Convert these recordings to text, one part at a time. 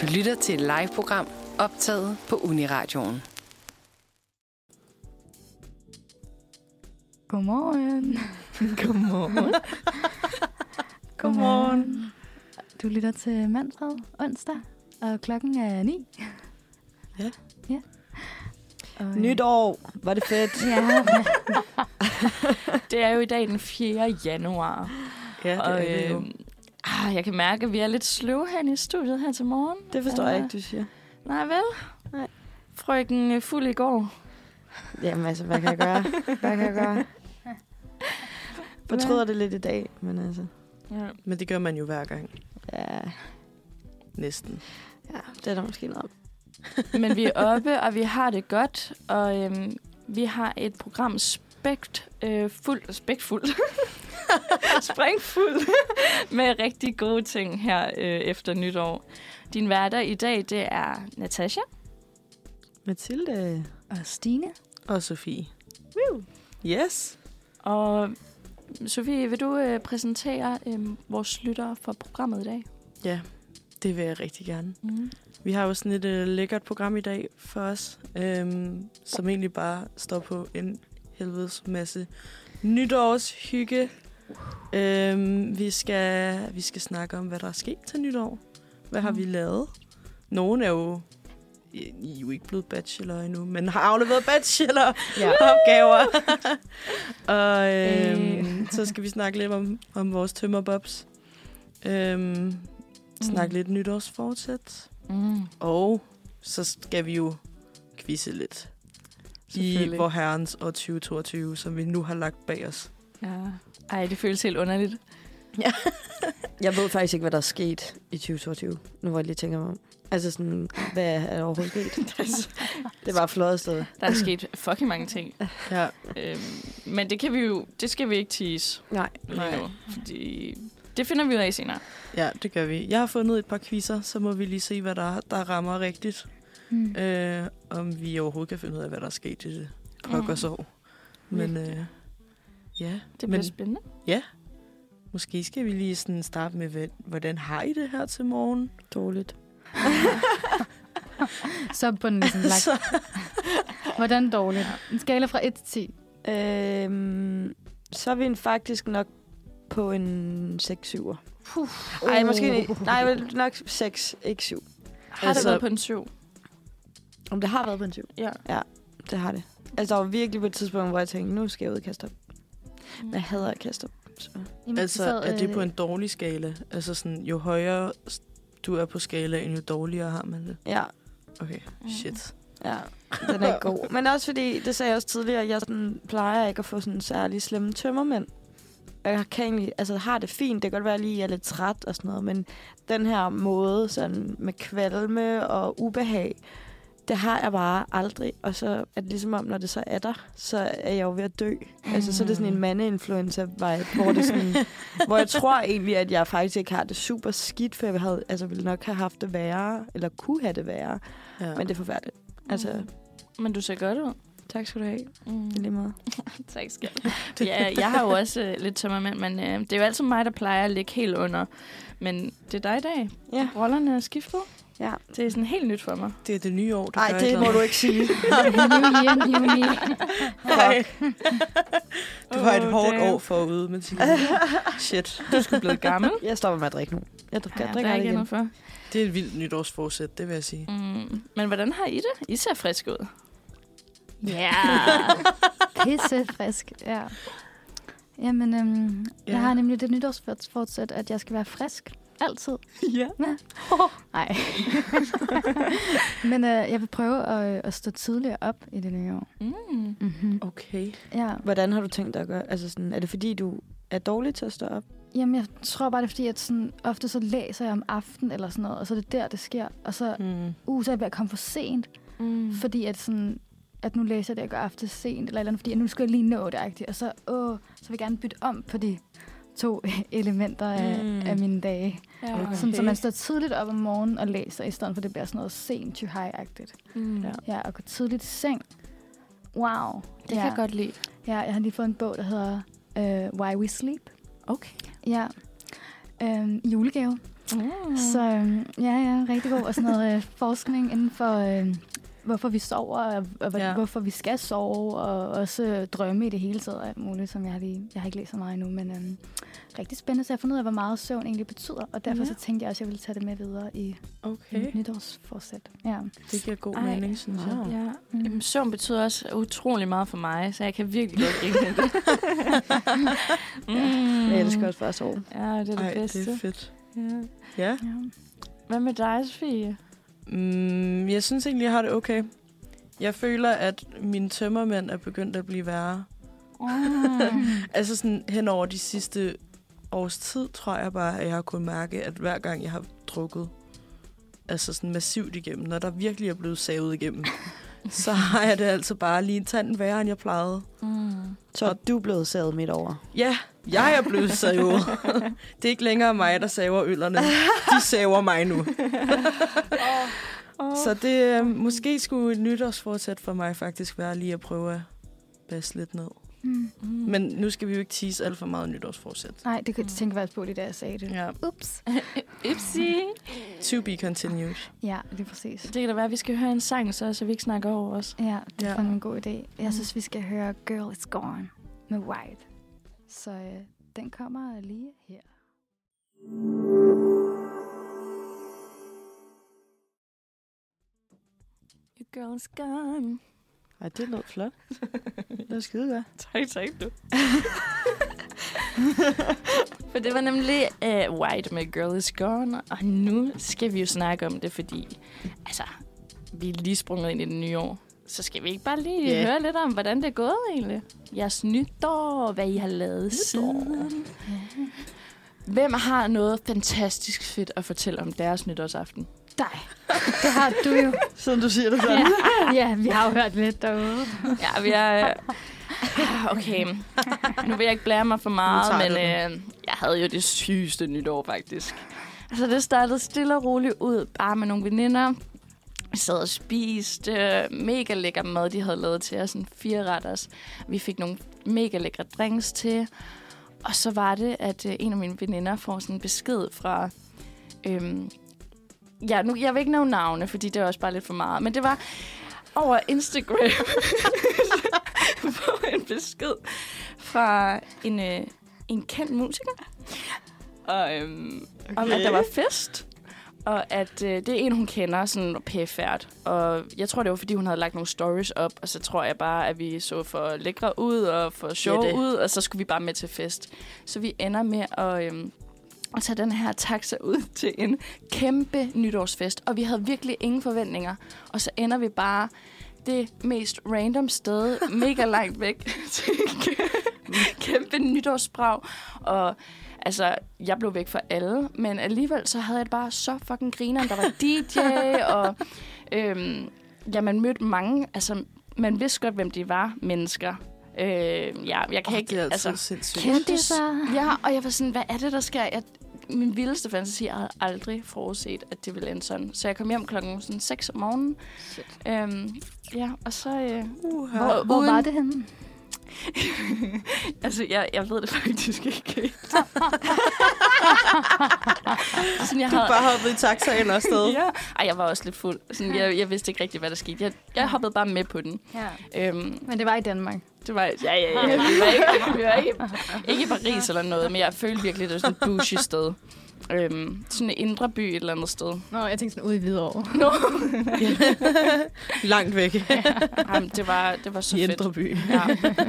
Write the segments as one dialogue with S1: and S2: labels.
S1: Du lytter til et live-program optaget på Uniradioen.
S2: Godmorgen.
S3: Godmorgen. Godmorgen.
S2: Du lytter til Manfred onsdag, og klokken er ni.
S3: Ja.
S2: ja. Og, øh,
S3: Nyt år. Var det fedt?
S2: Ja,
S4: Det er jo i dag den 4. januar.
S3: Ja,
S4: og
S3: øhm,
S4: øh, ah, jeg kan mærke, at vi er lidt sløve her i studiet her til morgen.
S3: Det forstår jeg ikke, du siger.
S4: Nej vel?
S3: Nej.
S4: Frøken øh, fuld i går.
S3: Jamen altså, hvad kan jeg gøre? Hvad kan jeg gøre? Fortryder det lidt i dag, men altså...
S4: Ja.
S5: Men det gør man jo hver gang.
S3: Ja,
S5: Næsten.
S3: ja det er der måske noget om.
S4: Men vi er oppe, og vi har det godt. Og øhm, vi har et program spekt, øh, fuld, spækfuldt. Springfuld med rigtig gode ting her øh, efter nytår. Din hverdag i dag, det er Natasha.
S5: Mathilde
S2: og Stine.
S5: og Sofie. Yes.
S4: Og mm, Sofie, vil du øh, præsentere øh, vores lyttere for programmet i dag?
S5: Det vil jeg rigtig gerne.
S4: Mm.
S5: Vi har jo sådan et øh, lækkert program i dag for os, øhm, som egentlig bare står på en helvedes masse nytårshygge. Øhm, vi, skal, vi skal snakke om, hvad der er sket til nytår. Hvad har
S4: Mm.
S5: vi lavet? Nogen er jo... I I er jo ikke blevet bachelor endnu, men har afleveret bacheloropgaver. og øhm, så skal vi snakke lidt om, om vores tømmerbobs. Øhm, snakke lidt nytårsfortsæt.
S4: Mm.
S5: Og så skal vi jo quizze lidt i
S4: Selvfølgelig.
S5: vor herrens år 2022, som vi nu har lagt bag os.
S4: Ja. Ej, det føles helt underligt.
S3: Jeg ved faktisk ikke, hvad der er sket i 2022, nu hvor jeg lige tænker mig om. Altså sådan, hvad er der overhovedet sket? det var flot sted.
S4: Der er sket fucking mange ting.
S5: Ja.
S4: Øhm, men det kan vi jo, det skal vi ikke tease
S3: Nej.
S4: lige nu. Fordi det finder vi ud af senere.
S5: ja, det gør vi. Jeg har fundet et par quizzer, så må vi lige se, hvad der, der rammer rigtigt.
S2: Mm.
S5: Øh, om vi overhovedet kan finde ud af, hvad der er sket i det pokkers år. Men øh, ja,
S4: Det bliver
S5: Men-
S4: spændende.
S5: måske skal vi lige sådan starte med, hvad- hvordan har I det her til morgen?
S3: Dårligt.
S2: Så er bunden ligesom lagt. Hvordan dårligt? En skala fra 1 til 10.
S3: Øhm, så er vi en faktisk nok på en 6-7'er.
S4: Puh.
S3: Nej, måske ikke. Nej, vel, nok 6, ikke 7.
S4: Har altså,
S5: altså-
S4: det været på en syv?
S3: Om det har været på en 7.
S4: Ja.
S3: Det har det. Altså, der var virkelig på et tidspunkt, hvor jeg tænkte, nu skal jeg ud og kaste op.
S4: Mm.
S3: Men jeg hader at kaste op. Så.
S2: Jamen,
S5: Altså,
S2: så,
S5: er det på
S2: øh,
S5: en dårlig skala? Altså sådan, jo højere s- du er på skalaen, jo dårligere har man det.
S3: Ja,
S5: Okay, shit.
S3: ja. Den er ikke god. Men også fordi, det sagde jeg også tidligere, jeg sådan, plejer ikke at få sådan særlig slemme tømmermænd. Og jeg kan egentlig, altså har det fint, det kan godt være lige, at jeg er lidt træt og sådan noget, men den her måde sådan med kvalme og ubehag, det har jeg bare aldrig. Og så er det ligesom om, når det så er der, så er jeg jo ved at dø. Altså, så er det sådan en mandeinfluenza-vibe, hvor, det er sådan, hvor jeg tror egentlig, at jeg faktisk ikke har det super skidt, for jeg havde, altså, ville nok have haft det værre, eller kunne have det værre.
S5: Ja.
S3: Men det er forfærdeligt. Altså,
S4: Mm. Men du ser godt ud.
S3: tak skal du have.
S4: Mm.
S3: Det er lige meget.
S4: Tak skal du have. ja, Jeg har jo også øh, lidt tømmermænd, men øh, det er jo altid mig, der plejer at ligge helt under. Men det er dig i dag.
S3: Ja.
S4: Rollerne er skiftet.
S3: Ja.
S4: Det er sådan helt nyt for mig.
S5: Det er det nye år, der
S3: Nej,
S5: gør et
S3: det må
S5: eller
S3: du
S5: andet.
S3: ikke sige.
S2: New year, new me.
S5: Du har et
S4: Åh,
S5: hårdt
S4: damn.
S5: år forude, men shit.
S4: Du skulle blive gammel.
S3: Jeg stopper med at drikke nu. Jeg drikker,
S4: Ja,
S3: jeg
S4: der
S3: drikker
S4: er
S3: ikke
S4: ikke
S3: igen.
S4: noget for.
S5: Det er et vildt nytårsforsæt, det vil jeg sige.
S4: Mm. Men hvordan har I det? I ser friske ud.
S2: Ja. Pisse frisk, ja. Jamen, øhm, ja.
S5: Ja.
S2: jeg har nemlig det nytårsfortsæt, at jeg skal være frisk. Altid.
S5: Ja.
S2: Nej. Men øh, jeg vil prøve at, at stå tidligere op i det nye år.
S4: Mm.
S5: Mhm.
S2: Mm-hmm.
S5: Okay.
S2: Ja.
S3: Hvordan har du tænkt dig at gøre? Altså sådan, er det fordi, du er dårlig til at stå op?
S2: Jamen, jeg tror bare, det er fordi, at sådan, ofte så læser jeg om aftenen eller sådan noget, og så er det der, det sker. Og så,
S5: Mm.
S2: uh, så er jeg ved at komme for sent,
S4: Mm.
S2: mm. fordi at, sådan, at nu læser jeg det, jeg gør aftes sent, eller, et eller andet, fordi at nu skal jeg lige nå det, agtigt. og så, åh, så vil jeg gerne bytte om på de to elementer af,
S3: Mm.
S2: mm. af mine dage.
S4: Ja.
S5: Okay.
S2: Sådan, så man står tidligt op om morgenen og læser, i stedet for, at det bliver sådan noget sent to high-agtigt.
S4: Mm.
S3: Ja.
S2: Ja, og gå tidligt i seng. Wow.
S4: Det
S2: ja.
S4: kan jeg godt lide.
S2: Ja, jeg har lige fået en bog, der hedder øh, Why We Sleep.
S4: Okay.
S2: Ja. Øhm, i julegave.
S4: Mm.
S2: Så øhm, ja, ja, rigtig god. Og sådan noget øh, forskning inden for, øh, hvorfor vi sover, og, og hvor,
S5: Ja.
S2: ja. hvorfor vi skal sove, og også øh, drømme i det hele taget, og alt muligt, som jeg lige, jeg har ikke læst så meget endnu, men øhm, rigtig spændende, så jeg har fundet ud af, hvor meget søvn egentlig betyder, og derfor
S5: Ja.
S2: ja. så tænkte jeg også, at jeg ville tage det med videre i
S5: Okay.
S2: okay. nytårsforsæt. Ja.
S5: Det giver god
S4: Ej,
S5: mening, synes jeg.
S4: Ja.
S2: Mm.
S4: Jamen, søvn betyder også utrolig meget for mig, så jeg kan virkelig godt genkende det. mm.
S1: Jeg elsker også bare at sove.
S4: Ja, det er det
S5: Ej,
S4: bedste.
S5: det er fedt.
S4: ja.
S5: Ja.
S2: Ja.
S4: Hvad med dig, Sofie?
S5: Mm, jeg synes egentlig, jeg har det okay. Jeg føler, at mine tømmermænd er begyndt at blive værre.
S4: Mm.
S5: Altså sådan hen over de sidste års tid, tror jeg bare, at jeg har kunnet mærke, at hver gang jeg har drukket, altså sådan massivt igennem, når der virkelig er blevet savet igennem, så har jeg det altså bare lige en tand værre, end jeg plejede.
S4: Mm.
S1: Så er du er blevet savet midt over.
S5: Ja, jeg er blevet savet. Det er ikke længere mig, der saver øllerne. De saver mig nu. Så det øh, måske skulle et nytårsforsæt for mig faktisk være lige at prøve at basse lidt ned.
S2: Mm.
S4: Mm.
S5: Men nu skal vi jo ikke tease alt for meget nytårsforsæt.
S2: Nej, det kunne jeg tænke faktisk på, det der jeg sagde det.
S5: Ja.
S2: Ups.
S4: Ipsi.
S5: To be continued.
S2: Ja, lige præcis.
S4: Det kan da være, at vi skal høre en sang, så, så vi ikke snakker over os.
S2: Ja, det er
S5: Ja.
S2: ja. Mm. fandme en god idé. Jeg synes, vi skal høre Girl Is Gone med White. Så øh, den kommer lige her.
S4: Your girl's gone.
S1: Ej, det lød flot. det var skide godt.
S4: Tak, tak du. For det var nemlig uh, White med Girl Is Gone, og nu skal vi jo snakke om det, fordi altså, vi er lige sprunget ind i det nye år. Så skal vi ikke bare lige
S5: Ja.
S4: yeah. høre lidt om, hvordan det er gået egentlig? Jeres nytår, hvad I har lavet siden. Hvem har noget fantastisk fedt at fortælle om deres nytårsaften?
S2: Dig. Det har du jo.
S1: Sådan du siger det så.
S4: Ja,
S2: ja, vi har jo hørt lidt derude.
S4: ja vi er... øh, ah, Okay, nu vil jeg ikke blære mig for meget,
S5: tager
S4: men
S5: du
S4: øh, jeg havde jo det sygeste nytår faktisk. Altså det startede stille og roligt ud, bare med nogle veninder. Vi sad og spiste øh, mega lækker mad, de havde lavet til os, sådan fire retters. Vi fik nogle mega lækre drinks til. Og så var det, at øh, en af mine veninder får sådan en besked fra... Øhm, ja, nu, jeg vil ikke nævne navne, fordi det er også bare lidt for meget. Men det var over Instagram. på en besked fra en, øh, en kendt musiker. Og, øhm, okay. Om, at der var fest. Og at øh, det er en, hun kender, sådan pæfærd. Og jeg tror, det var, fordi hun havde lagt nogle stories op. Og så tror jeg bare, at vi så for lækre ud og for sjov
S5: det.
S4: ud. Og så skulle vi bare med til fest. Så vi ender med at... Øhm, og tage den her taxa ud til en kæmpe nytårsfest. Og vi havde virkelig ingen forventninger. Og så ender vi bare det mest random sted, mega langt væk, til en kæ- kæmpe nytårsbrag. Og altså, jeg blev væk fra alle, men alligevel så havde jeg det bare så fucking grineren. Der var DJ, og øhm, ja, man mødte mange, altså, man vidste godt, hvem de var, mennesker. Øh, ja, jeg kan
S5: Åh,
S4: ikke,
S5: det er altid
S4: altså,
S5: sindssygt.
S2: Kendisser.
S4: Ja, og jeg var sådan, hvad er det, der sker? Jeg, min vildeste fantasi, jeg havde aldrig forudset, at det ville ende sådan. Så jeg kom hjem klokken sådan 6 om morgenen. Øhm, ja, og så... Øh,
S5: Uha.
S2: Hvor,
S4: Og
S2: hvor
S4: uden-
S2: var det henne?
S4: altså, jeg, jeg ved det faktisk ikke. helt. sådan, jeg
S5: Du er bare hoppet i taxaen og afsted.
S4: Ja. Ej, jeg var også lidt fuld. Sådan, jeg, jeg vidste ikke rigtigt, hvad der skete. Jeg, jeg hoppede bare med på den.
S2: Ja.
S4: Øhm,
S2: Men det var i Danmark.
S4: Det var, ja, ja, ja. Vi var ikke, vi var ikke, ikke i Paris eller noget, men jeg følte virkelig, det var sådan et bougie sted. Øhm, sådan en indre by et eller andet sted.
S2: Nå, jeg tænkte sådan ude i Hvidovre.
S4: No.
S5: Langt væk
S4: Jamen, det var, det var så
S5: i
S4: fedt.
S5: Indre By.
S4: Ja.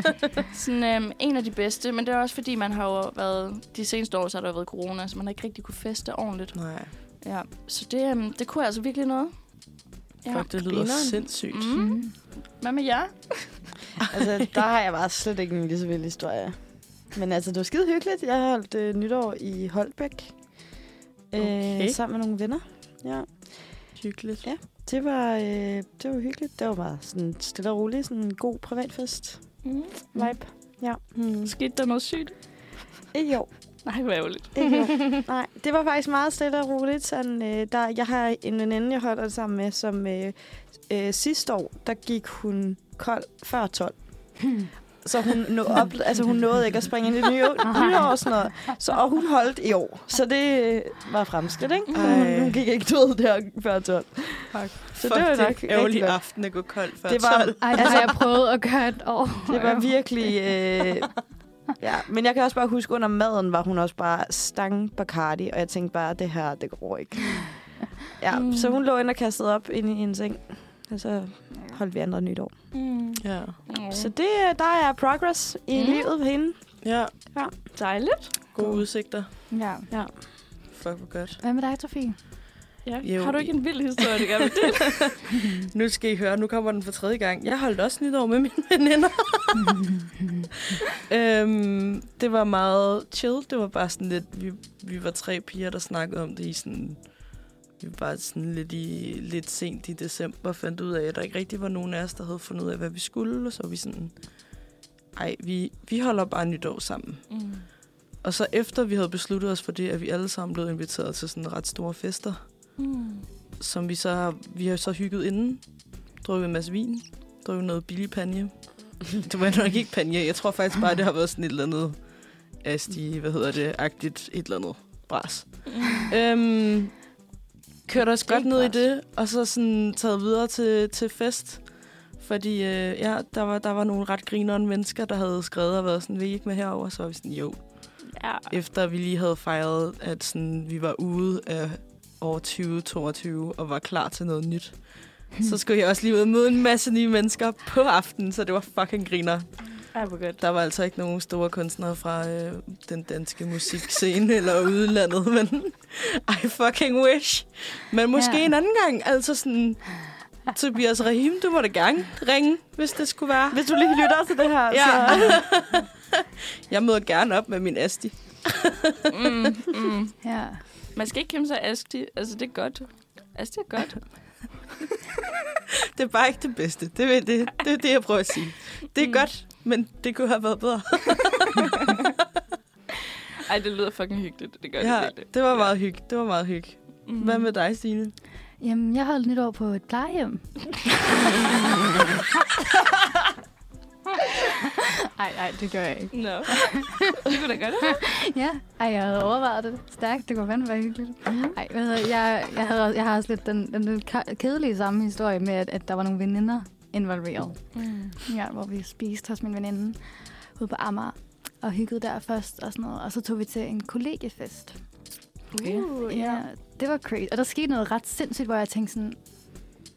S4: Sådan, øhm, en af de bedste, men det er også fordi, man har jo været, de seneste år, så har der jo været corona, så man har ikke rigtig kunne feste ordentligt.
S5: Nej,
S4: Ja. Så det, øhm, det kunne altså virkelig noget. Ja.
S5: fuck, det lyder
S1: Grineren.
S5: sindssygt.
S4: Mm. Hvad med jer?
S1: altså, der har jeg bare slet ikke en lige så vild historie. Men altså, det var skide hyggeligt. Jeg holdt øh, nytår i Holbæk. Øh,
S5: Okay.
S1: Sammen med nogle venner. Ja.
S5: Hyggeligt.
S1: Ja. Det var, øh, det var hyggeligt. Det var bare sådan stille og roligt. Sådan en god privatfest.
S4: Mm.
S1: Vibe.
S5: Mm.
S4: Skete der noget sygt?
S2: Mm.
S1: Ikke jo.
S4: Nej, hvor ærgerligt.
S1: Ikke jo. Nej, det var faktisk meget stille og roligt. Sådan, øh, der, jeg har en veninde, jeg holder det sammen med, som øh, øh, sidste år, der gik hun kold før 12.
S5: så hun, nå op, altså, hun nåede ikke at springe ind i det nye, nye år og sådan noget. Så, og hun holdt i år, så det øh, var fremskridt, ikke?
S6: Ej.
S5: Hun, hun Mm. gik ikke død der før 12.
S4: Fuck.
S5: Så det var nok rigtig
S6: ærgerlig
S5: godt.
S6: aften at gå kold før
S5: Det var-
S6: 12.
S2: Ej, det har jeg prøvet at gøre et år.
S5: altså- Det var virkelig... Øh, ja, men jeg kan også bare huske, under maden var hun også bare stang Bacardi, og jeg tænkte bare, det her, det går ikke. Ja, mm. så hun lå ind og kastede op ind i en seng, og så holdt vi andre nytår.
S4: Mm.
S6: Ja.
S5: Så det, øh, der er progress i
S4: Mm.
S5: mm. livet ved hende.
S6: ja,
S5: Ja, dejligt.
S6: gode udsigter.
S2: Ja.
S6: Fuck, hvor godt.
S2: Hvad med dig, Sofie?
S4: Ja.
S6: Jo.
S4: Har du ikke en vild historie, du gerne vil
S6: Nu skal I høre, nu kommer den for tredje gang. Jeg holdt også nytår med mine veninder. øhm, det var meget chill. Det var bare sådan lidt, vi, vi var tre piger, der snakkede om det i sådan... Vi var bare sådan lidt, i, lidt sent i december, fandt ud af, at der ikke rigtig var nogen af os, der havde fundet ud af, hvad vi skulle. Og så var vi sådan, ej, vi, vi holder bare nytår sammen.
S4: Mm.
S6: Og så efter vi havde besluttet os for det, at vi alle sammen blev inviteret til sådan ret store fester,
S4: Mm.
S6: som vi så har, vi har så hygget inden. Drukket en masse vin. Drukket noget billig panje. Det var nok ikke panje. Jeg tror faktisk bare, det har været sådan et eller andet asti, hvad hedder det, agtigt et eller andet bras.
S4: Mm.
S6: Øhm, kørte os godt ned i det, og så sådan taget videre til, til fest. Fordi øh, ja, der, var, der var nogle ret grinerende mennesker, der havde skrevet og været sådan, vil I ikke med herover? Så var vi sådan, jo,
S4: Ja.
S6: efter vi lige havde fejret, at sådan, vi var ude af år 2022 og var klar til noget nyt. Så skulle jeg også lige ud og møde en masse nye mennesker på aftenen, så det var fucking griner.
S4: Ej, hvor godt.
S6: Der var altså ikke nogen store kunstnere fra øh, den danske musikscene eller udlandet, men I fucking wish. Men måske
S2: Ja.
S6: ja. en anden gang, altså sådan... Tobias Rahim, du må da gerne ringe, hvis det skulle være.
S5: Hvis du lige lytter til det her, ja. så...
S6: Ja. Jeg møder gerne op med min Asti.
S4: Mm. Mm.
S2: Ja.
S4: Man skal ikke kæmpe sig asti. Altså, det er godt. Altså, det er godt.
S6: Det er bare ikke det bedste. Det er det, det, er det jeg prøver at sige. Det er
S4: Mm.
S6: mm. godt, men det kunne have været bedre.
S4: Ej, det lyder fucking hyggeligt. Det gør det
S6: Ja,
S4: virkelig.
S6: det var meget hygge. Det var meget hygge.
S4: Mm.
S6: Hvad med dig, Stine?
S2: Jamen, jeg holdt nytår på et plejehjem. Ej, ej, det gør jeg ikke.
S4: Nå. det kunne da godt være.
S2: Ja, ej, jeg havde overvejet det stærkt. Det kunne fandme være hyggeligt. Ej, hvad hedder, jeg, jeg, havde, også- jeg har også lidt den, den lidt ka- kedelige samme historie med, at, at der var nogle veninder involveret.
S4: Mm.
S2: Ja, hvor vi spiste hos min veninde ude på Amager og hyggede der først og sådan noget. Og så tog vi til en kollegiefest.
S4: Okay.
S2: Uh, ja. Det var crazy. Og der skete noget ret sindssygt, hvor jeg tænkte sådan,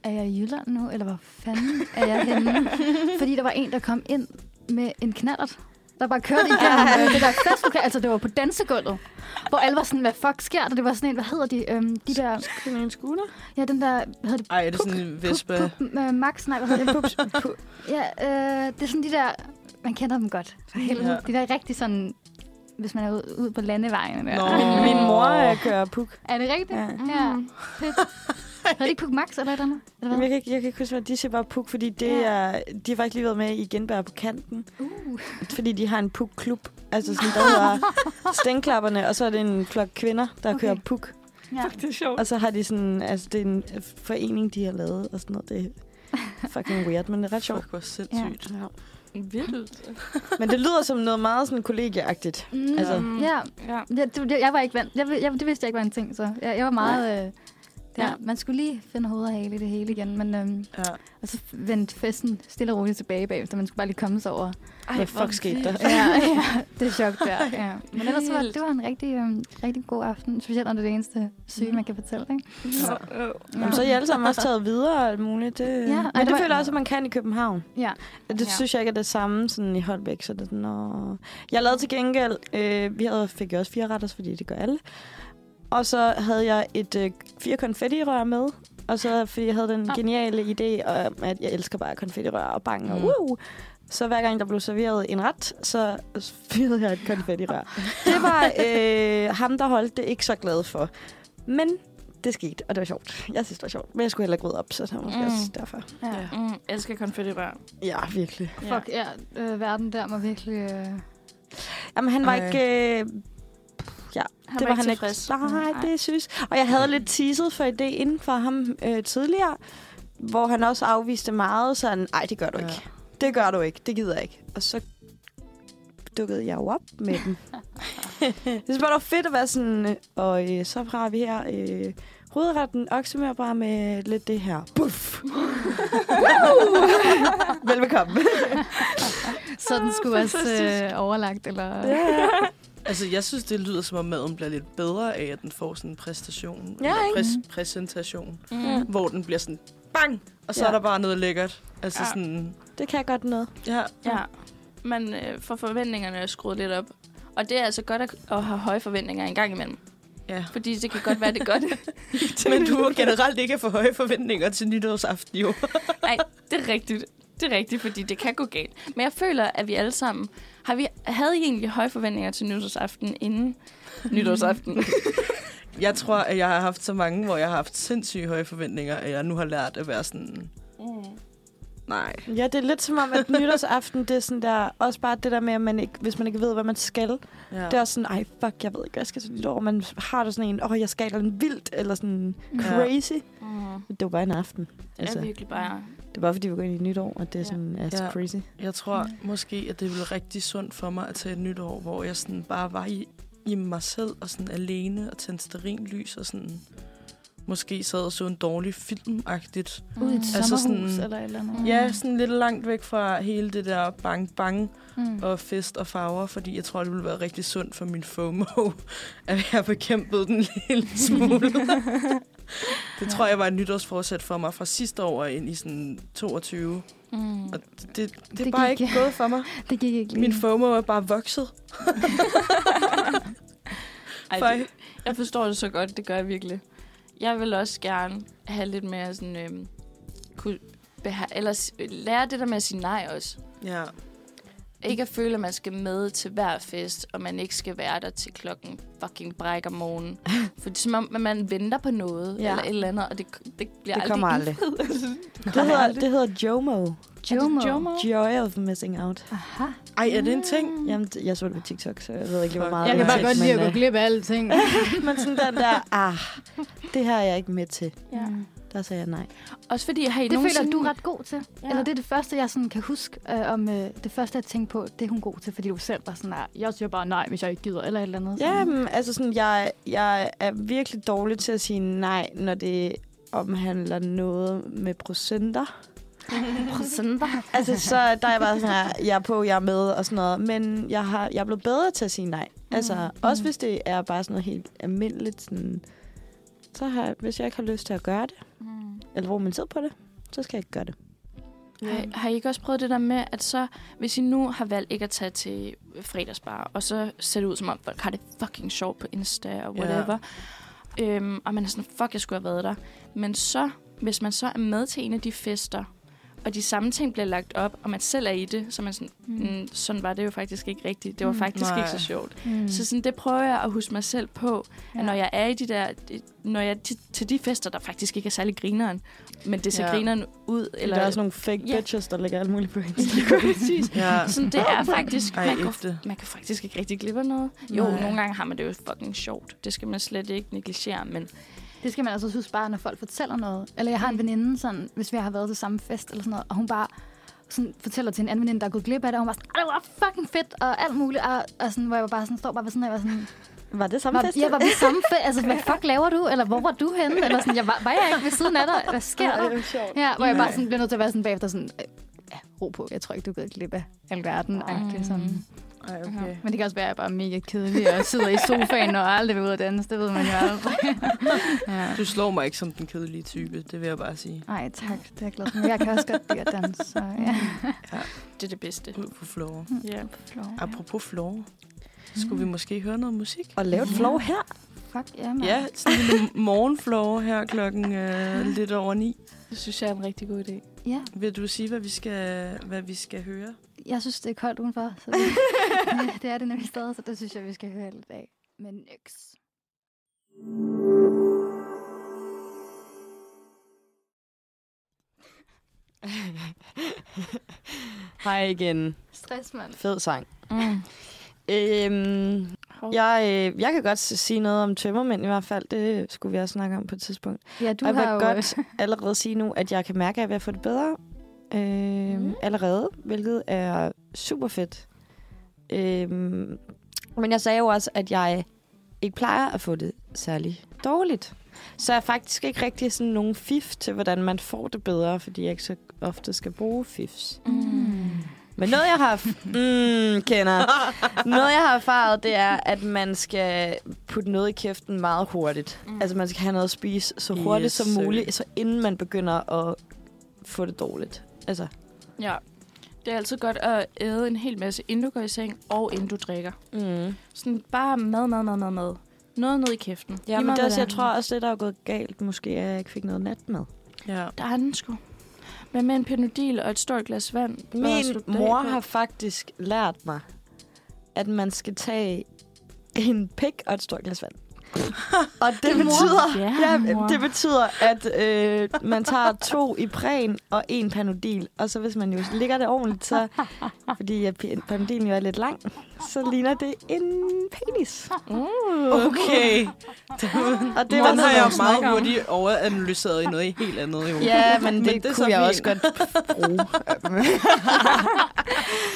S2: er jeg i Jylland nu, eller hvor fanden er jeg henne? Fordi der var en, der kom ind med en knallert, der bare kørte igennem øh, det der festlokale. Altså, det var på dansegulvet, hvor alle var sådan, hvad fuck sker der? Det var sådan en, hvad hedder de? Øhm, de der,
S5: Skal en skulder?
S2: ja, den der, hvad hedder det?
S6: Ej, er det sådan en vespe?
S2: Pup, pup, øh, Max, nej, hvad hedder det? Pup, pup. Ja, øh, det er sådan de der, man kender dem godt. For helvede.
S6: Ja.
S2: Ja. De der rigtig sådan, hvis man er ude, ude på landevejen. Der.
S6: Nå.
S5: Oh. Min mor øh, kører puk.
S2: Er det rigtigt?
S5: Ja.
S2: Mm. ja. Fedt. Havde de ikke Puk Max eller et eller andet? Eller
S5: Jamen,
S2: hvad?
S5: jeg, kan ikke, jeg kan ikke huske, hvad de siger bare puk, fordi det
S2: Ja.
S5: er, de har faktisk lige været med i Genbær på kanten.
S2: Uh.
S5: Fordi de har en puk-klub, altså sådan, der hedder Stænklapperne, og så er det en flok kvinder, der
S2: Okay.
S5: okay. kører puk.
S2: Ja.
S4: Fuck, det er sjovt.
S5: Og så har de sådan, altså det er en forening, de har lavet og sådan noget. Det er fucking weird, men det er ret sjovt.
S6: Fuck, hvor sindssygt.
S5: Ja.
S4: Vildt.
S5: Men det lyder som noget meget sådan kollegieagtigt.
S2: Mm.
S5: Altså.
S2: ja.
S4: Ja.
S2: ja det, jeg, jeg var ikke vant. Jeg, jeg, det vidste jeg ikke var en ting, så jeg, jeg var meget... Øh, ja.
S5: Ja.
S2: Man skulle lige finde hovedet og hale i det hele igen, men øhm,
S6: Ja.
S2: og så vendte festen stille og roligt tilbage bagefter. Man skulle bare lige komme sig over.
S4: Ej,
S5: Hvad fuck skete der?
S2: Ja, ja det er sjovt der. Ja. Men ellers så var,
S4: Vildt.
S2: det var en rigtig, øhm, rigtig god aften, specielt under det eneste syge,
S4: Mm.
S2: man kan fortælle. Ikke?
S6: Ja.
S5: Ja. Jamen, så er I alle sammen også taget videre og alt muligt. Det,
S2: ej,
S5: ja, men
S2: der
S5: det, det
S2: var-
S5: føler jeg også, at man kan i København.
S2: Ja.
S5: Det
S4: Ja.
S5: ja. synes jeg ikke er det samme sådan i Holbæk. Så det er sådan, åh. Jeg lavede til gengæld, øh, vi havde, fik jo også fire retters, fordi det gør alle. Og så havde jeg et øh, fire konfettirør med. Og så fordi jeg havde den
S4: Ah.
S5: geniale idé om, at jeg elsker bare konfettirør og bang og
S6: Mm.
S5: uh. Så hver gang der blev serveret en ret, så fyrede jeg et konfettirør. Det var øh, ham, der holdt det ikke så glad for. Men det skete, og det var sjovt. Jeg synes, det var sjovt. Men jeg skulle heller ikke rydde op, så det var måske
S4: Mm.
S5: mm. også derfor.
S2: ja.
S6: Ja.
S4: Mm, elsker konfettirør.
S5: Ja, virkelig.
S2: Fuck, ja. Øh, verden der må virkelig... Øh,
S5: Jamen, han var
S6: Ej.
S5: ikke... Øh,
S4: Han
S5: det var, han ikke. Nej, det synes. Og jeg havde lidt teaset for idéen for ham øh, tidligere, hvor han også afviste meget sådan, nej, det gør du
S6: Ja.
S5: ikke. Det gør du ikke. Det gider jeg ikke. Og så dukkede jeg jo op med dem. jeg synes bare, det var fedt at være sådan, øh, og øh, så har vi her øh, rødretten oksemørbræd med lidt det her. Puff! Velbekomme.
S2: Så den skulle også øh, overlagt, eller... Ja.
S6: Altså, jeg synes, det lyder som om maden bliver lidt bedre af, at den får sådan en præstation.
S5: Ja,
S6: eller
S5: ikke?
S6: præs- præsentation.
S4: Mm.
S6: Hvor den bliver sådan, bang! Og så
S5: Ja.
S6: er der bare noget lækkert. Altså
S4: Ja.
S6: sådan,
S5: Det kan jeg godt noget.
S6: ja.
S4: Ja, man øh, får forventningerne skruet lidt op. Og det er altså godt at, at have høje forventninger en gang imellem.
S6: ja.
S4: Fordi det kan godt være, det er godt.
S6: Men du har generelt ikke for høje forventninger til nytårsaften, jo.
S4: Nej, det er rigtigt. Det er rigtigt, fordi det kan gå galt. Men jeg føler, at vi alle sammen... Har vi, havde I egentlig høje forventninger til nytårsaften inden nytårsaften?
S6: Jeg tror, at jeg har haft så mange, hvor jeg har haft sindssygt høje forventninger, at jeg nu har lært at være sådan...
S4: Mm.
S6: Nej.
S5: Ja, det er lidt som om, at nytårsaften, det er sådan der, også bare det der med, at man ikke, hvis man ikke ved, hvad man skal. Ja.
S6: Ja.
S5: Det er også sådan, ej, fuck, jeg ved ikke, hvad jeg skal til nytår. Man har da sådan en, åh, oh, jeg skal et eller andet vildt, eller sådan crazy.
S4: Mm.
S5: Det var bare en aften.
S4: Altså.
S5: Altså,
S4: Er virkelig bare...
S5: det var fordi, vi går ind i et nyt år, og det er
S4: Ja.
S5: sådan, ja.
S6: Ja.
S5: ja. crazy.
S6: Jeg tror måske, at det ville rigtig sundt for mig at tage et nyt år, hvor jeg sådan bare var i, i mig selv og sådan alene og tændte sterinlys og sådan... Måske sad og så en dårlig filmagtigt.
S2: Ud i et
S6: Altså
S2: altså sommerhus, Mm.
S6: sådan-
S2: sådan... eller et eller andet.
S6: Ja, sådan lidt langt væk fra hele det der bang bang
S2: Mm.
S6: og fest og farver, fordi jeg tror, det ville være rigtig sundt for min FOMO, at jeg bekæmpede den en lille smule. det tror jeg var et nytårsforsæt for mig fra sidste år og ind i sådan 22.
S4: Mm.
S6: Og det, det, det er
S2: Det
S6: bare
S2: gik-
S6: ikke gået for mig.
S2: Det gik ikke lige.
S6: Min FOMO er bare vokset.
S4: Ej,
S6: Fej.
S4: det, jeg forstår det så godt, det gør jeg virkelig. Jeg vil også gerne have lidt mere sådan... Øhm, kunne beha- eller s- lære det der med at sige nej også.
S6: Ja.
S4: Ikke at føle, at man skal med til hver fest, og man ikke skal være der til klokken fucking bræk om morgenen. For det er som om, at man venter på noget,
S5: Ja.
S4: ja. eller et eller andet, og det, det bliver
S5: Det kommer aldrig. Det
S4: Nej,
S5: hedder,
S4: aldrig.
S5: det hedder JOMO.
S2: Jomo.
S4: Jomo?
S5: Joy of Missing Out.
S2: Aha.
S6: Ej, er det en ting?
S5: Jamen, det- jeg så det på TikTok, så jeg ved ikke lige, hvor
S6: Fuck.
S5: meget
S6: Jeg
S2: Jeg
S6: kan
S2: kan
S6: bare
S2: bare godt lide
S6: Ja.
S2: at gå
S5: gå
S2: glip af alle ting.
S5: øh, Men sådan den der, ah, det her er jeg ikke med til.
S4: Ja.
S2: Mm.
S5: Der sagde jeg nej.
S4: Også fordi, har I
S2: Det
S4: nogensinde...
S2: føler du er ret god til.
S4: Ja.
S2: Ja. Eller det er det første, jeg sådan kan huske øh, om øh, det første, jeg tænkte på, det er hun god til, fordi du selv var sådan, nej, jeg siger bare nej, hvis jeg ikke gider, eller et eller andet.
S5: Ja,
S2: sådan.
S5: men, altså sådan, jeg, jeg er virkelig dårlig til at sige nej, når det omhandler noget med procenter.
S2: Procenter.
S5: Altså, så der er jeg bare sådan her, jeg er på, jeg er med og sådan noget. Men jeg, har, jeg er blevet bedre til at sige nej. Altså,
S2: Mm.
S5: også hvis det er bare sådan noget helt almindeligt, sådan, så har, jeg- hvis jeg ikke har lyst til at gøre det,
S4: Mm.
S5: eller hvor man tid på det, så skal jeg ikke gøre det.
S4: Har, har I ikke også prøvet det der med, at så, hvis I nu har valgt ikke at tage til fredagsbar, og så ser det ud som om, folk har det fucking sjovt på Insta og
S6: Ja.
S4: whatever, øhm, og man er sådan, fuck, jeg skulle have været der. Men så, hvis man så er med til en af de fester, og de samme ting bliver lagt op, og man selv er i det, så er man sådan, mm, sådan var det jo faktisk ikke rigtigt. Det var
S2: Mm.
S4: faktisk
S6: Nej.
S4: ikke så sjovt.
S2: Mm.
S4: Så sådan, det prøver jeg at huske mig selv på, ja. at når jeg er i de der, de- når jeg er til, til de fester, der faktisk ikke er særlig grineren, men det ser
S6: Ja.
S4: ja. grineren ud. Eller,
S5: Eller, der er sådan nogle fake
S4: Ja.
S5: bitches, der lægger alt muligt på Instagram.
S4: præcis.
S6: Ja.
S4: Sådan, det er faktisk...
S6: Ej,
S4: man, går,
S6: ægte.
S4: man kan faktisk ikke rigtig glippe af noget. Jo,
S6: Nej.
S4: Nej. nogle gange har man det jo fucking sjovt. Det skal man slet ikke negligere, men...
S2: Det skal man altså også huske bare, når folk fortæller noget. Eller jeg har en veninde, sådan, hvis vi har været til samme fest eller sådan noget, og hun bare sådan fortæller til en anden veninde, der er gået glip af det, og hun var sådan, "Ej, det var fucking fedt, og alt muligt, og, og sådan, hvor jeg bare sådan, står bare ved sådan, her, og jeg var sådan,
S5: Var det samme
S2: var,
S5: fest?
S2: ja, var vi samme fest, altså, hvad fuck laver du, eller hvor var du henne, eller sådan, jeg var, var jeg ikke ved siden af dig, hvad sker der? Ja, hvor jeg bare sådan, bliver nødt til at være sådan bagefter sådan, "Øh, ja, ro på, jeg tror ikke, du er gået glip af alverden, agtigt sådan.
S6: Ej, okay.
S2: Men det kan også være, at jeg bare er mega kedelig og sidder i sofaen og aldrig vil ud og danse, det ved man jo aldrig. ja.
S6: Du slår mig ikke som den kedelige type, det vil jeg bare sige.
S2: Ej, tak. Det er jeg glad for. Men Jeg kan også godt lide at danse. Så, ja.
S4: Det er det bedste.
S6: Ud på floor.
S4: Ja.
S6: Apropos floor.
S5: Mm.
S6: Skulle vi måske høre noget musik?
S5: Og lave et flow her.
S2: Fuck, ja, man.
S6: Ja, sådan en lille morgenflow her klokken øh, lidt over ni.
S4: Det synes jeg er en rigtig god idé.
S2: ja.
S6: Vil du sige, hvad vi skal, hvad vi skal høre?
S2: Jeg synes, det er koldt udenfor. Så det, ja, det er det nemlig stadig, så det synes jeg, vi skal høre lidt af. Men niks.
S5: Hej igen.
S2: Stress, mand.
S5: Fed sang.
S4: Mm.
S5: Øhm,
S4: Hov.
S5: jeg, øh, jeg kan godt s- sige noget om tømmermænd i hvert fald. Det skulle vi også snakke om på et tidspunkt.
S2: Ja, du
S5: og jeg
S2: har jo...
S5: vil godt allerede sige nu, at jeg kan mærke, at jeg vil få det bedre øhm,
S4: Mm.
S5: allerede, hvilket er super fedt. Øhm, men jeg sagde jo også, at jeg ikke plejer at få det særlig dårligt. Så jeg har faktisk ikke rigtig sådan nogen fif til, hvordan man får det bedre, fordi jeg ikke så ofte skal bruge fifs.
S4: Mm.
S5: Men noget, jeg har... f- Mm, kender. Noget, jeg har erfaret, det er, at man skal putte noget i kæften meget hurtigt. Mm. Altså, man skal have noget at spise så hurtigt yes,
S6: Yes,
S5: som
S6: sir.
S5: muligt, så inden man begynder at få det dårligt. Altså,
S4: Ja. Det er altid godt at æde en hel masse, inden du går i seng, og inden du drikker.
S5: mm.
S4: Sådan bare mad, mad, mad, mad, mad. Noget ned i kæften.
S5: ja,
S4: Lige
S5: men
S4: meget,
S5: det er også,
S4: hvad
S5: jeg tror også, det der er gået galt, måske er, at jeg ikke fik noget natmad.
S6: Ja.
S4: Der er den sgu. Men med en panodil og et stort glas vand. og
S5: Min
S4: slutte det af
S5: mor
S4: på.
S5: har faktisk lært mig, at man skal tage en pik og et stort glas vand. og det
S4: Din mor?
S5: betyder,
S4: Ja, Ah, mor.
S5: øh, det betyder, at øh, man tager to i præn og en panodil. Og så hvis man jo ligger det ordentligt, så, fordi at pi- panodilen jo er lidt lang, så ligner det en penis.
S4: Mm,
S6: Okay.
S5: Og det
S6: Det
S5: var
S6: Den har
S5: noget,
S6: jeg
S5: man snakker
S6: meget
S5: om.
S6: hurtigt overanalyseret i noget helt andet. Jo.
S5: Ja, men det,
S6: Men det er
S5: det
S6: så
S5: kunne jeg
S6: fint.
S5: også godt bruge.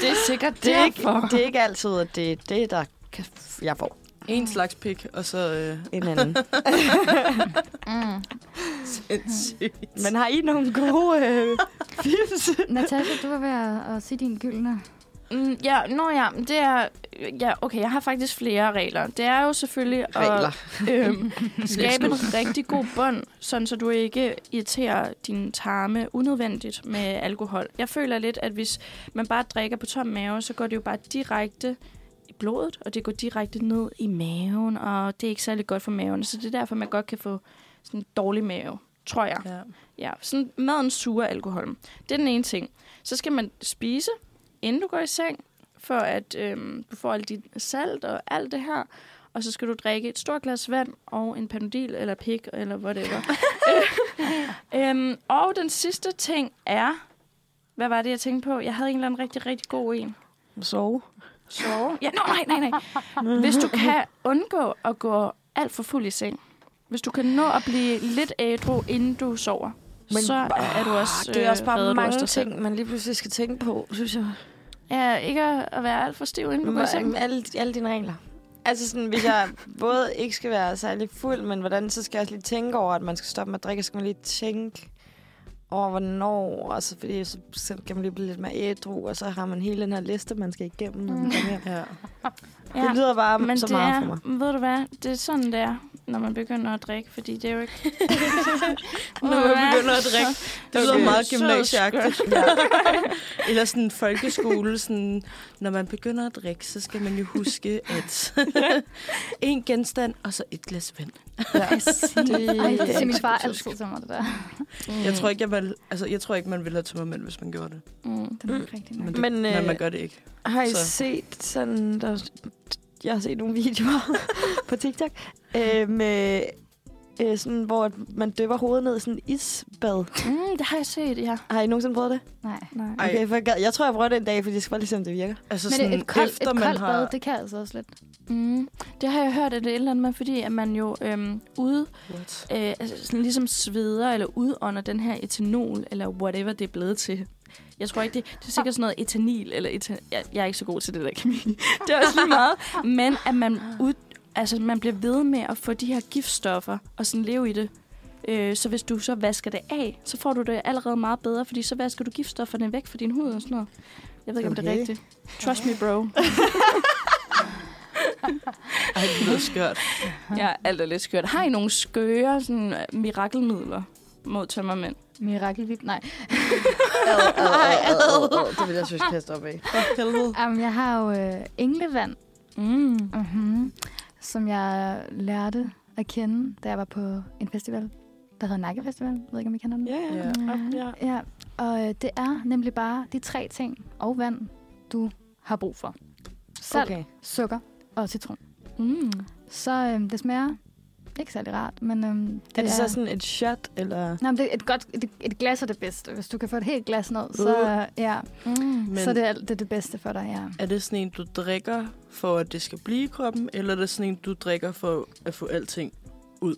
S4: Det er sikkert
S5: det, er ikke,
S4: derfor.
S5: det er ikke altid, at det er det, der kan, jeg får
S6: En slags pik, og så øh,
S5: en anden.
S2: øh,
S4: Mm.
S6: sindssygt.
S5: Men har I nogle gode øh, fifs?
S2: Natasha, du var ved at, at sige din gyldne.
S4: Mm, ja, nå ja, men det er... Ja, okay, jeg har faktisk flere regler. Det er jo selvfølgelig
S6: Regler.
S4: at øhm, skabe en rigtig god bund, sådan så du ikke irriterer din tarme unødvendigt med alkohol. Jeg føler lidt, at hvis man bare drikker på tom mave, så går det jo bare direkte i blodet, og det går direkte ned i maven, og det er ikke særlig godt for maven. Så det er derfor, man godt kan få sådan en dårlig mave, tror jeg.
S6: Ja.
S4: Ja, sådan maden suger alkohol. Det er den ene ting. Så skal man spise, inden du går i seng, for at øhm, du får alt dit salt og alt det her. Og så skal du drikke et stort glas vand og en panodil eller pik eller whatever. øhm, og den sidste ting er... Hvad var det, jeg tænkte på? Jeg havde en eller anden rigtig, rigtig god en.
S5: Sove.
S4: Sove? Ja, no, nej, nej, nej. Hvis du kan undgå at gå alt for fuld i seng, hvis du kan nå at blive lidt ædru, inden du sover, Men,
S5: Men-
S4: så er du også
S5: Det er også
S4: redder
S5: bare
S4: du også
S5: mange
S4: dig selv.
S5: ting, man lige pludselig skal tænke på, synes jeg.
S4: Ja, ikke at at være alt for stiv, inden du går i seng.
S5: Hvor, alle, alle dine regler. Altså sådan, hvis jeg både ikke skal være særlig fuld, men hvordan, så skal jeg også lige tænke over, at man skal stoppe med at drikke, så skal man lige tænke over, hvornår, altså, fordi så, så kan man lige blive lidt mere ædru, og så har man hele den her liste, man skal igennem,
S4: Mm.
S5: når man kommer hjem.
S6: Ja.
S4: Ja,
S5: Det lyder bare
S4: men
S5: så
S4: det
S5: meget
S4: er,
S5: for mig.
S4: Ved du hvad, det er sådan, det er, når man begynder at drikke, fordi det er jo ikke...
S6: Når man begynder at drikke. Det lyder
S4: Okay.
S6: meget
S4: Så
S6: gymnasieagtigt. Eller sådan en folkeskole. Sådan, når man begynder at drikke, så skal man jo huske, at en genstand og så et glas vand.
S2: Præcis. Ej, det siger min far
S6: eksotisk.
S2: altid til mig, det der.
S6: Jeg tror ikke, jeg vil, altså, jeg tror ikke man ville have tømmermænd, hvis man gjorde det.
S4: Mm.
S2: Det er nok rigtigt nok.
S6: Men, det, men,
S5: Men,
S6: øh, men man
S5: øh,
S6: gør det ikke.
S5: Har I
S6: Så-
S5: så. set sådan... Der, jeg har set nogle videoer på TikTok, øh, med, øh, sådan, hvor at man dypper hovedet ned i sådan en isbad.
S4: Mm, det har jeg set, ja.
S5: Har I nogensinde prøvet det?
S2: Nej.
S4: Nej.
S6: Ej.
S5: Okay, for jeg, gad- jeg tror, jeg prøver det en dag, fordi jeg skal bare lige se, om det virker.
S6: Altså
S2: Men
S6: sådan,
S2: et koldt,
S6: efter
S2: et
S6: man
S2: koldt
S6: har...
S2: bad, det kan altså også lidt.
S4: Mm. Det har jeg hørt, at det er et eller andet med, fordi at man jo øhm, ude
S6: What?
S4: øh, altså sådan ligesom sveder eller udånder den her etanol, eller whatever det er blevet til. Jeg tror ikke, det, det er sikkert sådan noget etanil, eller etan, jeg, jeg er ikke så god til det der kemi. Det er også lige meget. Men at man, ud, altså, man bliver ved med at få de her giftstoffer og sådan leve i det. Øh, så hvis du så vasker det af, så får du det allerede meget bedre, fordi så vasker du giftstofferne væk fra din hud og sådan noget. Jeg ved ikke, om det er
S5: Okay.
S4: rigtigt. Trust me, bro.
S6: Ej, det lyder skørt.
S4: Ja, alt er lidt skørt. Har I nogle skøre sådan, øh, mirakelmidler mod tømmermænd?
S2: Mirakelvip, nej.
S5: Det vil jeg synes, kaste op af.
S6: For helvede.
S2: Jamen, jeg har jo øh, englevand,
S4: Mm.
S2: mm-hmm. som jeg lærte at kende, da jeg var på en festival, der hedder Nakkefestival. Jeg ved ikke, om I kender den?
S5: Ja, ja.
S6: Ja.
S5: ja.
S2: Ja, og øh, det er nemlig bare de tre ting og vand, du har brug for. Salt, okay.
S5: Okay.
S2: sukker og citron.
S4: Mm.
S2: Så øh, det smager ikke særlig rart, men øh, det
S5: Er det så sådan et shot, eller...
S2: Nej, men det, et, godt, et, et glas er det bedste. Hvis du kan få et helt glas ned, så, øh, ja,
S4: Mm.
S6: Men
S2: så er det, alt- det er det bedste for dig, ja.
S6: er det sådan en, du drikker for, at det skal blive i kroppen? Eller er det sådan en, du drikker for at få alting ud?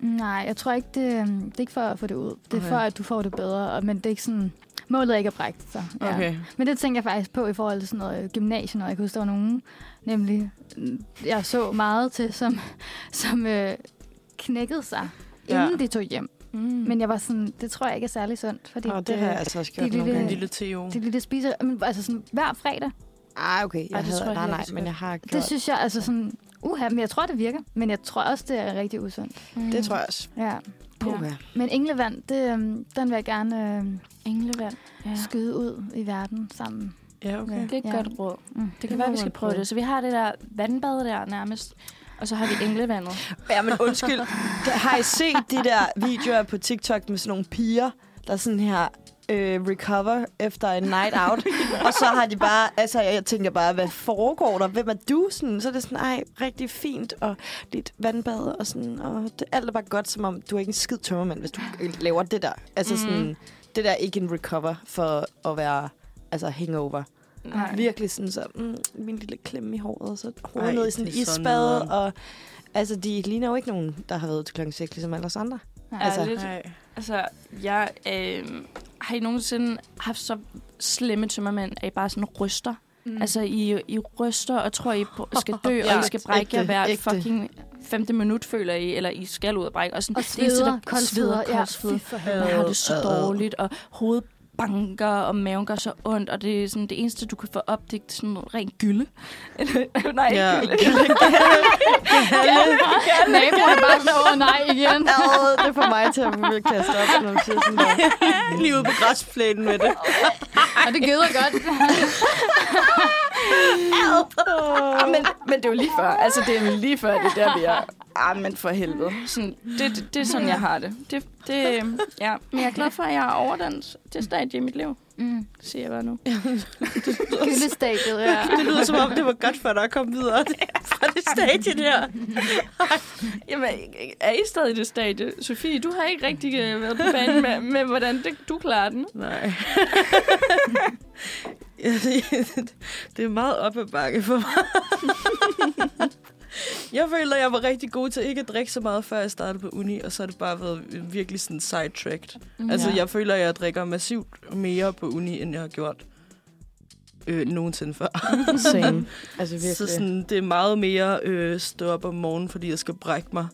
S2: Nej, jeg tror ikke, det, det er ikke for at få det ud. Det er
S6: Okay.
S2: for, at du får det bedre, og- men det er ikke sådan... Målet er ikke at brække det, så. Ja.
S6: Okay.
S2: Men det tænker jeg faktisk på i forhold til sådan noget øh, gymnasiet, og jeg kan huske, der var nogen, nemlig, mm, jeg så meget til, som, som øh, knækkede sig,
S6: Ja.
S2: ja. inden de tog hjem.
S4: Mm.
S2: Men jeg var sådan, det tror jeg ikke er særlig sundt, fordi
S5: Åh, det har jeg altså også
S2: det er
S5: gjort nogle
S6: En
S2: lille-
S5: gange.
S6: lille Theo.
S2: det, det spiser, men, altså sådan, hver fredag,
S5: Ah, okay. Jeg
S4: Ej, det tror
S5: havde,
S4: jeg
S5: nej,
S4: heller
S5: nej,
S4: ikke,
S5: men jeg har gjort.
S2: det synes jeg, altså sådan, uha, men jeg tror, det virker. Men jeg tror også, det er rigtig usundt.
S4: Mm.
S5: det tror jeg også.
S2: Ja.
S4: Puh,
S5: Ja.
S2: Men englevand, det, øhm, den vil jeg gerne øhm,
S4: Englevand. Ja.
S2: skyde ud i verden sammen.
S6: Ja, okay.
S4: Det er et
S2: Ja.
S4: godt råd.
S2: Mm.
S4: Det kan være,
S6: må
S4: vi skal
S6: man
S4: prøve
S6: prøve.
S4: det. Så vi har det der vandbad der nærmest, og så har vi englevandet.
S5: Ja, men undskyld. Har I set de der videoer på TikTok med sådan nogle piger, der sådan her øh, recover efter en night out? og så har de bare, altså jeg tænker bare, hvad foregår der? Hvem er du? Sådan, så er det sådan, ej, rigtig fint og lidt vandbad og sådan, og det, alt er bare godt, som om du er ikke en skid tømmermand, hvis du øh, laver det der. Altså mm. sådan, det der er ikke en recover for at være altså hangover.
S2: Nej.
S5: Virkelig sådan så, mm, min lille klemme i håret, og så
S6: Ej,
S5: hovedet ned i sådan en
S6: det er sådan
S5: isbad,
S6: nederen.
S5: og altså, de ligner jo ikke nogen, der har været til klokken 6, ligesom alle os andre.
S4: Altså,
S5: Altså,
S4: Ærligt.
S6: Nej.
S4: Altså, jeg øh, har I nogensinde haft så slemme tømmermænd, at I bare sådan ryster? Mm. Altså, I, I ryster og tror, I br- skal dø, ja, og I skal
S5: Ægte,
S4: brække jer hvert
S5: ægte.
S4: fucking femte minut, føler I, eller I skal ud og brække. Og, sådan,
S2: Og
S4: det eneste,
S2: sveder,
S4: der-
S2: koldsveder. Ja,
S4: koldsveder.
S2: fy for
S4: Ja,
S2: helvede.
S4: jeg har det så
S5: Øh, øh.
S4: dårligt, og hovedet banker, og maven gør så ondt, og det er sådan det eneste, du kan få op, det er sådan noget ren gylde. Eller- Nej, ikke
S6: Ja.
S4: gylde.
S2: Naboen er bare sådan, åh nej, igen.
S5: Ad, det får mig til at virkelig kaste op, når man siger sådan der.
S6: Lige ude på græsplænen med det.
S2: Og det gider godt.
S4: Ah, men, men det er jo lige før. Altså, det er lige før, det der, vi er. Ah, men for helvede. Sådan, det, det, det er sådan, jeg har det. det, det øhm, ja. Men jeg er glad for, at jeg er over den. Det er stadig i mit liv,
S2: Mm.
S4: siger jeg bare nu.
S2: Gyldestadiet, ja.
S6: Det lyder som om, det var godt for dig at komme videre fra det stadie der.
S4: Jamen, er I stadig i det stadie? Sofie, du har ikke rigtig øh, været på banen med, med hvordan det, du klarer den.
S6: Nej. ja, det, det er meget op ad bakke for mig. jeg føler, at jeg var rigtig god til ikke at drikke så meget, før jeg startede på uni, og så har det bare været virkelig sådan sidetracked. Mm, altså, jeg føler, at jeg drikker massivt mere på uni, end jeg har gjort øh, nogensinde før.
S5: Same. Altså virkelig.
S6: Så sådan, det er meget mere øh, stå op om morgenen, fordi jeg skal brække mig,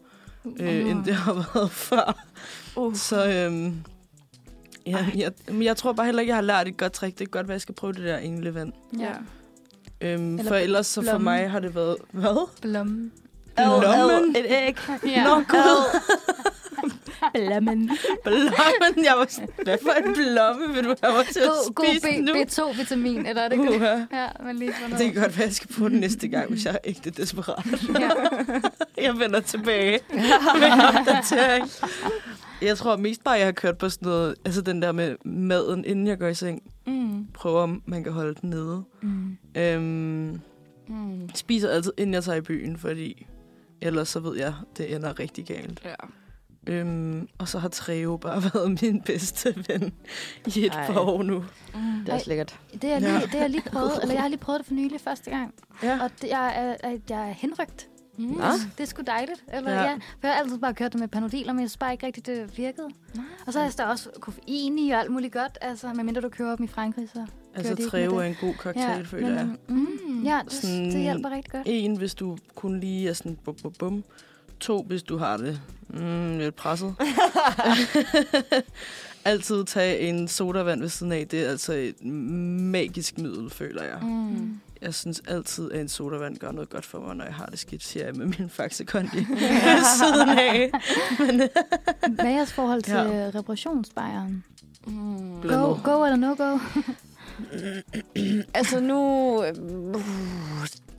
S6: øh, end det har været før.
S4: Uh.
S6: Så øhm, ja, jeg, men jeg tror bare heller ikke, jeg har lært et godt trick. Det kan godt være, jeg skal prøve det der englevand.
S4: Ja.
S6: Øhm,
S2: Eller
S6: for ellers så for
S2: blommen.
S6: mig har det været... Hvad?
S2: Blomme.
S5: Ad,
S6: Lommen.
S5: ad, et æg.
S2: Ja.
S6: Nå, gud!
S4: Blammen.
S6: Blommen! Jeg var sådan, hvad for en blomme vil du have mig til at
S2: God, god
S6: spise
S2: B-
S6: nu?
S2: B2-vitamin, eller er det ikke?
S6: Uha.
S2: Ja, men lige for noget.
S6: Det kan godt være, jeg skal bruge den næste gang, hvis jeg er ægte desperat.
S2: Ja.
S6: Jeg vender tilbage med en opdatering. Jeg tror mest bare, jeg har kørt på sådan noget, altså den der med maden, inden jeg går i seng.
S4: Mm.
S6: Prøver, om man kan holde den nede.
S4: Mm.
S6: Øhm,
S4: Mm.
S6: spiser altid, inden jeg tager i byen, fordi ellers så ved jeg, det ender rigtig galt.
S4: Ja.
S6: Øhm, og så har Treo bare været min bedste ven i et
S5: Ej.
S6: par år nu.
S4: Mm.
S5: Det er også lækkert.
S2: Det har jeg lige, det har jeg lige prøvet, eller jeg har lige prøvet det for nylig første gang.
S6: Ja.
S2: Og det, jeg, er, er- jeg er henrygt.
S4: Mm.
S5: Nå.
S2: Det er sgu dejligt. Eller,
S6: Ja.
S2: ja. ja. For jeg har altid bare kørt det med panodiler, men jeg synes bare ikke rigtigt, det virkede.
S4: Nej.
S2: Og så er der også koffein i og alt muligt godt. Altså, medmindre du kører dem i Frankrig, så... Gør de
S6: Altså
S2: ikke
S6: Treo
S2: med det?
S6: er en god cocktail, ja, føler jeg.
S2: men, mm, ja det,
S6: Sådan-
S2: det hjælper rigtig godt.
S6: En, hvis du kun lige er sådan bum, bum, bum. To, hvis du har det mm, lidt presset. Altid tage en sodavand ved siden af. Det er altså et magisk middel, føler jeg. Mm.
S4: Mm.
S6: Jeg synes altid, at en sodavand gør noget godt for mig, når jeg har det skidt, siger jeg med min faxekondi ved siden af.
S2: Hvad er jeres forhold til
S6: Ja.
S2: ja. reparationsbejeren?
S4: Mm.
S6: Blandet.
S2: Go, go eller no go?
S5: Altså nu... Uh,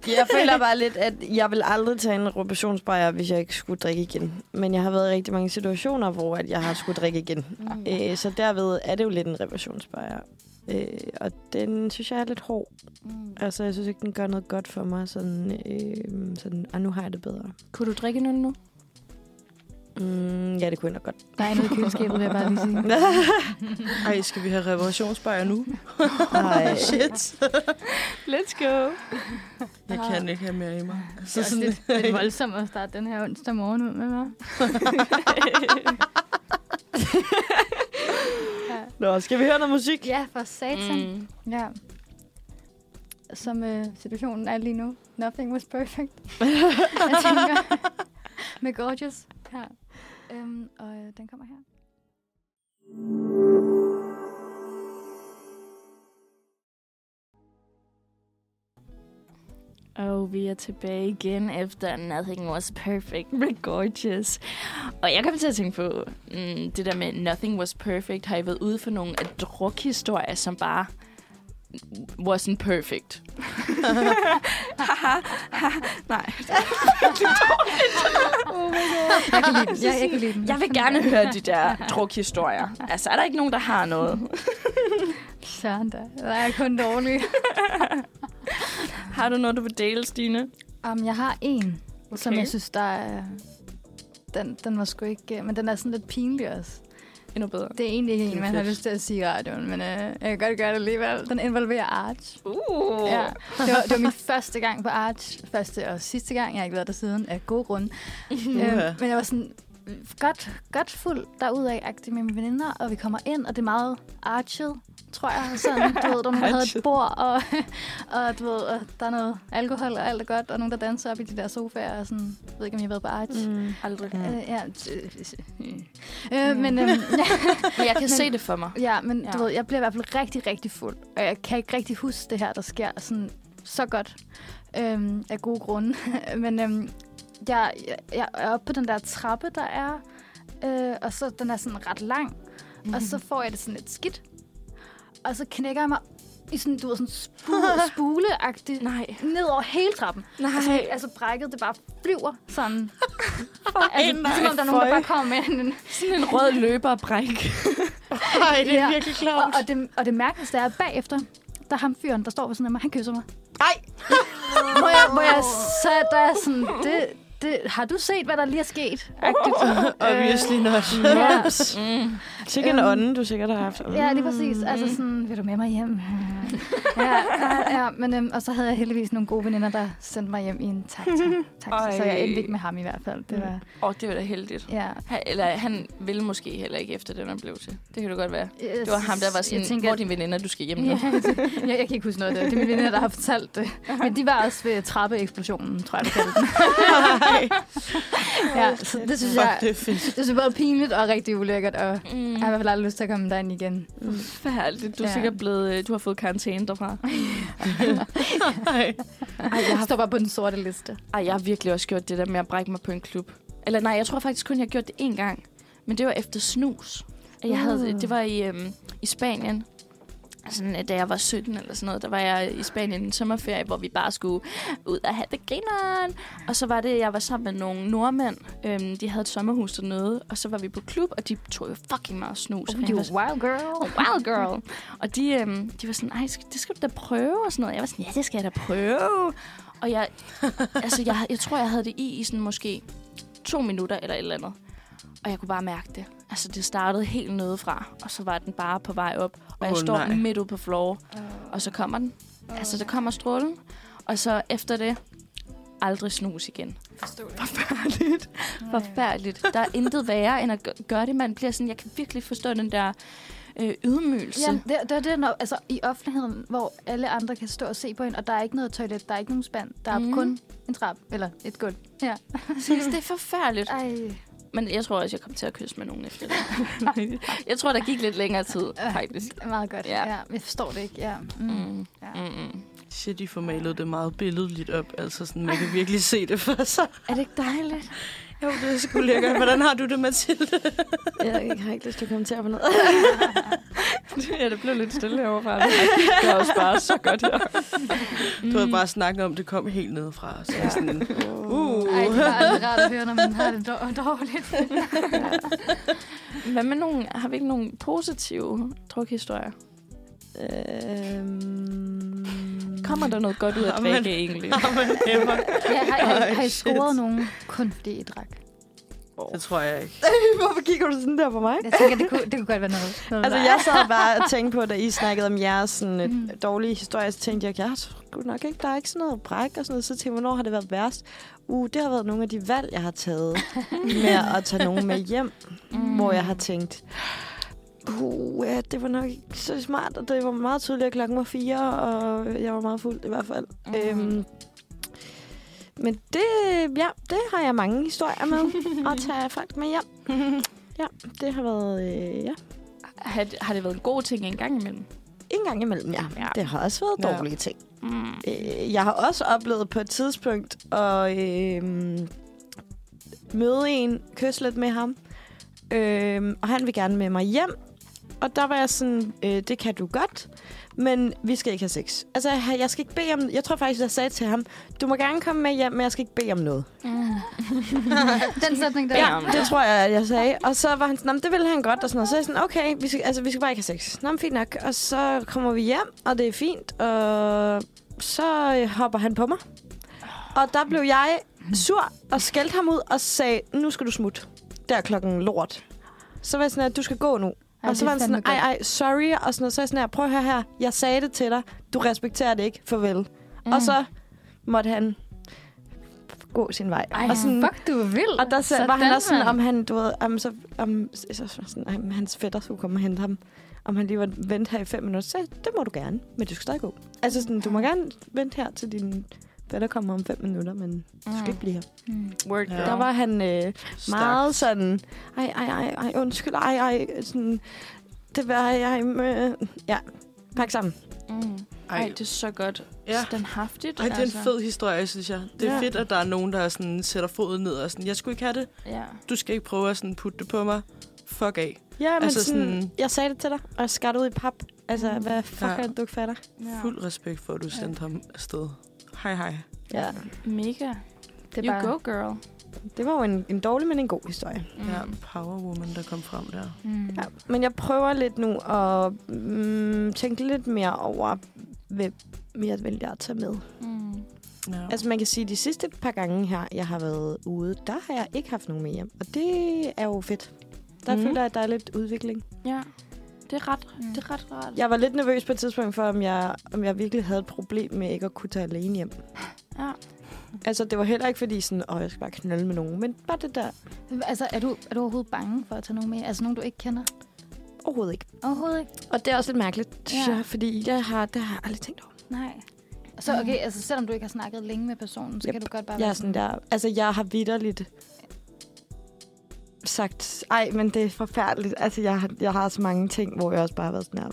S5: jeg føler bare lidt, at jeg vil aldrig tage en rotationsbajer, hvis jeg ikke skulle drikke igen. Men jeg har været i rigtig mange situationer, hvor at jeg har skulle drikke igen. Mm. Øh, så derved er det jo lidt en rotationsbajer. Øh, og den synes jeg er lidt hård.
S4: Mm.
S5: Altså, jeg synes ikke, den gør noget godt for mig. Sådan, øh, sådan og nu har jeg det bedre.
S4: Kunne du drikke en øl nu?
S5: Mm, ja, det kunne jeg nok godt.
S2: Der er noget i køleskabet, vil jeg bare lige sige. Ah,
S6: Ej, skal vi have reparationsbajer nu?
S5: Ej,
S6: Shit.
S4: Let's go.
S6: Jeg kan ikke have mere i mig.
S2: Det
S6: Altså,
S2: er også
S6: sådan,
S2: lidt, lidt voldsomt at starte den her onsdag morgen ud med, hva'?
S5: Nå, skal vi høre noget musik?
S2: Ja, for satan.
S4: Mm.
S2: Mm. Ja. Som øh, situationen er lige nu. Nothing was perfect. jeg tænker. med Gorgeous. Ja. Øhm, og øh, den kommer her.
S4: Og vi er tilbage igen efter Nothing Was Perfect med Gorgeous. Og jeg kom til at tænke på mm, det der med Nothing Was Perfect. Har I været ude for nogle af drukhistorier, som bare wasn't perfect? Haha, haha. Nej.
S2: Oh Jeg kan lide den. Jeg, jeg kan lide den.
S4: Jeg vil gerne høre de der drukhistorier. Altså, er der ikke nogen, der har noget?
S2: Søren da. Jeg er kun dårlig.
S4: Har du noget, du vil dele, Stine?
S2: Um, jeg har en, okay. som
S4: Okay.
S2: jeg synes, der er... Den, den var sgu ikke... øh, Men den er sådan lidt pinlig også.
S4: Endnu bedre.
S2: Det er egentlig ikke
S6: Det
S2: en,
S6: er
S2: man har
S6: fedt.
S2: lyst til at sige i radioen, men øh, jeg kan godt gøre det alligevel. Den involverer Arch.
S4: Uh.
S2: Ja. Det, var, det var min første gang på Arch. Første og sidste gang. Jeg har ikke været der siden af gode grunde.
S6: Uha.
S2: øhm, men jeg var sådan godt, godt fuld derudad agtig med mine veninder, og vi kommer ind, og det er meget archet, tror jeg. Sådan, du ved, der var nogen, der havde
S6: Archet.
S2: et bord, og, og du ved, og der er noget alkohol og alt er godt, og nogen, der danser op i de der sofaer, og sådan, jeg ved ikke, om jeg har været på Arch. Mm.
S4: Aldrig.
S2: Øh, ja, øh, øh, men, øhm,
S4: Mm. Men jeg kan se det for mig.
S2: ja, men du
S4: Ja.
S2: ved, jeg bliver i hvert fald rigtig, rigtig fuld, og jeg kan ikke rigtig huske det her, der sker sådan så godt øhm, af gode grunde. men øhm, jeg, jeg, jeg er oppe på den der trappe, der er, øh, og så den er sådan ret lang, og så får jeg det sådan lidt skidt, og så knækker jeg mig i sådan, du ved, sådan spule, spuleagtigt
S4: Nej.
S2: ned over hele trappen. Altså,
S4: Nej.
S2: altså brækket, det bare flyver sådan. altså, ligesom om der er nogen, der
S6: føj.
S2: bare kommer med en,
S4: Sådan en rød løberbræk.
S6: Nej, det er
S2: Ja.
S6: virkelig
S2: Og,
S6: klart.
S2: og, det, og det mærkeligste er, at bagefter, der er ham fyren, der står ved siden af mig, han kysser mig.
S6: Nej,
S2: Må jeg, må jeg, så der er sådan, det, det, har du set, hvad der lige er sket? Agtigt.
S6: obviously not.
S2: Ja.
S6: Moms.
S5: Sikke en
S2: Øhm,
S5: ånde, du sikkert har haft.
S2: Ja, lige præcis. Altså sådan, vil du med mig hjem? Ja, ja, ja men, øhm, og så havde jeg heldigvis nogle gode veninder, der sendte mig hjem i en taxa. taxa så
S4: Ej.
S2: jeg endte ikke med ham i hvert fald. Det var,
S4: Åh, oh, det var da heldigt.
S2: ja.
S4: Han, eller han ville måske heller ikke efter det, man blev til. Det kan du godt være.
S2: Jeg
S4: Det var ham, der var
S2: synes-
S4: sådan,
S2: jeg tænker,
S4: hvor er dine veninder, du skal hjem nu?
S2: Ja, jeg, jeg kan ikke huske noget af det. Det er mine veninder, der har fortalt det. Men de var også ved trappeeksplosionen, tror jeg, de kaldte den.
S6: Nej,
S2: Ja, så det synes
S6: fuck,
S2: jeg,
S6: det er fedt.
S2: Det er både pinligt og rigtig ulækkert, og jeg
S4: Mm.
S2: har i hvert fald aldrig lyst til at komme derind igen.
S4: Forfærdeligt. Du er
S2: Ja.
S4: sikkert blevet, øh, du har fået karantæne derfra.
S6: Nej.
S2: Ej, jeg har... står bare på den sorte liste.
S4: Ej, jeg har virkelig også gjort det der med at brække mig på en klub. Eller nej, jeg tror faktisk kun, jeg har gjort det én gang. Men det var efter snus. At Jeg havde,
S2: Uh.
S4: det var i, øhm, i Spanien. Sådan, øh, da jeg var 17 eller sådan noget, der var jeg i Spanien i en sommerferie, hvor vi bare skulle ud og have det grineren. Og så var det, jeg var sammen med nogle nordmænd. Øhm, de havde et sommerhus dernede, og så var vi på klub, og de tog jo fucking meget snus. Og jeg var sådan-
S2: Oh, wild girl.
S4: Oh, Wild girl. Og de, øhm, de var sådan, ej, skal- det skal du da prøve og sådan noget. Jeg var sådan, ja, det skal jeg da prøve. Og jeg, altså, jeg, jeg tror, jeg havde det i i sådan måske to minutter eller et eller andet. Og jeg kunne bare mærke det. Altså, det startede helt nedefra, og så var den bare på vej op. Og jeg
S6: Åh,
S4: står
S6: nej.
S4: midt ude på floor, og så kommer den. Altså, der kommer strålen. Og så efter det, aldrig snus igen. Forfærdeligt. Forfærdeligt. Der er intet værre, end at gø- gøre det. Man bliver sådan, jeg kan virkelig forstå den der øh,
S2: Ja,
S4: ydmygelse.
S2: det, det er det, når, altså, i offentligheden, hvor alle andre kan stå og se på hende, og der er ikke noget toilet, der er ikke nogen spand, der er
S4: Mhm.
S2: mm. kun en trap, eller et gulv. Ja.
S4: Præcis, det er forfærdeligt.
S2: Ej.
S4: Men jeg tror også, jeg kom til at kysse med nogen efter det. jeg tror, der gik lidt længere tid, faktisk.
S2: Meget godt.
S4: Ja.
S2: Ja. ja. Jeg forstår det ikke, ja. Øh. Mm.
S4: Mm.
S2: Ja.
S4: Mm-mm.
S6: Shit, I formalede det meget billedligt op. Altså sådan, man kan virkelig se det for sig.
S4: Er det ikke dejligt?
S6: Jo, det er sgu lækkert. Hvordan har du det, Mathilde?
S5: Jeg har ikke lyst til at kommentere på noget.
S4: ja, det blev lidt stille herovre. Det var også bare så godt her. Mm.
S6: Du havde bare snakket om, det kom helt nedefra. Så ja. sådan, uh.
S2: Ej, det er aldrig rart at høre, når man har det dår- dårligt.
S4: Hvad med nogen? Har vi ikke nogen positive drukhistorier?
S5: øhm...
S4: Kommer der noget godt ud af at
S6: Jamen.
S4: drikke egentlig?
S2: Ja, har, har, har
S6: Ej,
S2: I
S6: shit.
S2: scoret nogen kun fordi I drak?
S6: Det tror jeg ikke.
S5: Hvorfor kigger du sådan der på mig?
S2: Jeg tænker, det kunne, det kunne godt være noget. noget
S5: Altså,
S2: der-
S5: jeg sad bare og tænkte på, da I snakkede om jeres sådan, mm.
S2: Mm.
S5: dårlige historie, så tænkte jeg, jeg tror nok ikke, der er ikke sådan noget bræk og sådan noget. Så tænkte jeg, hvornår har det været værst? Uh, det har været nogle af de valg, jeg har taget med at tage nogen med hjem, mm. hvor jeg har tænkt, Uh, ja, det var nok ikke så smart, og det var meget tydeligt, at klokken var fire, og jeg var meget fuld i hvert fald. Mm. Øhm, men det, ja, det har jeg mange historier med, og tage folk med hjem. Ja, det har været, øh, ja,
S4: Har, det- har det været en god ting en gang imellem?
S5: en gang imellem, ja.
S4: Ja.
S5: Det har også været
S6: Ja.
S5: dårlige ting.
S4: Mm.
S5: Øh, jeg har også oplevet på et tidspunkt at øh, møde en, kysse lidt med ham, øh, og han vil gerne med mig hjem. Og der var jeg sådan, øh, det kan du godt, men vi skal ikke have sex. Altså, jeg- jeg skal ikke bede om... Jeg tror faktisk, jeg sagde til ham, du må gerne komme med hjem, men jeg skal ikke bede om noget.
S2: Den sætning der.
S4: Ja.
S5: Ja, det tror jeg, jeg sagde. Og så var han sådan, "Nå, men det ville han godt. Og sådan noget. Så er jeg sådan, okay, vi skal, altså, vi skal bare ikke have sex. Nå, men fint nok. Og så kommer vi hjem, og det er fint. Og så øh, hopper han på mig. Og der blev jeg sur og skældte ham ud og sagde, nu skal du smutte. Der er klokken lort. Så var jeg sådan, at du skal gå nu.
S2: Ej,
S5: Ej, og
S2: det
S5: så
S2: er
S5: var han sådan,
S2: fandme
S5: ej, ej, sorry, og sådan noget. Så er jeg sådan her, prøv at høre her, jeg sagde det til dig, du respekterer det ikke, farvel. Mm. Og så måtte han gå sin vej.
S4: Ej,
S5: og sådan,
S2: Fuck, du er vild.
S5: og der så, var han
S2: Sådan,
S5: også sådan,
S2: mand.
S5: om han, du ved, om, så, om, så, så, så sådan, om hans fætter skulle komme og hente ham. Om han lige var vente her i fem minutter. Så sagde jeg, det må du gerne, men du skal stadig gå. Altså sådan, du må gerne vente her til din fætter kommer om fem minutter, men du skal ikke blive her.
S2: Mm.
S4: Word
S6: Ja.
S4: girl.
S5: Der var han øh, meget sådan, ej, ej, ej, ej, undskyld, ej, ej, sådan, det var jeg, med. ja, pak sammen.
S4: Mm.
S6: Ej,
S4: Ej, det er så altså. godt.
S6: Ja.
S4: Ja. Den haftigt.
S6: Ej, det er en fed historie, synes jeg. Det er
S5: Ja.
S6: Altså. ja. fedt, at der er nogen, der er sådan, sætter foden ned og sådan, jeg skulle ikke have det.
S4: Ja.
S6: Du skal ikke prøve at sådan, putte det på mig. Fuck af.
S5: Ja, men altså,
S6: Altså
S5: sådan,
S6: sådan-
S5: jeg sagde det til dig, og jeg skar det ud i pap. Altså, hvad fuck
S6: Ja.
S5: er det, du ikke fatter?
S4: ja.
S6: Fuld respekt for, at du sendte ham afsted. Hej, hej.
S5: Ja,
S4: Mega.
S2: Det er
S4: You
S2: bare...
S4: go, girl.
S5: det var jo en, en dårlig, men en god historie.
S4: Mm.
S6: Ja, power woman, der kom frem der.
S2: Mm.
S5: Ja, men jeg prøver lidt nu at mm, tænke lidt mere over, hvem mere vil jeg tage med.
S4: Mm.
S6: Ja.
S5: Altså man kan sige, at de sidste par gange her, jeg har været ude, der har jeg ikke haft nogen med hjem. Og det er jo fedt. Der mm.
S4: Mhm.
S5: føler jeg, at der er lidt udvikling.
S4: Ja. Det er ret,
S2: Mm.
S4: det er ret rart.
S5: Jeg var lidt nervøs på et tidspunkt for, om jeg, om jeg virkelig havde et problem med ikke at kunne tage alene hjem.
S4: Ja.
S5: Altså det var heller ikke fordi sådan, åh, jeg skal bare knalde med nogen. Men bare det der,
S2: Altså, er du, er du overhovedet bange for at tage nogen med? Altså, nogen, du ikke kender?
S5: overhovedet ikke.
S2: Overhovedet ikke?
S5: Og det er også lidt mærkeligt,
S2: Ja.
S5: ja. fordi jeg har, det har jeg aldrig tænkt over.
S2: Nej. Så okay, altså selvom du ikke har snakket længe med personen, så
S5: Yep.
S2: kan du godt bare
S5: Jeg er
S2: være
S5: sådan der... Altså, jeg har vidderligt sagt, ej, men det er forfærdeligt. Altså, jeg, har- jeg har så mange ting, hvor jeg også bare har været sådan her,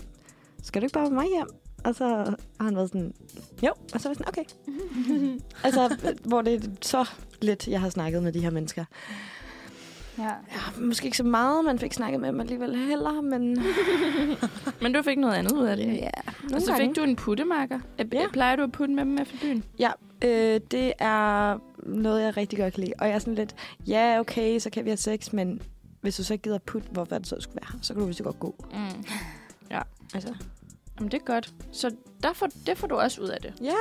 S5: skal du ikke bare med mig hjem? Og så har han været sådan, jo. Og så var jeg sådan, okay. altså, hvor det er så lidt, jeg har snakket med de her mennesker.
S2: Ja.
S5: Ja, måske ikke så meget, man fik snakket med dem alligevel heller, men
S4: Men du fik noget andet ud af det.
S5: ja, nogle
S4: Og så fik du en puttemakker.
S5: Ja.
S4: Ja. Plejer du at putte med dem efter byen?
S5: Øh, det er noget, jeg rigtig godt kan lide. Og jeg er sådan lidt, ja, okay, så kan vi have sex, men hvis du så ikke gider putte, hvorfor det så skulle være her, så kan du vist godt gå.
S4: Mm.
S5: Altså,
S4: Jamen, det er godt. Så der får, det får du også ud af det.
S5: ja,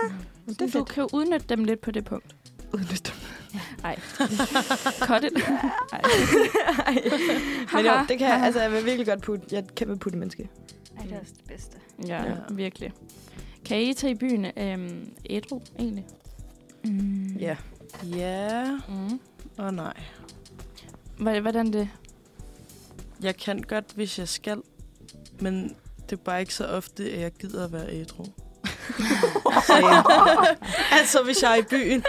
S5: mm. det er
S4: du
S5: fedt.
S4: kan jo udnytte dem lidt på det punkt.
S5: Udnyt dem.
S4: Cut it. Ej.
S5: men jo, det kan jeg, altså, jeg vil virkelig godt putte. Jeg er et kæmpe putte menneske.
S2: Ej, det er også det bedste.
S4: Ja,
S6: Ja.
S4: ja, virkelig. Kan I tage i byen øhm, ædru, egentlig?
S2: Mm.
S6: Ja. Ja
S4: Mm.
S6: og nej.
S4: Hvordan det?
S6: Jeg kan godt, hvis jeg skal, men det er bare ikke så ofte, at jeg gider at være ædru. altså, hvis jeg er i byen.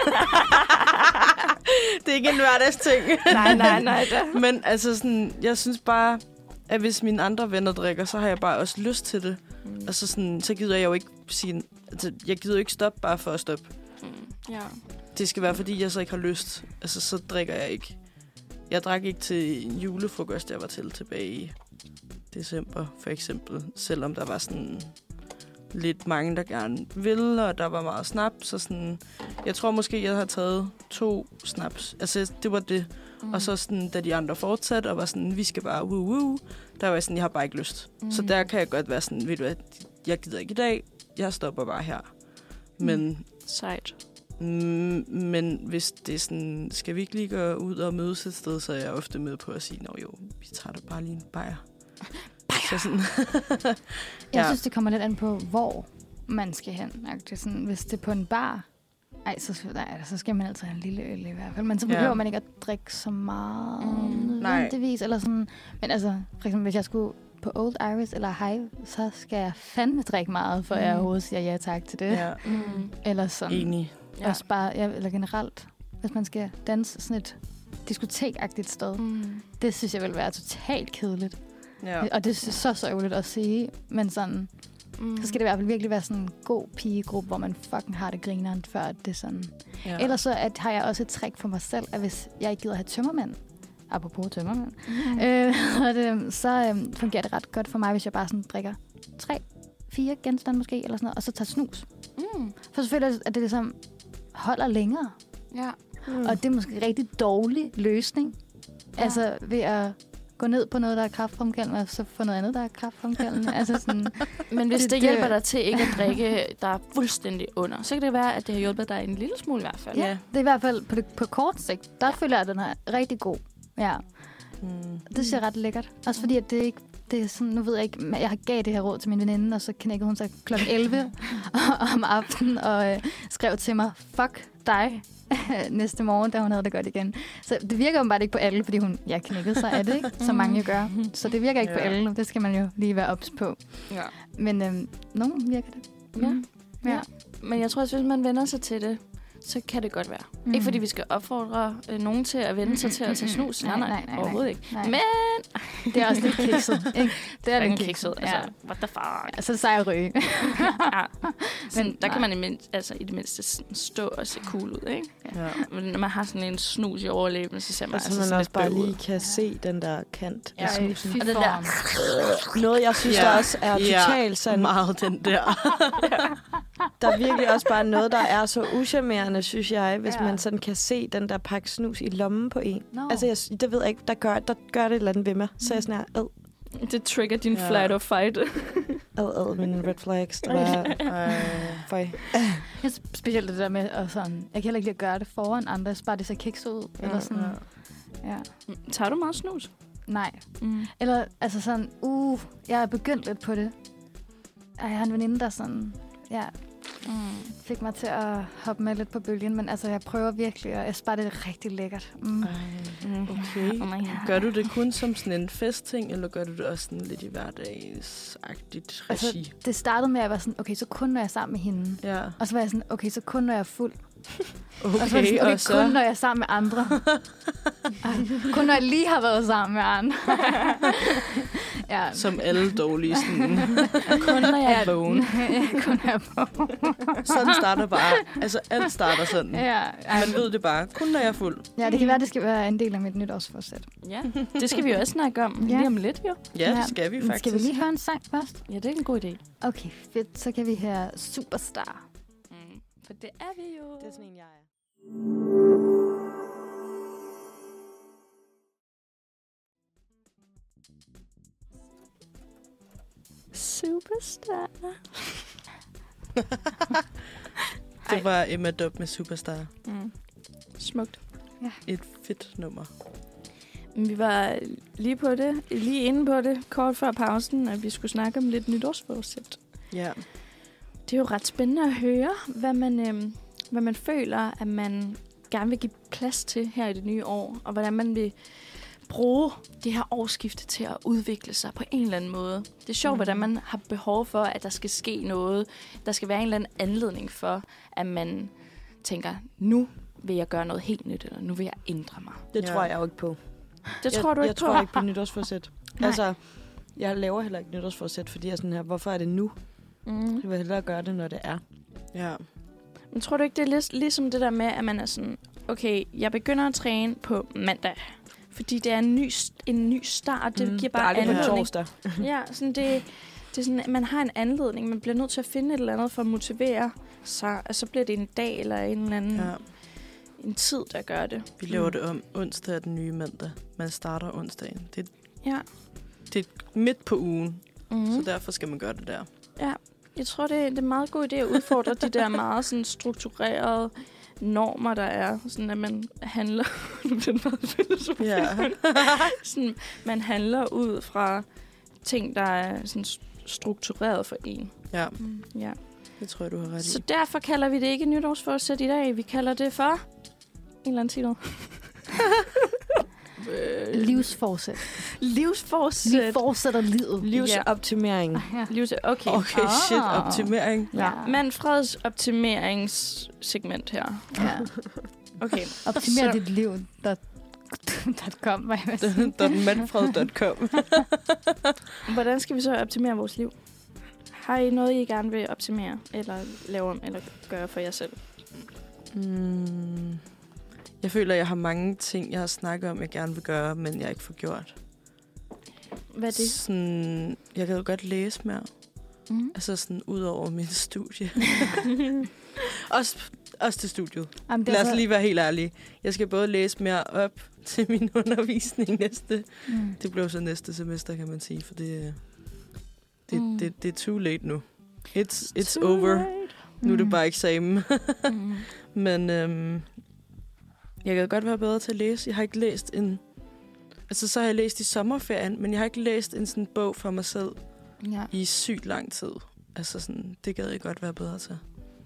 S6: det er ikke en hverdagsting.
S4: Nej, nej, nej. Da.
S6: Men altså, sådan, jeg synes bare, at hvis mine andre venner drikker, så har jeg bare også lyst til det.
S4: Mm.
S6: Og så, sådan, så gider jeg jo ikke sige... Altså, jeg gider jo ikke stoppe bare for at stoppe.
S4: Mm. Ja.
S6: Det skal være, fordi jeg så ikke har lyst. Altså, så drikker jeg ikke. Jeg drak ikke til en julefrokost, jeg var til tilbage i december, for eksempel. Selvom der var sådan lidt mange, der gerne ville, og der var meget snaps. Så sådan, jeg tror måske, jeg har taget to snaps. Altså, det var det. Mm. Og så sådan, da de andre fortsatte og var sådan, vi skal bare woo woo, der var jeg sådan, jeg har bare ikke lyst. Mm. Så
S4: Mm.
S6: der kan jeg godt være sådan, ved du hvad, jeg gider ikke i dag, jeg stopper bare her. Men,
S4: Sejt.
S6: mm, men hvis det er sådan, skal vi ikke lige gå ud og mødes et sted, så er jeg ofte med på at sige, nå jo, vi tager da bare lige en bajer. Så sådan,
S2: Jeg
S6: Ja.
S2: synes, det kommer lidt an på, hvor man skal hen. Og det er sådan, hvis det er på en bar, ej, så, nej, altså, så skal man altid have en lille øl i hvert fald. Men så
S6: Ja.
S2: behøver man ikke at drikke så meget
S4: Mm,
S2: mm,
S6: nej.
S2: nødvendigvis. Eller sådan. Men altså, for eksempel, hvis jeg skulle på Old Iris eller Hive, så skal jeg fandme drikke meget, for mm. jeg overhovedet siger ja tak til det. Ja.
S6: Ja,
S4: Mm.
S2: Eller sådan.
S6: enig.
S2: Ja. Også bare, ja, eller generelt, hvis man skal danse sådan et diskotekagtigt sted.
S4: Mm.
S2: Det synes jeg vil være totalt kedeligt.
S6: Ja.
S2: Ja. Og det er så sørgeligt at sige, men sådan,
S4: Mm.
S2: så skal det i hvert fald virkelig være sådan en god pigegruppe, hvor man fucking har det grineren, før at det er sådan.
S6: Ja.
S2: Ellers så at, har jeg også et trick for mig selv, at hvis jeg ikke gider have tømmermænd, apropos tømmermænd, mm. øh, og det, så øhm, fungerer det ret godt for mig, hvis jeg bare sådan drikker tre, fire genstande måske, eller sådan noget, og så tager snus.
S4: Mm.
S2: For selvfølgelig er det ligesom holder længere.
S4: Ja.
S2: Mm. Og det er måske en rigtig dårlig løsning. Ja. Altså ved at gå ned på noget, der er kraftfremkaldende, og så få noget andet, der er kraftfremkaldende. altså sådan,
S4: Men
S2: Det-
S4: hvis det, det
S2: det-
S4: hjælper dig til ikke at drikke dig fuldstændig under, så kan det være, at det har hjulpet dig en lille smule i hvert fald.
S2: ja, det er i hvert fald på, det, på kort sigt, der ja. føler jeg, at den er rigtig god. Ja,
S6: Mm.
S2: det ser ret lækkert. Også fordi, at det er ikke det er sådan, nu ved jeg ikke, men jeg har gav det her råd til min veninde, og så knækkede hun sig kl. 11 om aftenen og øh, skrev til mig, fuck dig, næste morgen, da hun havde det godt igen. Så det virker jo bare ikke på alle, fordi hun, jeg knækkede sig af det, ikke? som mange jo gør. Så det virker ikke ja. på
S6: Ja.
S2: alle, det skal man jo lige være ops på.
S4: Ja.
S2: Men øhm, nogen virker det.
S4: Ja.
S2: Mm.
S4: ja. Men jeg tror også, hvis man vender sig til det, så kan det godt være. Mm. Ikke fordi vi skal opfordre øh, nogen til at vende sig til at tage snus. Nej, nej, nej, nej overhovedet ikke.
S2: Nej.
S4: Men
S2: Det er også lidt kikset, ikke? Det er
S4: den
S2: lidt
S4: kikset,
S2: kikset,
S4: altså,
S2: ja.
S4: what the fuck. Altså,
S2: Ja, så er det sej at ryge.
S4: Ja. Men
S2: Sådan,
S4: der kan
S2: nej.
S4: man i, mindst, altså, i det mindste sådan stå og se cool ud, ikke?
S6: Ja.
S4: Men når man har sådan en snus i overlæben, så ser man
S5: Og så
S4: altså,
S5: man
S4: sådan
S5: også
S4: lidt
S5: bare
S4: bøv ud.
S5: lige kan se den der kant af
S4: Ja.
S5: snusen.
S4: Og det der.
S5: Noget, jeg synes,
S6: Ja.
S5: der også er
S6: Ja.
S5: totalt sådan
S6: Meget den der.
S5: Der er virkelig også bare noget, der er så uschammerende, synes jeg, hvis
S2: Ja.
S5: ja. man sådan kan se den der pakke snus i lommen på en.
S2: Nå.
S5: Altså, jeg, det ved jeg ikke, der gør, der gør det et eller andet ved mig. Så er jeg sådan her, ad,
S4: Det trigger din
S6: Ja.
S4: flight or fight.
S5: ad, ad, mine red flags. Der var,
S6: Ej.
S5: føj.
S2: Jeg er specielt det der med at sådan... Jeg kan heller ikke lide at gøre det foran andre. Jeg synes bare, det ser kikset ud. Mm, eller sådan...
S6: ja.
S2: ja.
S4: Tager du meget snus?
S2: Nej.
S4: Mm.
S2: Eller altså sådan... Uh, jeg er begyndt lidt på det. Og jeg har en veninde, der sådan... Ja,
S4: Mm.
S2: fik mig til at hoppe med lidt på bølgen. Men altså, jeg prøver virkelig, og jeg synes bare, det er rigtig lækkert. Mm.
S4: Mm.
S6: Okay.
S4: Oh my God.
S6: Gør du det kun som sådan en festting, eller gør du det også sådan lidt i hverdagsagtigt
S2: Altså-
S6: regi?
S2: Det startede med, at jeg var sådan... Okay, så kun når jeg er sammen med hende.
S6: ja,
S2: Og så var jeg sådan, okay, så kun når jeg er fuld.
S6: okay,
S2: Og så var Altså, det sådan, okay,
S6: og så...
S2: kun når jeg er sammen med andre. Ej, kun når jeg lige har været sammen med andre. ja,
S6: Som alle dårlige sådan.
S4: Kun når jeg er vågen.
S2: kun når jeg er vågen.
S6: sådan starter bare. Altså, alt starter sådan.
S2: Ja, ej,
S6: Man ved det bare. Kun når jeg er fuld.
S2: ja, det kan være, det skal være en del af mit nytårsforsæt.
S4: Ja, det skal vi jo også snakke om
S2: Ja.
S4: lige om lidt, jo.
S6: Ja,
S2: Ja,
S6: det skal vi
S2: Men
S6: faktisk.
S2: skal vi lige høre en sang først?
S4: Ja, det er en god idé.
S2: Okay, fedt. Så kan vi høre Superstar.
S4: Mm. For det er vi jo.
S5: Det er sådan en, jeg er.
S4: Superstar.
S6: Det var Emma Dub med Superstar.
S4: Mm. Smukt.
S6: Et fedt nummer.
S4: Men Vi var lige på det, lige inde på det, kort før pausen, at vi skulle snakke om lidt nytårsforsæt.
S6: Ja.
S4: Det er jo ret spændende at høre, hvad man, øhm, hvad man føler, at man gerne vil give plads til her i det nye år, og hvordan man vil bruge det her årsskifte til at udvikle sig på en eller anden måde. Det er sjovt, mm. hvordan man har behov for, at der skal ske noget. Der skal være en eller anden anledning for, at man tænker, nu vil jeg gøre noget helt nyt, eller nu vil jeg ændre mig.
S5: Det
S6: Ja.
S5: tror jeg jo ikke på.
S4: Det tror du
S5: jeg,
S4: ikke
S5: jeg
S4: på?
S5: tror ikke på nytårsforsæt. altså, jeg laver heller ikke nytårsforsæt, fordi jeg er sådan her, hvorfor er det nu?
S4: Mm.
S5: Jeg vil hellere gøre det, når det er.
S6: Ja.
S4: Men tror du ikke, det er lig- ligesom det der med, at man er sådan, okay, jeg begynder at træne på mandag, fordi det er en ny, s- en ny start, det mm, giver bare
S5: det er aldrig på
S4: anledning.
S5: torsdag.
S4: Ja, sådan det, det er sådan, at man har en anledning, man bliver nødt til at finde et eller andet for at motivere sig, og så bliver det en dag eller en eller anden ja.
S6: ja.
S4: en tid, der gør det.
S6: Vi laver det om onsdag er den nye mandag. Man starter onsdagen. Det,
S4: Ja.
S6: det er midt på ugen,
S4: Mm.
S6: mm. så derfor skal man gøre det der.
S4: Jeg tror, det er, det er en meget god idé at udfordre de der meget sådan, strukturerede normer, der er. Sådan, at man handler... nu bliver det meget filosofisk.
S6: Ja.
S4: sådan, man handler ud fra ting, der er sådan, st- struktureret for en. Mm,
S6: Ja,
S4: Ja.
S6: det tror jeg, du har ret i.
S4: Så derfor kalder vi det ikke nytårsforsæt i dag. Vi kalder det for... En eller anden titel. øh,
S2: Livsforsæt. Vi
S4: livsforsæt.
S2: fortsætter livet.
S5: Livsoptimering.
S2: Ah, ja.
S4: Livs okay.
S6: Okay, shit,
S4: Ah.
S6: optimering.
S4: Ja. Manfreds optimeringssegment her.
S2: ja.
S4: Okay.
S2: Optimer
S4: Så-
S2: dit liv. Dot, dot com, hvad jeg vil sige.
S6: Manfred.com.
S4: Hvordan skal vi så optimere vores liv? Har I noget, I gerne vil optimere, eller lave om, eller gøre for jer selv?
S6: Mm. Jeg føler, jeg har mange ting, jeg har snakket om, jeg gerne vil gøre, men jeg ikke får gjort.
S4: Hvad er det?
S6: Sådan, jeg kan jo godt læse mere.
S4: Mm.
S6: Altså sådan ud over min studie. også, også til studiet.
S2: Jamen, det er
S6: Lad os
S2: så-
S6: lige være helt ærlige. Jeg skal både læse mere op til min undervisning næste.
S2: Mm.
S6: Det blev så næste semester, kan man sige, for det, øh, det,
S4: Mm.
S6: mm. det, det er too late nu. It's, it's over. Nu er det
S2: Mm.
S6: bare eksamen.
S4: Mm.
S6: Men øhm, jeg kan godt være bedre til at læse. Jeg har ikke læst en... Altså, så har jeg læst i sommerferien, men jeg har ikke læst en sådan bog for mig selv
S4: Ja.
S6: i sygt lang tid. Altså, sådan, det gad jeg godt være bedre til.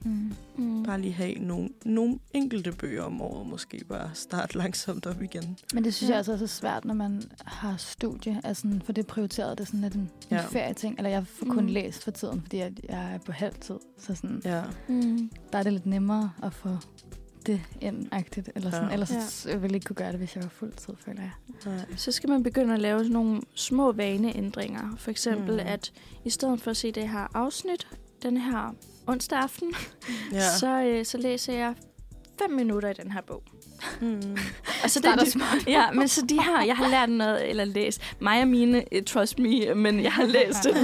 S2: Mm.
S4: Mm.
S6: Bare lige have nogle, nogle enkelte bøger om året, måske bare starte langsomt op igen.
S2: Men det synes
S4: Ja.
S2: jeg altså også er svært, når man har studie, altså, for det er prioriteret, det er sådan lidt en, ja.
S6: Ja.
S2: en ferieting, eller jeg får kun
S4: Mm.
S2: mm. læst for tiden, fordi jeg, jeg er på halvtid, så sådan, ja.
S6: Ja.
S4: Mm.
S2: der er det lidt nemmere at få det ind-agtigt, eller sådan,
S6: Ja.
S2: ja. ellers
S4: Ja.
S2: ja. ville jeg ikke kunne gøre det, hvis jeg var fuldtid, føler jeg.
S6: Nej.
S4: Så skal man begynde at lave sådan nogle små vaneændringer. For eksempel,
S6: Mm.
S4: mm. at i stedet for at se det her afsnit, den her onsdag aften,
S6: Ja.
S4: ja. så, øh, så læser jeg fem minutter i den her bog.
S6: Mm.
S4: Altså,
S2: Starter
S4: de- Ja, men så de her, jeg har lært noget, eller læst. Mig og mine, eh, trust me, men jeg har læst det.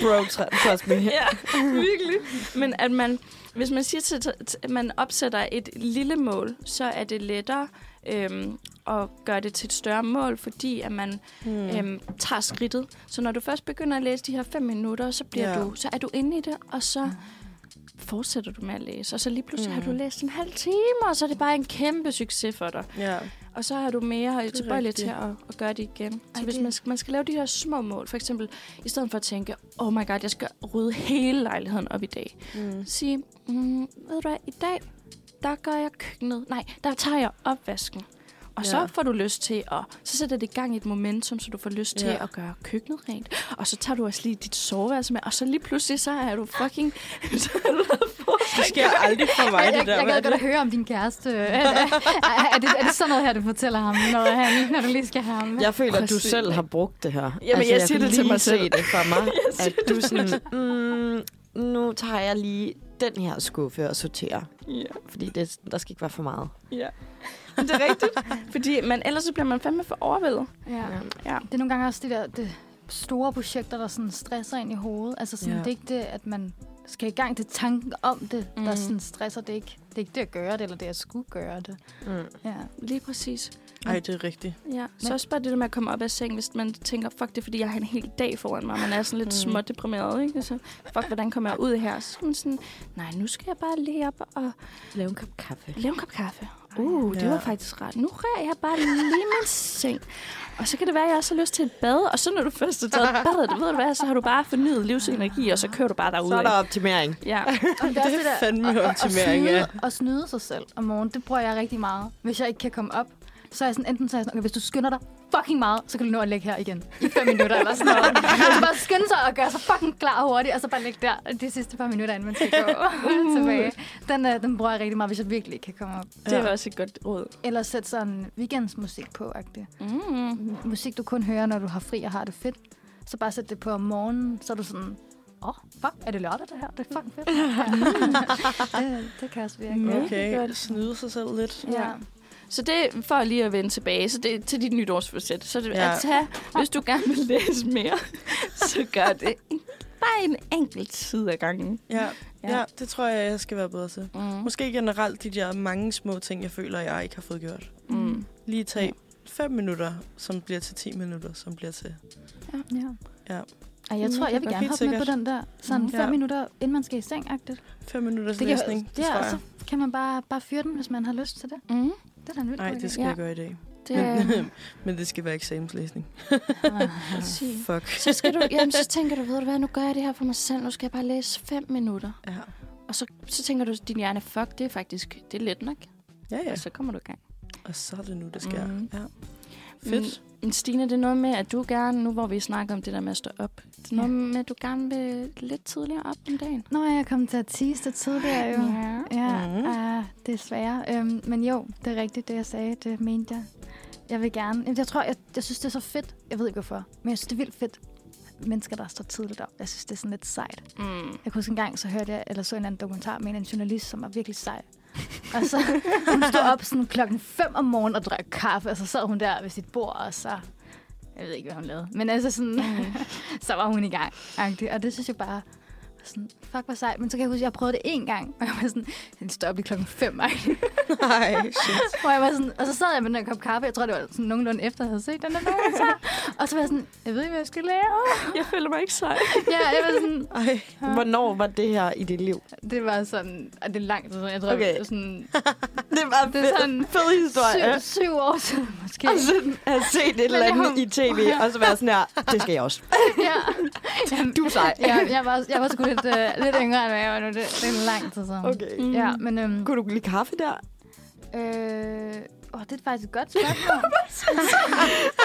S6: Bro, tr- trust me.
S4: ja, virkelig. Men at man, hvis man siger til, til- at man opsætter et lille mål, så er det lettere øhm, at gøre det til et større mål, fordi at man
S6: Mm.
S4: øhm, tager skridtet. Så når du først begynder at læse de her fem minutter, så, bliver
S6: Ja.
S4: du, så er du inde i det, og så fortsætter du med at læse. Og så lige pludselig mm. har du
S6: Mm.
S4: læst en halv time, og så er det bare en kæmpe succes for dig.
S6: Ja.
S4: Og så er du mere tilbøjelig
S6: rigtigt.
S4: til at, at gøre det igen. Så
S2: Ej,
S4: hvis
S2: det-
S4: man, skal, man skal lave de her små mål, for eksempel, i stedet for at tænke, oh my god, jeg skal rydde hele lejligheden op i dag.
S6: Mm.
S4: Sige, mm, ved du hvad, i dag, der gør jeg køkkenet. Nej, der tager jeg opvasken. Og ja. så
S6: Ja.
S4: får du lyst til at... Så sætter det i gang i et momentum, så du får lyst til
S6: Ja.
S4: at gøre køkkenet rent. Og så tager du også lige dit soveværelse med. Og så lige pludselig, så er du fucking... så er du
S6: Det sker aldrig for mig,
S2: jeg,
S6: det
S2: jeg,
S6: der.
S2: jeg
S6: Hvad er
S2: gad godt
S6: det?
S2: at høre om din kæreste. øh, er, er, er, det, er det sådan noget her, du fortæller ham, når, han, når du lige skal have ham? med?
S5: Jeg føler, at du
S4: Præcis.
S5: selv har brugt det her. Jamen,
S4: jeg siger
S5: kan
S4: det til
S5: lige
S4: mig selv.
S5: Se det for mig, at du sådan, mm, nu tager jeg lige den her skuffe og sorterer.
S4: Ja.
S5: Fordi det, der skal ikke være for meget.
S4: Ja. Men det er rigtigt. Fordi man, ellers så bliver man fandme for overvældet.
S2: Ja.
S4: Ja.
S2: Det er nogle gange også det der det store projekter, der sådan stresser ind i hovedet. Altså sådan,
S6: Ja.
S2: ja. det er ikke det, at man skal i gang til tanken om det, mm. der
S4: Mm.
S2: sådan stresser. Det er, ikke, det er ikke det at gøre det, eller det at skulle gøre det.
S5: Mm.
S2: Ja.
S4: Lige præcis.
S6: Ej, det er rigtigt.
S4: Ja. Så også bare det der med at komme op af seng, hvis man tænker, fuck det, er, fordi jeg har en hel dag foran mig. Man er sådan lidt
S6: Mm.
S4: småt deprimeret, ikke? Så, fuck, hvordan kommer jeg ud her? Så skal man sådan, nej, nu skal jeg bare lige op og
S5: Lav en kop kaffe.
S4: lave en kop kaffe. Uh, det
S6: Ja.
S4: var faktisk rart. Nu rører jeg bare lige min seng. Og så kan det være, at jeg også har lyst til et bad. Og så når du først har taget badet, ved du hvad, så har du bare fornyet livsenergi, og så kører du bare
S5: Så er
S4: derudad.
S5: der optimering.
S4: Ja.
S2: Og det, er også det der,
S6: fandme
S2: og- og-
S6: optimering,
S2: og,
S6: ja.
S2: snyde, og snyde sig selv om morgenen, det bruger jeg rigtig meget. Hvis jeg ikke kan komme op, så er jeg sådan, enten så er jeg sådan, okay, hvis du skynder dig fucking meget, så kan du nå at ligge her igen i fem minutter eller sådan noget. Altså bare skynde sig og gøre sig fucking klar hurtigt, og så bare ligge der de sidste par minutter, inden man skal gå
S6: Uh.
S2: tilbage. Den, øh, den bruger jeg rigtig meget, hvis jeg virkelig ikke kan komme op.
S4: Det er også et godt råd.
S2: Eller sætte sådan weekendsmusik på, agtig.
S4: Mm.
S2: Musik, du kun hører, når du har fri og har det fedt. Så bare sæt det på om morgenen, så er du sådan, åh, oh, fuck, er det lørdag det her? Det er fucking fedt. det, det kan også virke.
S4: Ja, det gør
S6: Okay,
S4: det.
S6: snyde sig selv lidt.
S2: Ja.
S4: Så det, for lige at vende tilbage, så det, til dit nytårsforsæt, så det ja.
S6: Ja.
S4: at tage, hvis du gerne vil læse mere, så gør det en- bare en enkelt side af gangen.
S6: Ja.
S4: Ja.
S6: ja, det tror jeg, jeg skal være bedre til.
S4: Mm.
S6: Måske generelt de der mange små ting, jeg føler, jeg ikke har fået gjort.
S4: Mm.
S6: Lige tage 5 minutter, som bliver til 10 minutter, som bliver til...
S2: Ja.
S6: Ja.
S2: Ej, jeg
S4: Mm,
S2: tror, jeg vil
S4: helt
S2: gerne hoppe med
S6: sikkert.
S2: på den der sådan
S4: Mm.
S2: fem
S6: Ja.
S2: minutter, inden man skal i seng -agtigt.
S6: 5 minutters
S2: Det
S6: det
S2: kan-
S6: læsning, det
S2: Ja,
S6: tror
S2: og
S6: jeg.
S2: så kan man bare, bare fyre den, hvis man har lyst til det.
S4: Mm.
S2: Det er da en vild
S6: Nej,
S2: god
S6: det
S2: idé.
S6: skal
S4: Ja.
S6: jeg gøre i dag.
S4: Det er
S6: Men, men det skal være eksamenslæsning.
S4: præcis.
S6: Fuck.
S4: Så, skal du, jamen, så tænker du, ved du hvad, nu gør jeg det her for mig selv, nu skal jeg bare læse fem minutter.
S6: Ja,
S4: Og så, så tænker du, din hjerne, fuck, det er faktisk, det er let nok.
S6: ja. ja.
S4: Altså. Og så kommer du i gang.
S6: Og så er det nu, det sker.
S4: Mhm.
S6: Mm. Ja. Fedt.
S4: Mm. Men Stine, det er noget med, at du gerne, nu hvor vi snakker om det der med at stå op, det er noget med, at du gerne vil lidt tidligere op om dagen.
S2: Nå, jeg kom til at tease det tidligere jo.
S4: Ja.
S2: Ja,
S6: Mhm.
S2: mm. ah, desværre. Øhm, men jo, det er rigtigt, det jeg sagde. Det mente jeg. Jeg vil gerne. Jamen, Jeg tror, jeg, jeg synes, det er så fedt. Jeg ved ikke hvorfor, men jeg synes, det er vildt fedt. Mennesker, der står tidligt op. Jeg synes, det er sådan lidt sejt.
S4: Mm.
S2: Jeg kunne huske en gang, så hørte jeg, eller så en anden dokumentar med en anden journalist, som var virkelig sej. Og så hun stod op sådan klokken 5 om morgenen og drak kaffe, og så sad hun der ved sit bord, og så... Jeg ved ikke, hvad hun lavede. Men altså sådan, mm. så var hun i gang. agtig. Og det synes jeg bare, var sådan, fuck hvor sejt. Men så kan jeg huske, at jeg prøvede det én gang, og jeg var sådan, den står op i klokken 5,
S6: Nej, shit.
S2: hvor jeg var sådan, og så sad jeg med den her kop kaffe, jeg tror, det var sådan nogenlunde efter, jeg havde set den der dokumentar. og så var jeg sådan, jeg ved ikke, hvad jeg skal lave.
S4: Jeg føler mig ikke sej.
S2: Ja, jeg var sådan,
S6: Ej.
S5: Hvornår var det her i dit liv?
S2: Det var sådan, og det er langt, så jeg tror,
S5: Okay.
S2: okay. sådan,
S5: Det var
S2: det er sådan
S5: fed
S2: syv, syv år siden, måske.
S5: Og sådan at se det et eller
S2: jeg
S5: andet
S2: har-
S5: i tv, og så være sådan her, det skal jeg også.
S2: ja.
S5: Du er sej.
S2: ja, jeg var, jeg var sgu lidt, øh, lidt yngre, end hvad jeg var nu. Det, det er lang tid siden.
S5: Okay.
S4: Mm.
S2: Ja, men... Øhm,
S5: Kunne du lide kaffe der?
S2: øh, åh, det er faktisk et godt spørgsmål.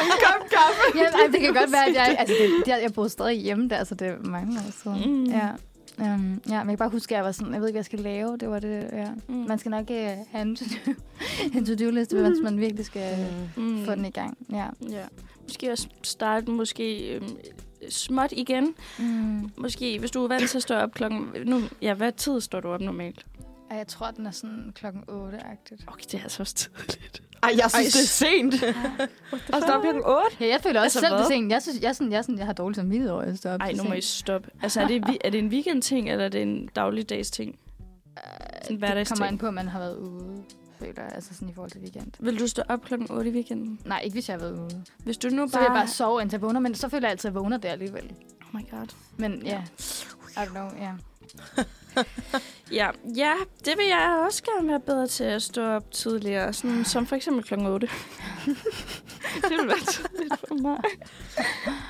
S5: En kop kaffe.
S2: ja, ej, det kan godt være, at jeg... Altså, det, det, jeg boede stadig hjemme der, så det er mange år siden.
S4: Mm.
S2: Ja. Um, ja, men jeg kan bare huske, at jeg var sådan, jeg ved ikke, hvad jeg skal lave. Det var det, ja.
S4: Mm.
S2: Man skal nok øh, have en to-do- en to-do-liste, hvis man virkelig skal
S4: mm.
S2: få den i gang. Ja.
S4: Ja. Måske også starte måske øhm, småt igen.
S2: Mm.
S4: Måske, hvis du er vant til at stå op klokken... Nu, ja, hvad tid står du op normalt?
S2: Og jeg tror, den er sådan klokken 8-agtigt.
S4: Okay, det er altså også tidligt.
S5: Ej, jeg synes,
S6: Ej,
S5: det er sent. Og stå op klokken 8.
S2: Ja, jeg føler også altså,
S4: Altså,
S2: selv
S4: hvad?
S2: det sent. Jeg, synes, jeg, er sådan, jeg, er sådan, jeg har dårlig samvittighed over, at jeg står op
S4: Nej,
S2: så
S4: nu må I
S2: sent.
S4: stoppe. Altså, er det, vi- er det en weekendting, eller er det en dagligdags ting?
S2: Øh,
S4: sådan
S2: Det kommer
S4: hverdagsting.
S2: an på, at man har været ude, føler jeg, altså sådan i forhold til weekend.
S4: Vil du stå op klokken 8 i weekenden?
S2: Nej, ikke hvis jeg har været ude.
S4: Hvis du nu bare...
S2: Så vil jeg bare sove, indtil jeg vågner, men så føler jeg altid, at jeg vågner der alligevel.
S4: Oh my god.
S2: Men ja, I don't know, ja.
S4: Ja, ja, det vil jeg også gerne være bedre til at stå op tidligere, sådan, som for eksempel klokken 8. det vil være tidligt for mig.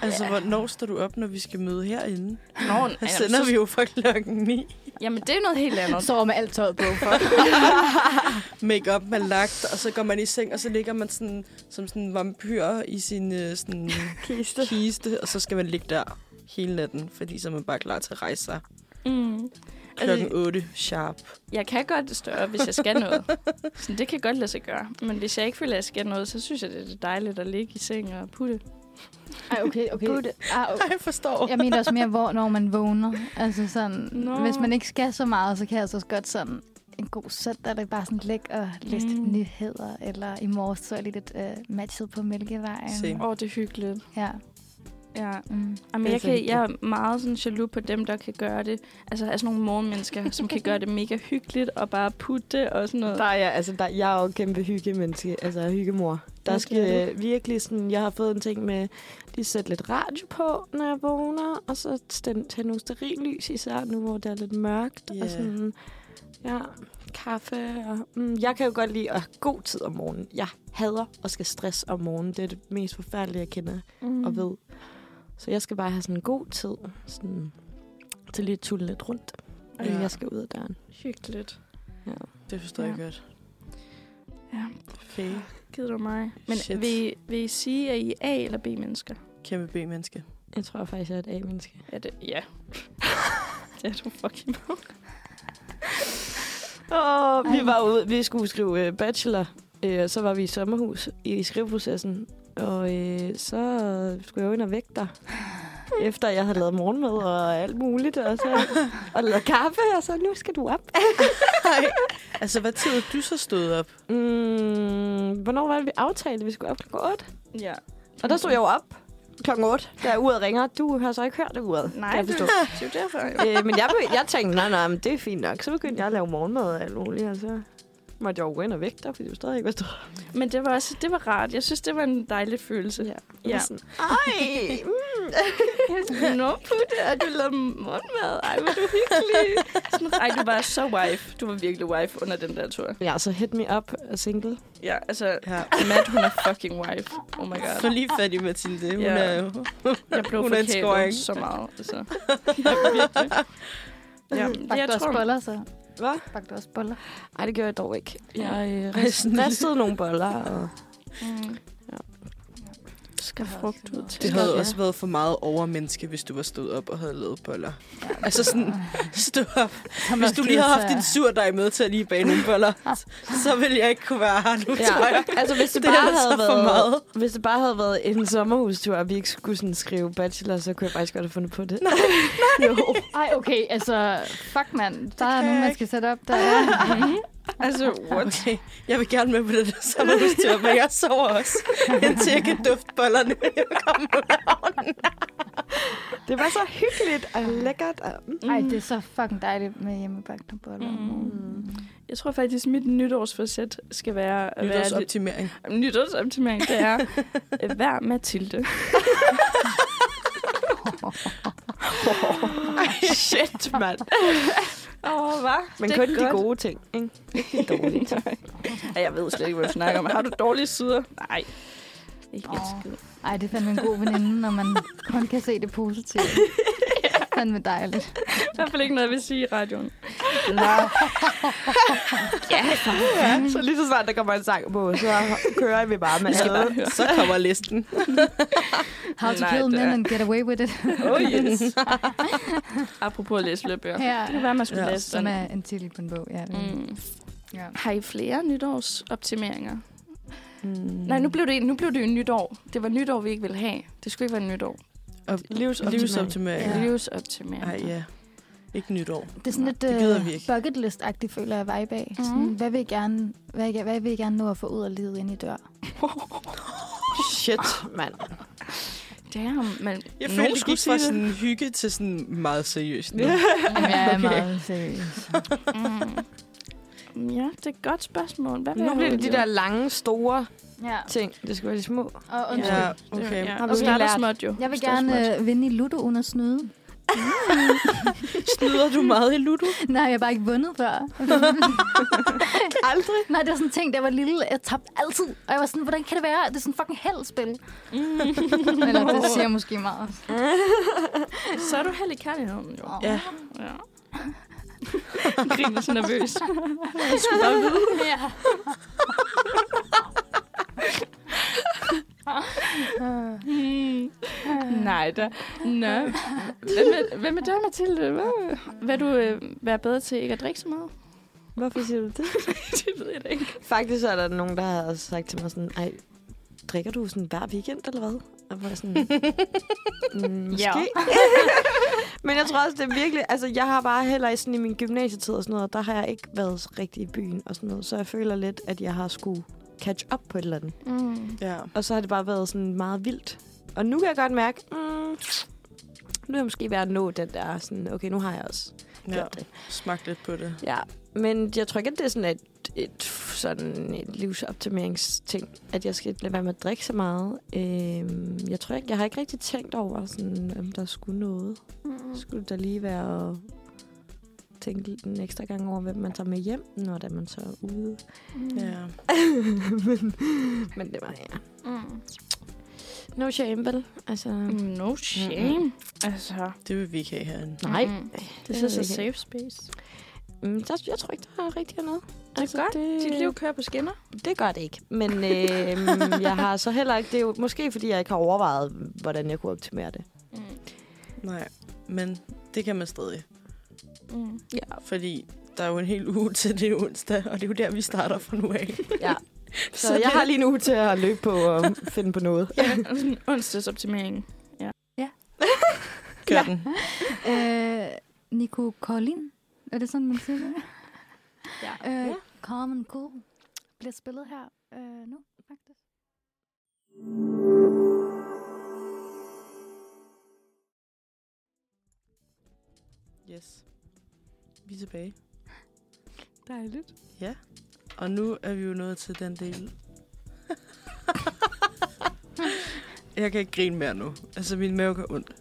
S6: Altså, hvornår står du op, når vi skal møde herinde?
S4: Nå, nej,
S6: Her sender vi jo fra klokken 9.
S4: Jamen, det er noget helt andet.
S2: Sover med alt tøjet på. For.
S6: Make-up er lagt, og så går man i seng, og så ligger man sådan, som sådan en vampyr i sin øh, sådan,
S5: Kiste.
S6: kiste, og så skal man ligge der hele natten, fordi så er man bare klar til at rejse sig.
S4: Mm.
S6: Klokken 8, sharp.
S4: Jeg kan godt stå op, hvis jeg skal noget. Sådan, det kan godt lade sig gøre. Men hvis jeg ikke føler, at jeg skal noget, så synes jeg, det er dejligt at ligge i sengen og putte.
S2: Ej, okay, okay. Ah, okay.
S6: Jeg forstår.
S2: Jeg mener også mere, hvor, når man vågner. Altså sådan,
S4: Nå.
S2: no. hvis man ikke skal så meget, så kan jeg altså også godt sådan en god søndag, der bare sådan ligge og læse
S4: Mm.
S2: mm. nyheder, eller i morges så jeg lige lidt øh, matchet på Mælkevejen.
S6: Same.
S4: Åh, oh, det er hyggeligt.
S2: Ja.
S4: Ja.
S2: Mm.
S4: Jamen,
S6: Det er
S4: jeg,
S6: så
S4: kan,
S6: hyggeligt.
S4: jeg er meget sådan jaloux på dem, der kan gøre det. Altså, altså nogle morgenmennesker, som kan gøre det mega hyggeligt og bare putte og sådan noget.
S5: Der er jeg, altså, der, jeg er jo kæmpe hyggemenneske, altså hyggemor. Der
S4: Hvad
S5: skal øh, virkelig sådan, jeg har fået en ting med, lige sætte lidt radio på, når jeg vågner, og så stænd, tage nogle sterillys, især nu, hvor det er lidt mørkt, yeah.
S6: Ja.
S5: og sådan, ja, kaffe, og, mm, jeg kan jo godt lide at have god tid om morgenen. Jeg hader at skal stress om morgenen, det er det mest forfærdelige, jeg kender
S4: mm.
S5: og ved. Så jeg skal bare have sådan en god tid, sådan, til lige at tulle lidt rundt, inden
S6: Ja.
S5: jeg skal ud af døren.
S4: Hyggeligt.
S6: Det forstår jeg
S4: Ja.
S6: godt.
S4: Ja,
S6: Fæ.
S4: gider du mig. Men
S6: Shit.
S4: vil, I- vil I sige, at I er A- eller B-mennesker?
S6: Kæmpe B-menneske.
S5: Jeg tror faktisk, jeg er et A-menneske.
S4: Ja, det, ja. det er du fucking med.
S5: Og vi
S2: Ej.
S5: var ude, vi skulle skrive øh, bachelor, øh, og så var vi i sommerhus i skriveprocessen, og øh, så skulle jeg jo ind og vække dig. Efter jeg havde lavet morgenmad og alt muligt, og så og lavet kaffe, og så nu skal du op.
S6: Altså, hvad tid er du så stået op?
S5: Mm, hvornår var det, vi aftalte, at vi skulle op klokken 8?
S4: Ja.
S5: Og der stod jeg jo op klokken 8, da uret ringer. Du har så ikke hørt det uret. kan
S4: Nej,
S5: jeg
S4: det,
S5: forstå.
S4: det er jo derfor. Jo.
S5: øh, men jeg, be- jeg tænkte, nej, nej, men det er fint nok. Så begyndte jeg at lave morgenmad og alt muligt, og så måtte jeg jo gå ind og vække dig, fordi du stadig ikke var stået.
S4: Øh, Men det var også det var rart. Jeg synes, det var en dejlig følelse. Ja.
S5: Jeg var
S4: ja.
S5: Sådan, Ej, mm.
S4: Nå, putte, at du lavede morgenmad. Ej, hvor er du hyggelig. Sådan, Ej, du var så wife. Du var virkelig wife under den der tur.
S5: Ja, så hit me up og single.
S4: Ja, altså,
S6: Ja.
S4: Matt, hun er fucking wife. Oh my god.
S6: Få lige fat i Mathilde. Hun
S4: Ja.
S6: er jo...
S4: Jeg blev
S6: Hun er en scoring.
S4: forkælet så meget. Altså. Ja, virkelig. Ja,
S2: Bare
S4: jeg
S2: jeg
S4: tror,
S2: boller, så.
S5: Hvad?
S2: Bagte du også boller.
S5: Nej, det gjorde jeg dog ikke. Jeg øh,
S6: Sådan
S5: rist- ristede nogle boller og
S4: Mm.
S5: skal
S4: Det har
S5: frugt
S4: også
S5: ud
S4: noget.
S5: til.
S6: Det havde
S5: Ja.
S6: også været for meget overmenneske, hvis du var stået op og havde lavet boller. Altså sådan, stå op. Hvis
S4: Altså,
S6: du lige havde haft din surdej med til at lige bage nogle boller, så ville jeg ikke kunne være her nu, tror jeg.
S5: Ja. Altså, hvis det,
S6: Det er
S5: bare
S6: altså
S5: havde
S6: for
S5: været,
S6: meget.
S5: Hvis det bare havde været en sommerhustur, og vi ikke skulle sådan skrive bachelor, så kunne jeg faktisk godt have fundet på det.
S2: Jo. Ej, okay, altså, fuck mand. Der er
S6: kan
S2: nogen,
S6: jeg
S2: man
S6: ikke.
S2: skal sætte op der. er-
S6: Altså, what? Okay. Jeg vil gerne med på det der sommerhustur, men jeg sover også, indtil jeg kan dufte bollerne.
S5: Det var så hyggeligt og lækkert. Og...
S6: Mm.
S2: Ej, det er så fucking dejligt med hjemmebagte boller.
S4: Mm. Jeg tror faktisk, mit nytårsforsæt skal være... at være lidt-
S6: Nytårsoptimering.
S4: Nytårsoptimering, det er... øh, Vær Mathilde. Ej, Shit, mand. Åh, oh, hvad?
S5: Men
S4: Det er
S5: kun de
S4: godt.
S5: gode ting, ikke? Ikke de dårlige ting.
S4: Ej, jeg ved slet ikke, hvad du snakker om. Har du dårlige sider? Nej. Ikke oh.
S2: Åh.
S4: skid.
S2: Ej, det er fandme en god veninde, når man kun kan se det positive. ja. Fandme dejligt.
S4: I hvert fald ikke noget, jeg vil sige i radioen.
S5: Ja, så lige så snart der kommer en sang på, så kører vi bare med
S6: Ja,
S5: alle.
S6: så kommer listen.
S2: How to
S4: Nej,
S2: kill
S4: det
S2: men
S4: er-
S2: and get away with it,
S4: Oh yes. Apropos at læse flere bøger.
S2: Ja.
S4: Det kan være, man skulle
S6: Ja.
S4: ja. læse
S2: som
S4: sådan.
S2: er en titel på en bog. Ja, det er-
S4: Mm.
S2: ja.
S4: Har I flere nytårsoptimeringer?
S6: Mm.
S4: Nej, nu blev, det, nu blev det jo nytår. Det var nytår, vi ikke ville have. Det skulle ikke være nytår.
S6: livsoptimering. livsoptimering.
S4: Ja.
S6: Ja.
S4: Livsoptimering.
S6: Ej, ja. Ikke nytår.
S2: Det er sådan lidt
S6: Det gider
S2: øh,
S6: vi ikke.
S2: bucket list-agtigt, føler jeg vibe af.
S4: Mhm.
S2: Sådan, hvad, vil I gerne, hvad, hvad vil I gerne nå at få ud af livet ind i dør?
S5: Shit, mand.
S4: Damn, men
S6: Jeg
S4: nogen
S6: følte, det
S4: skulle
S6: gik fra
S4: sige det.
S6: sådan hygge til sådan meget seriøst. Nu.
S5: Ja.
S2: Jeg er meget seriøs.
S4: Mm. Ja, det er et godt spørgsmål. Hvad vil
S5: Nu
S4: jeg
S5: bliver
S4: have
S5: det de
S4: ud af
S5: der lange, store
S2: Ja,
S5: ting. Det skal være de små.
S2: og undskyld.
S6: Ja,
S2: Ja.
S6: okay.
S4: Ja.
S5: Har vi
S4: Og
S5: jo
S4: starte
S5: lært.
S4: småt jo.
S2: Jeg vil
S4: Starte
S2: gerne
S4: småt.
S2: øh, vinde i Ludo uden at snyde.
S6: Snyder du meget i Ludo?
S2: Nej, jeg har bare ikke vundet før.
S5: Aldrig.
S2: Nej, det var sådan en ting, der var lille. Jeg tabte altid. Og jeg var sådan, hvordan kan det være? Det er sådan fucking heldspil. Eller det siger måske meget.
S4: Så er du heller ikke kærligheden jo.
S2: Åh.
S6: Ja.
S4: Ja. Griner så nervøs.
S2: Ja.
S4: Mm. Nej da. Nå. Hvem er, hvem er der, Mathilde? Hvad vil du øh, være bedre til ikke at drikke så meget?
S5: Hvorfor siger du det?
S4: det ved jeg da ikke.
S5: Faktisk er der nogen, der har sagt til mig sådan, ej, drikker du sådan hver weekend, eller hvad? Og hvor jeg sådan, mm, måske.
S4: Ja.
S5: Men jeg tror også, det er virkelig... Altså, jeg har bare heller ikke sådan i min gymnasietid og sådan noget, der har jeg ikke været så rigtig i byen og sådan noget. Så jeg føler lidt, at jeg har skulle catch up på et eller andet.
S4: Mm.
S6: Ja.
S5: Og så har det bare været sådan meget vildt. Og nu kan jeg godt mærke, mm, nu er jeg måske ved at nå den der sådan, okay, nu har jeg også
S6: ja.
S5: gjort det.
S6: Smag lidt på det.
S5: Ja, men jeg tror ikke, at det er sådan et, et, sådan et livsoptimeringsting, at jeg skal lade være med at drikke så meget. Øhm, jeg tror ikke, jeg har ikke rigtig tænkt over, sådan, om der skulle noget. Mm. Skulle der lige være at tænke lidt en ekstra gang over, hvem man tager med hjem, når da man så er ude.
S6: Ja.
S5: men, men det var, ja.
S4: Mm.
S5: No shame, vel? Altså, mm.
S4: Mm. No shame. Mm. Altså,
S6: Det vil vi ikke have herinde.
S5: nej.
S4: Mm.
S5: Det
S4: Det
S5: ved
S4: er så
S5: jeg ikke.
S4: safe space.
S5: Mm, der, jeg tror ikke, der er rigtig noget. Altså,
S4: godt.
S5: det,
S4: Dit liv kører på skinner.
S5: Det gør det ikke. Men øh, jeg har så heller ikke... Det er jo måske, fordi jeg ikke har overvejet, hvordan jeg kunne optimere det.
S4: Mm.
S6: Nej, men det kan man stadig.
S4: Mm.
S5: Ja.
S6: Fordi der er jo en hel uge til det er onsdag, og det er jo der, vi starter fra nu af.
S5: ja. Så,
S6: Så
S5: så jeg
S6: det-
S5: har lige nu til at løbe på og finde på noget.
S4: Ja, sådan onsdagsoptimering.
S6: Kør den.
S2: Øh, Nico Collin. Er det sådan, man siger det?
S4: Ja.
S2: Øh,
S5: Ja.
S2: Calm and Cool bliver spillet her øh, nu, faktisk.
S6: Yes. Vi er tilbage.
S4: Dejligt.
S6: Ja. Og nu er vi jo nået til den del. jeg kan ikke grine mere nu. Altså, min mave gør ondt.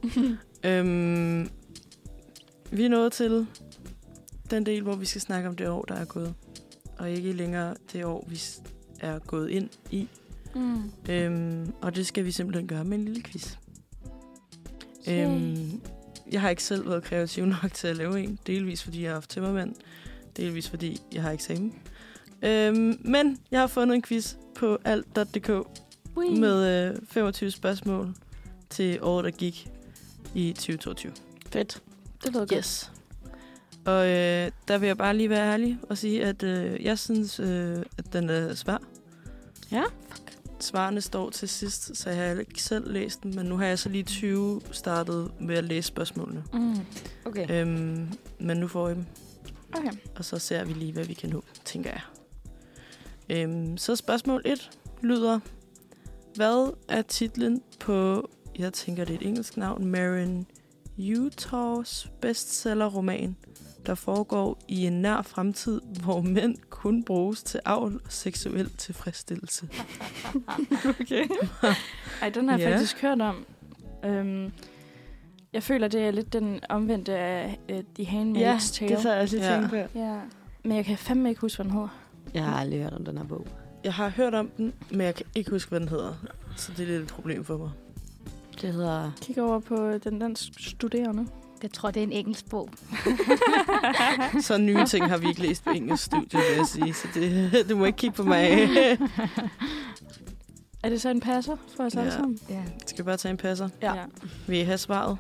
S6: øhm, vi er nået til den del, hvor vi skal snakke om det år, der er gået. Og ikke længere det år, vi s- er gået ind i.
S4: Mm.
S6: Øhm, og det skal vi simpelthen gøre med en lille quiz.
S4: Yay.
S6: Øhm, jeg har ikke selv været kreativ nok til at lave en, delvis fordi jeg har haft tømmermænd, Delvis fordi jeg har eksamen. Øhm, men jeg har fundet en quiz på alt.dk med øh, 25 spørgsmål til året, der gik i 2022.
S5: Fedt.
S4: Det lyder godt.
S6: Yes. Og øh, der vil jeg bare lige være ærlig og sige, at øh, jeg synes, øh, at den er svær.
S5: Ja.
S6: Svarene står til sidst, så jeg har ikke selv læst dem, men nu har jeg så lige 20 startet med at læse spørgsmålene.
S4: Mm.
S5: Okay.
S6: Øhm, men nu får jeg dem,
S4: Okay.
S6: og så ser vi lige, hvad vi kan nå, tænker jeg. Øhm, så spørgsmål 1 lyder, hvad er titlen på, jeg tænker det er et engelsk navn, Marin Utahs bestsellerroman, der foregår i en nær fremtid, hvor mænd kun bruges til avl og seksuel tilfredsstillelse.
S4: okay. Ej, den har jeg
S6: Ja.
S4: faktisk hørt om. Øhm, jeg føler, det er lidt den omvendte af uh, The Handmaid's
S5: Ja,
S4: Tale.
S5: det så jeg også lige
S6: Ja.
S5: tænkt på.
S4: ja. Men jeg kan fandme ikke huske, hvad den hedder.
S7: Jeg har aldrig hørt om den her bog.
S6: Jeg har hørt om den, men jeg kan ikke huske, hvad den hedder. Så det er lidt et problem for mig.
S7: Det hedder...
S4: Kig over på øh, den dansk studerende.
S2: Jeg tror, det er en engelsk bog.
S6: Så nye ting har vi ikke læst på engelsk studie, vil jeg sige. Så det, du må ikke kigge på mig.
S4: Er det så en passer for os
S6: Ja.
S4: alle sammen?
S2: Ja.
S6: skal vi bare tage en passer?
S5: Ja.
S6: Vil I have svaret?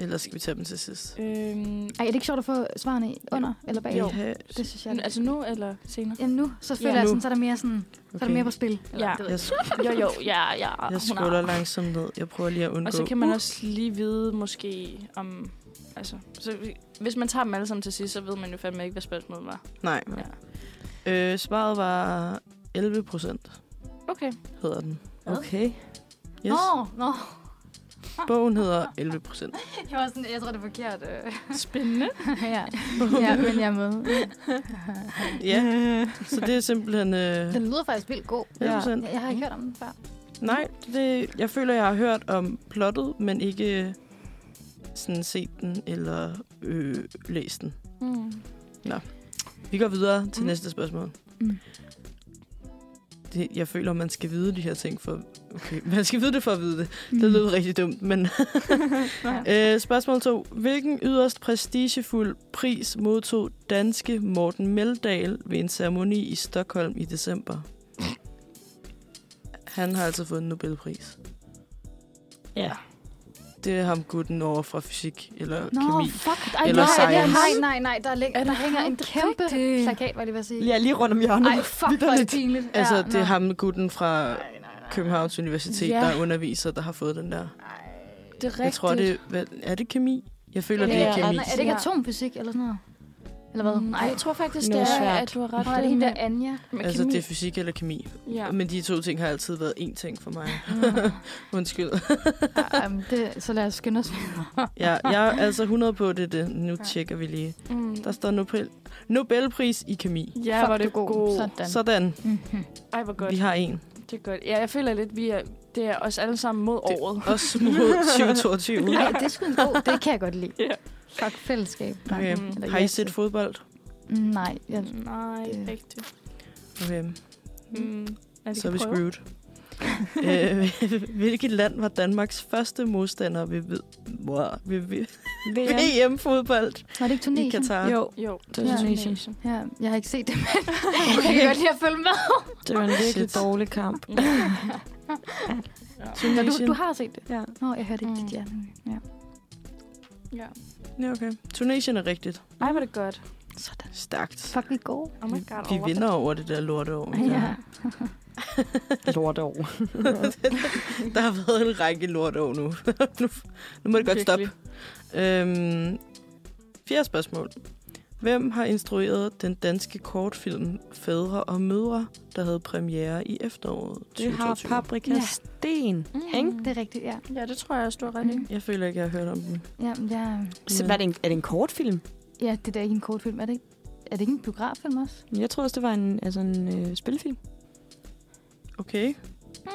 S6: Eller skal vi tage dem til sidst?
S4: Øhm,
S2: Ej, er det ikke sjovt at få svarene under eller bag?
S6: Vil I have-
S2: Det synes jeg.
S4: n- altså nu eller senere?
S2: Jamen nu, så føler
S6: Ja,
S2: ja, jeg,
S6: nu.
S2: sådan, så er der mere, sådan, så er der
S6: Okay.
S2: mere på spil.
S4: Ja.
S2: det ved
S6: Jeg,
S2: jeg
S6: sk-
S4: Jo, jo, ja, ja.
S6: jeg scroller langsomt ned. Jeg prøver lige at undgå.
S4: Og så kan man også lige vide måske om... Altså, så vi- hvis man tager dem alle sammen til sidst, så ved man jo fandme ikke, hvad spørgsmålet var.
S6: Nej.
S4: Ja.
S6: Øh, svaret var 11 procent,
S4: Okay.
S6: hedder den.
S7: Okay.
S6: Yes.
S2: Nå, nå.
S6: Bogen hedder 11 procent.
S2: Jeg, var sådan, jeg tror, det er forkert. øh.
S4: Spændende.
S2: ja. ja, men jeg er med.
S6: Ja, så det er simpelthen... Øh,
S2: Den lyder faktisk vildt god.
S6: 11 procent.
S2: Jeg, jeg har ikke hørt om den før.
S6: Nej, det, jeg føler, jeg har hørt om plottet, men ikke sådan set den eller øh, læst den.
S4: Mm.
S6: Vi går videre til
S4: Mm.
S6: mm. næste spørgsmål.
S2: Mm.
S6: Mm. Det, jeg føler, man skal vide de her ting for... Okay, man skal vide det for at vide det. Mm. Det lyder rigtig dumt, men... øh, spørgsmål 2. Hvilken yderst prestigefuld pris modtog danske Morten Meldal ved en ceremoni i Stockholm i december? Han har altså fået en Nobelpris.
S5: Ja.
S6: Det er ham gutten over fra fysik eller
S2: Nå,
S6: kemi.
S2: fuck. Ej,
S6: Eller
S2: nej, nej, nej,
S6: science.
S2: nej, nej. Der, læg,
S4: Er
S2: der
S4: det
S2: hænger en
S4: ham, der
S2: kæmpe
S4: fik det?
S2: plakat, var det, hvad jeg sige.
S5: Ja, lige rundt om hjørnet.
S2: Ej, fuck, hvor er det pinligt.
S6: Altså,
S2: Ja,
S6: det er
S2: nå.
S6: ham gutten fra Københavns Universitet,
S4: Ja.
S6: ja. der underviser, der har fået den der. Rigtigt.
S4: Det er rigtigt.
S6: Jeg tror, det er... Hvad, er det kemi? Jeg føler,
S4: Ja,
S6: det Mm, er
S4: ja.
S6: kemi.
S2: Nej, er det ikke
S4: Ja.
S2: atomfysik eller sådan noget? Eller hvad?
S4: Nej, jeg tror faktisk, det
S7: Noget
S4: er,
S7: svært.
S4: at du har ret.
S2: Hvor er det hende der, Anja?
S4: med
S6: Altså,
S4: kemi.
S6: det er Mm. fysik eller kemi.
S4: ja.
S6: Ja. Men de to ting har altid været én ting for mig. Undskyld.
S2: Ja, jamen, det, så lad os skynde os.
S6: Ja, jeg er altså 100 på det. det. Nu tjekker vi lige.
S4: Mm.
S6: Der står Nobel, Nobelpris i kemi.
S4: Ja,
S2: Fuck,
S4: var
S2: du
S4: det
S2: er god.
S4: god.
S2: Sådan.
S6: Sådan,
S2: Mhm.
S4: Ej, hvor godt.
S6: vi har en.
S4: Det er godt. Ja, jeg føler lidt, vi er, det er os alle sammen mod
S6: Det-
S4: året.
S6: Også mod 2022.
S2: Ej, det er sgu en god. Det kan jeg godt lide.
S4: Ja.
S2: Fuck fællesskab. Nej.
S6: Okay.
S4: Mm.
S2: Eller
S6: Har I
S2: yes.
S6: set fodbold?
S2: Mm, Nej, jeg,
S4: Nej,
S2: Det-
S4: ikke rigtigt.
S6: Okay,
S4: Mm. Er det
S6: så er vi
S4: prøve?
S6: screwed. Øh, Hvilket land var Danmarks første modstander ved, ved, hvor- ved, ved
S4: VM.
S6: VM-fodbold
S2: var det ikke
S6: i
S2: Tunesien?
S6: Katar?
S5: Jo,
S4: Jo, det
S5: er
S4: er
S5: Tunesien.
S4: Tunesien.
S2: Ja, jeg har ikke set det, men jeg kan godt lide at følge med.
S5: det var en virkelig
S6: Shit.
S5: dårlig kamp.
S4: Mm.
S2: Nå, du,
S6: Tunesien.
S2: du har set det?
S5: Ja.
S2: Nå, jeg hørte ikke
S4: Mm.
S2: dit ja. nemlig. ja.
S4: Ja.
S6: Ja, okay. Tunesien er rigtigt.
S4: Ej, var det godt.
S2: Sådan.
S6: Stærkt.
S2: Fuck, vi er gode.
S4: Oh my god,
S6: Vi
S4: Oliver.
S6: vinder over det der lorteår.
S2: Ja.
S7: Lort over.
S6: Der har været en række lorteår nu. nu. Nu må det godt stoppe.
S4: Virkelig.
S6: Øhm, fjerde spørgsmål. Hvem har instrueret den danske kortfilm Fædre og Mødre, der havde premiere i efteråret
S5: Det har
S6: 2022?
S5: Paprika
S2: Ja.
S5: Sten.
S2: Ikke?
S4: Mm.
S2: Det er rigtigt, ja.
S4: Ja, det tror jeg også, du har ret i.
S2: Mm.
S6: Jeg føler ikke, jeg har hørt om den.
S2: Jamen, jeg,
S7: Så hvad er det en, er det en kortfilm?
S2: ja, det er da ikke en kort film. Er det ikke, er det ikke en biograffilm også?
S5: Jeg tror også, det var en, altså en øh, spilfilm.
S6: Okay,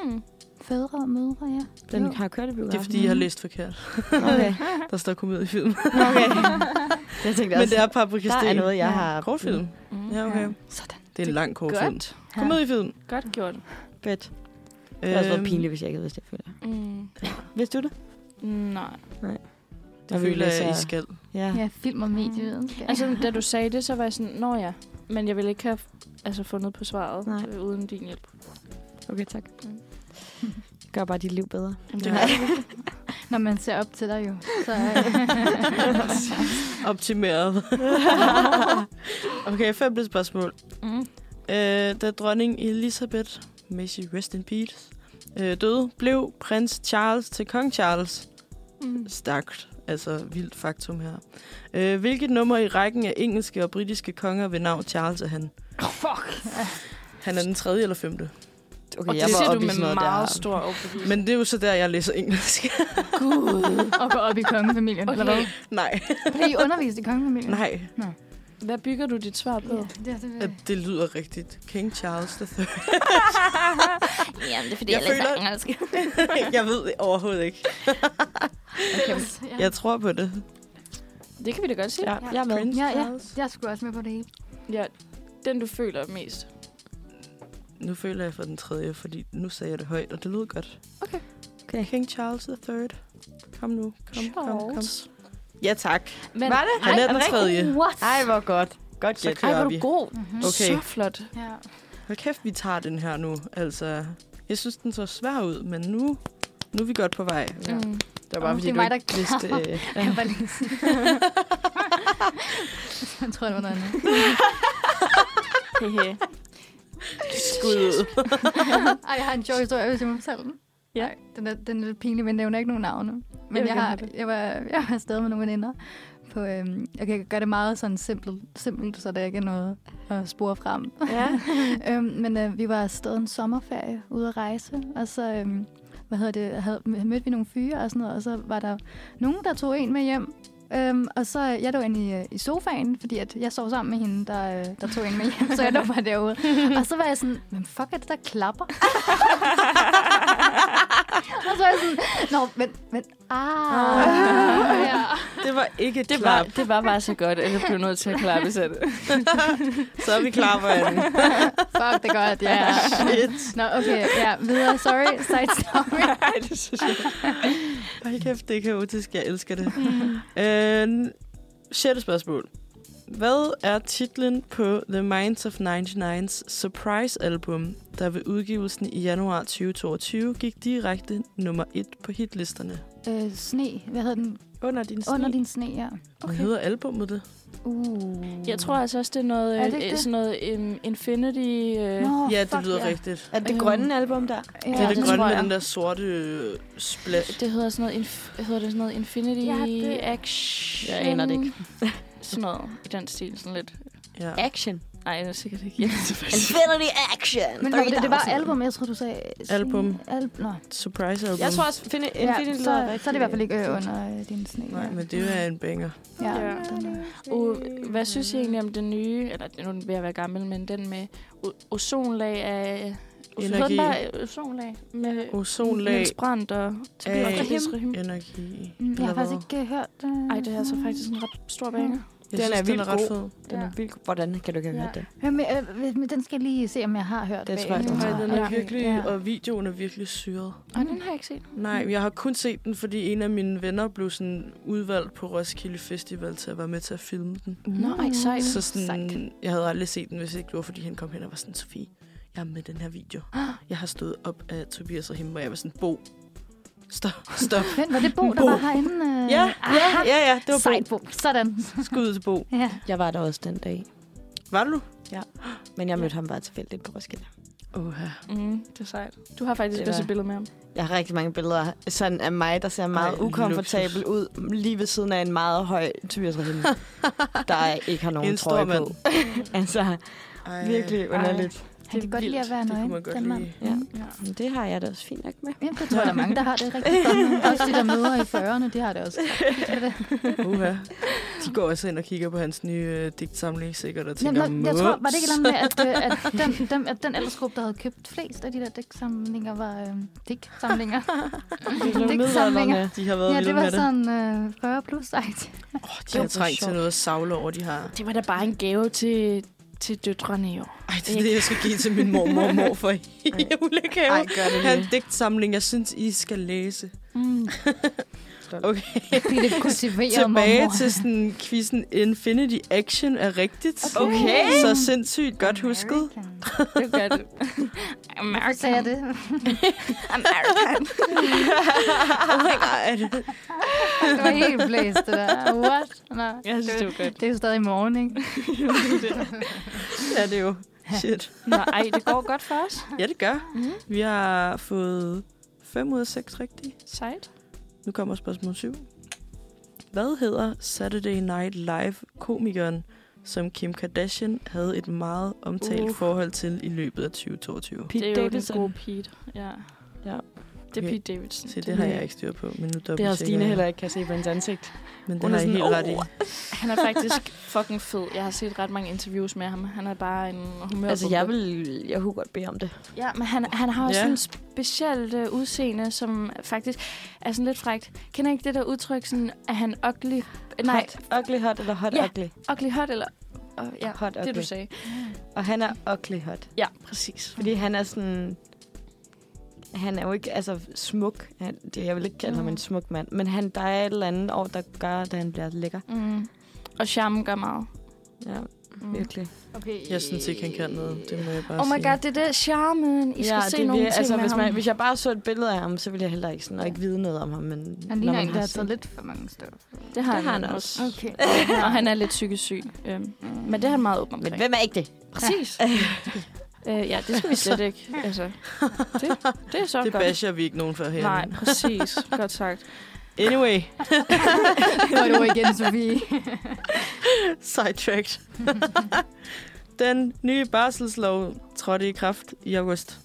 S4: Mm.
S2: Fædre og mødre, ja.
S5: Den
S2: Jo.
S5: har kørt i
S6: det er
S5: biografen.
S6: fordi, jeg har læst forkert.
S7: Okay.
S6: Der står komediefilm.
S7: okay. Jeg tænkte
S6: Men
S7: også,
S6: det er Paprika
S7: der
S6: Sten.
S7: er noget, jeg
S2: Ja.
S7: har...
S6: Kortfilm?
S4: Mm.
S6: Ja, okay.
S2: Sådan.
S6: Det er en lang kortfilm.
S4: Godt.
S2: Ja.
S6: Komediefilm.
S4: Godt gjort.
S5: Fedt.
S7: Det har også været
S6: Øhm,
S7: pinligt, hvis jeg ikke havde vidst det, føler jeg.
S4: Mm.
S5: Vidste du det?
S4: Nej.
S6: Det
S7: Og vi
S6: føler jeg, I
S7: læser-
S6: skal.
S5: Ja.
S2: Ja, film og medievidenskab.
S4: Altså, da du sagde det, så var jeg sådan, nå ja, men jeg ville ikke have altså, fundet på svaret
S5: Nej.
S4: øh, uden din hjælp.
S5: Okay, tak.
S4: Mm.
S5: Gør bare dit liv bedre.
S4: Jamen,
S6: Ja.
S4: det var-
S2: Når man ser op til dig jo. Så, øh.
S6: Optimeret. okay, femte spørgsmål.
S4: Mm.
S6: Øh, da dronning Elizabeth, Messi rest in peace, øh, døde, blev prins Charles til kong Charles.
S4: Mm.
S6: Stærkt, altså vildt faktum her. Øh, hvilket nummer i rækken af engelske og britiske konger ved navn Charles er han?
S4: Fuck.
S6: Han er den tredje eller femte.
S7: Okay,
S4: Og det siger du med meget stor overbevisning.
S6: Men det er jo så der, jeg læser engelsk.
S4: gud.
S2: og gå op i kongefamilien. Okay. Eller hvad?
S4: Okay.
S6: Nej,
S2: Bliver I undervist i kongefamilien?
S6: nej.
S4: Hvad bygger du dit svar på?
S2: Ja, det er det.
S6: At det lyder rigtigt. King Charles the Third.
S4: Jamen, det er fordi,
S6: Jeg jeg læser føler-
S4: engelsk.
S6: jeg ved det overhovedet ikke.
S2: Okay. Ja.
S6: Jeg tror på det.
S4: Det kan vi da godt sige.
S5: Ja, jeg er med.
S6: Prince
S2: Ja, ja,
S6: Charles.
S2: jeg skulle også med på det hele.
S4: Ja, den du føler mest.
S6: Nu føler jeg for den tredje, fordi nu sagde jeg det højt, og det lød godt.
S4: Okay.
S6: okay. King Charles the Third. Kom nu. Kom, kom, kom.
S4: Charles.
S6: Ja, tak.
S4: Men,
S7: Var det?
S6: Han er den tredje.
S2: What?
S7: Ej, hvor godt. Godt
S6: Så
S7: gæt.
S4: Ej,
S6: kører
S4: var
S6: vi.
S4: du god.
S2: Mm-hmm.
S6: Okay.
S4: Så flot.
S2: Ja.
S6: Hold kæft, vi tager den her nu. Altså, jeg synes, den så svær ud, men nu, nu er vi godt på vej.
S7: Ja.
S4: Mm.
S7: Det var bare,
S2: Åh,
S7: fordi
S2: det er
S7: du
S2: mig, der
S7: ikke vidste... Øh,
S2: Jeg var lige sige. Jeg tror, det var noget andet.
S4: Hehe.
S6: Skud.
S2: Ej, jeg har en sjov historie, hvis jeg må fortælle den.
S4: Ja.
S2: Ej, den, er, den er lidt pinlig, men nævner ikke nogen navne. Men
S4: vil
S2: jeg,
S4: gerne
S2: har,
S4: have det.
S2: jeg, var, jeg var afsted med nogle veninder. På, øhm, jeg kan gøre det meget sådan simpelt, simpelt så der ikke er noget at spore frem.
S5: Ja.
S2: øhm, men øh, vi var afsted en sommerferie ude at rejse, og så øhm, hvad hedder det, havde, mødte vi nogle fyre og sådan noget, og så var der nogen, der tog en med hjem. Øhm, og så øh, jeg lå inde i, øh, i sofaen, fordi at jeg sov sammen med hende, der, øh, der tog en med hjem, så jeg lå bare derude. Og så var jeg sådan, men fuck er det, der klapper? og så var jeg sådan, nå, men, men, ah. ja.
S6: Det var ikke et
S4: Det var,
S6: klap.
S4: det var bare så godt, at jeg blev nødt til at klappe sig det.
S6: Så er vi klar på den. Ah,
S2: Fuck, det er godt, ja.
S6: Shit.
S2: Nå, okay, ja, videre, sorry, side story.
S6: Ej, det synes jeg. Hold kæft, det er kaotisk. Jeg elsker det. Øh, sjette spørgsmål. Hvad er titlen på The Minds of 99's Surprise-album, der ved udgivelsen i januar 2022 gik direkte nummer et på hitlisterne?
S2: øh, sne, hvad hedder den?
S6: Under din
S2: Under din sne, ja.
S6: Okay. Hvad hedder albumet det?
S2: Uh.
S4: Jeg tror altså også, det er noget,
S2: Er det ikke
S4: øh,
S2: det?
S4: sådan noget um, Infinity... Øh,
S2: Nå,
S6: ja, det
S2: fuck,
S6: lyder
S2: ja.
S6: rigtigt.
S5: Er det det grønne album der?
S2: Ja,
S6: det er det,
S4: det tror
S6: grønne med
S4: jeg.
S6: den der sorte øh, splash.
S4: Det hedder sådan noget, inf- hedder det sådan noget Infinity
S2: Ja, det-
S4: Action.
S7: Jeg aner det ikke.
S4: sådan noget i den stil, sådan lidt.
S6: Ja.
S7: Action.
S4: Nej, det er sikkert ikke. Jeg er tilfældig.
S7: Infinity action.
S2: Men det, det var album, jeg tror, du sagde.
S6: Album.
S2: Sne- Al Nå.
S6: Surprise-album.
S5: Jeg tror også, finde,
S2: Ja,
S5: Infinity
S2: så,
S5: lyder
S2: så er det i hvert fald ikke øh, under øh, din sne.
S6: Nej, men det er en banger.
S2: Ja,
S4: Ja.
S2: den er-
S4: Og hvad synes I egentlig om den nye, eller nu er den ved at være gammel, men den med o- ozonlag af...
S6: Energi.
S4: Hedder den bare øh, ozonlag med
S6: Ozonlag,
S4: Niels Brandt og
S6: Af-
S4: Tobias Rahim.
S6: energi.
S2: Mm, Jeg
S6: eller
S2: har
S6: hvad?
S2: faktisk ikke øh, hørt... Øh,
S4: Ej, det er altså faktisk en ret stor banger.
S6: Jeg
S7: Den
S6: synes,
S7: er
S6: den er
S7: vildt
S6: ret
S7: god.
S6: fed.
S7: Den er vildt god. Hvordan kan du ikke have
S4: Ja.
S7: hørt den?
S2: Hør med, øh, men den skal jeg lige se, om jeg har hørt.
S7: Det
S2: bag-
S7: tror jeg, den
S2: Ja.
S6: Nej, den er
S2: Okay.
S6: virkelig,
S2: Ja.
S6: og videoen er virkelig syret.
S2: Mm.
S4: Ej, den har jeg ikke set.
S6: Nej, jeg har kun set den, fordi en af mine venner blev sådan udvalgt på Roskilde Festival til at være med til at filme den.
S4: Nå, ej, sejt.
S6: Så sådan, jeg havde aldrig set den, hvis ikke det var, fordi han kom hen og var sådan, Sofie, jeg er med i den her video. Jeg har stået op af Tobias og hende, og jeg var sådan, Bo, stop, stop.
S2: Men var det Bo, der
S6: Bo.
S2: var herinde? Øh,
S6: ja, ja,
S2: aha.
S6: ja, ja, det var
S2: Sejt Bo. Sådan.
S6: Bo. Skud til Bo.
S2: Ja.
S7: Jeg var der også den dag.
S6: Var du?
S7: Men jeg mødte ham bare tilfældigt på Roskilde.
S6: Åh, ja.
S4: Mm, det er sejt. Du har faktisk
S7: Det
S4: det også
S7: var-
S4: et billede med ham.
S7: Jeg har rigtig mange billeder sådan af mig, der ser meget
S6: Ej,
S7: ukomfortabel ud. Lige ved siden af en meget høj Tobias Rahim, der ikke har nogen
S6: En stor
S7: trøje
S6: mand.
S7: på. altså, virkelig underligt.
S2: Han kan godt lide at være
S6: Det
S2: nøgen.
S6: kunne man godt
S2: den mand.
S6: lide.
S7: Ja.
S4: Ja.
S7: Men det har jeg da også fint nok med.
S2: Jamen, det tror jeg, der er mange, der har det rigtig godt. Også de, der møder i 40'erne, de har det også.
S6: Uha. De går også ind og kigger på hans nye øh, digtsamling, sikkert, og tænker,
S2: Jamen, jeg tror, var det ikke noget
S6: "Mops."
S2: med, at, øh, at, den, dem, at den aldersgruppe, der havde købt flest af de der digtsamlinger, var øh, digtsamlinger? digtsamlinger.
S6: De har været
S2: Ja,
S6: vilde
S2: det var
S6: med det.
S2: sådan øh, 40 plus. Ej, det-
S6: Oh, de
S4: Jo,
S6: har
S4: hvor
S6: trængt til
S4: sjovt.
S6: noget at savle over, de har.
S4: Det var da bare en gave til, til døtrene i år.
S6: Ej, det er det, jeg skal give til min mormor og mor for i julegave.
S7: Ej, gør det
S6: Han
S7: lige.
S6: digtsamling, jeg synes, I skal læse.
S4: Mm.
S5: stolt.
S6: Okay.
S2: Fordi det kultiverede
S6: Tilbage
S2: mormor.
S6: til sådan quizzen Infinity Action er rigtigt.
S5: Okay.
S6: Så sindssygt godt husket.
S4: Det gør det.
S2: American. Sagde jeg det?
S4: American.
S6: Oh my god.
S2: Det var helt blæst, det der. What? Nå.
S4: Jeg synes, det var godt.
S2: Det er jo stadig i morgen, ikke?
S6: Ja, det er jo shit.
S4: Nå, ej, det går godt for os.
S6: Ja, det gør. Mm-hmm. Vi har fået 5 ud af 6 rigtige.
S4: Sejt.
S6: Nu kommer spørgsmål 7. Hvad hedder Saturday Night Live komikeren, som Kim Kardashian havde et meget omtalt
S4: Uh.
S6: uh. forhold til i løbet af 2022?
S5: Pete
S4: det er
S5: Davidson.
S4: jo den gode Pete. Ja.
S5: Ja.
S4: Det er
S6: Okay.
S4: Pete Davidson.
S6: Se, det har jeg ikke styr på, men nu dobbelt
S5: Det har Stine heller ikke kan se på hendes ansigt.
S6: Men det
S4: Hun er
S6: har jeg
S4: sådan,
S6: helt
S4: "Åh."
S6: ret i.
S4: Han er faktisk fucking fed. Jeg har set ret mange interviews med ham. Han er bare en humør.
S5: Altså, jeg vil... Jeg kunne godt bede om det.
S4: Ja, men han, han har også
S6: Ja.
S4: sådan en specielt øh, udseende, som faktisk er sådan lidt frægt. Kender I ikke det der udtryk, sådan, at han ugly... Nej,
S5: Hot, ugly hot eller hot
S4: Ja.
S5: ugly?
S4: ugly hot, eller... Oh, ja,
S5: Hot ugly.
S4: det du sagde.
S5: Og han er ugly hot.
S4: Ja, præcis.
S5: Fordi han er sådan... Han er jo ikke altså, smuk. Han, det, jeg vil ikke kalde ham
S4: Mm.
S5: en smuk mand. Men han, der er et eller andet år, der gør, at han bliver lækker.
S4: Mm. Og charmen gør meget.
S5: Ja,
S4: Mm.
S5: virkelig.
S2: Okay.
S6: Jeg synes ikke, han kan noget. Det må jeg bare
S4: Oh my
S6: sige.
S4: god, det der charmen. I skal
S5: ja,
S4: se
S5: det
S4: nogle
S5: vir-
S4: ting
S5: altså,
S4: med
S5: hvis,
S4: ham.
S5: man, hvis jeg bare så et billede af ham, så ville jeg heller ikke, sådan, og ikke vide noget om ham. Men
S2: Han
S5: når
S2: ligner
S5: man
S2: en, der har
S6: altså.
S5: set-
S2: taget lidt for mange stoffer.
S4: Det har,
S5: Det
S4: han,
S5: har han
S4: også.
S2: Okay.
S4: Og han er lidt psykisk syg. Øhm.
S2: Mm.
S4: Men det er han meget åben
S5: Men
S4: omkring.
S5: hvem er ikke det?
S4: Præcis. øh, ja, det skal vi slet ikke. Altså, det, det er så
S6: Det
S4: godt.
S6: basher vi ikke nogen for her.
S4: Oh Nej, præcis. Godt sagt.
S6: Anyway,
S2: Og du igen, Sofie.
S6: sidetracked. Den nye barselslov trådte i kraft i august.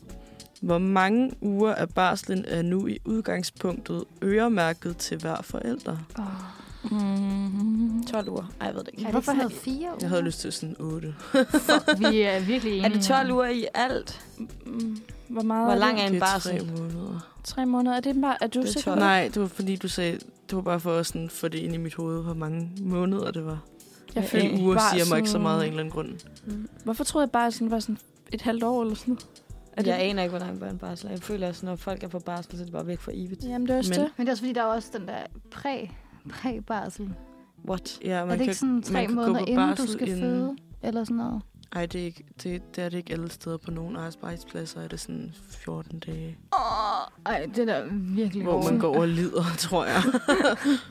S6: Hvor mange uger af barslen er nu i udgangspunktet øremærket til hver forælder?
S4: Mm-hmm.
S5: 12 uger. Ej, jeg ved det ikke.
S2: Er det ikke sådan noget fire uger?
S6: Jeg havde lyst til sådan 8.
S2: Vi er virkelig enige.
S5: Er det 12 uger i alt?
S4: Hvor meget
S5: Hvor
S4: er
S5: lang
S4: det?
S5: er
S6: det
S5: en
S6: er tre
S5: barsel?
S6: måneder.
S4: Tre måneder. Er det bare... Er du
S5: Det er
S4: sikker?
S5: tolv.
S4: på det?
S6: Nej, det var fordi, du sagde, det var bare for at sådan, få det ind i mit hoved, hvor mange måneder det var.
S4: Jeg
S6: Fordi
S4: følte
S6: uger
S4: bare
S6: siger mig ikke så
S4: sådan-
S6: meget af en eller anden grund.
S4: Hvorfor troede jeg bare, at sådan var sådan et halvt år eller sådan noget? Er
S5: At Altså,
S4: det...
S5: jeg aner ikke, hvor lang en barsel er. Jeg føler, at når folk er på barsel, så er det bare væk for evigt.
S4: Jamen, det er også
S6: Men-
S4: det.
S2: Men det er også fordi, der er også den der præ præ-barsel.
S5: What?
S6: Ja,
S2: Er det ikke sådan
S6: man
S2: tre
S6: kan gå
S2: måneder,
S6: på
S2: inden du
S6: barsel
S2: skal
S6: inden-
S2: føde? Eller sådan noget?
S6: Ej, det er, ikke, det, det er det ikke alle steder på nogen arbejdspladser. Er det sådan 14 dage,
S2: Åh, ej, det er da virkelig
S6: hvor man
S2: hårdt.
S6: går og lider, tror jeg.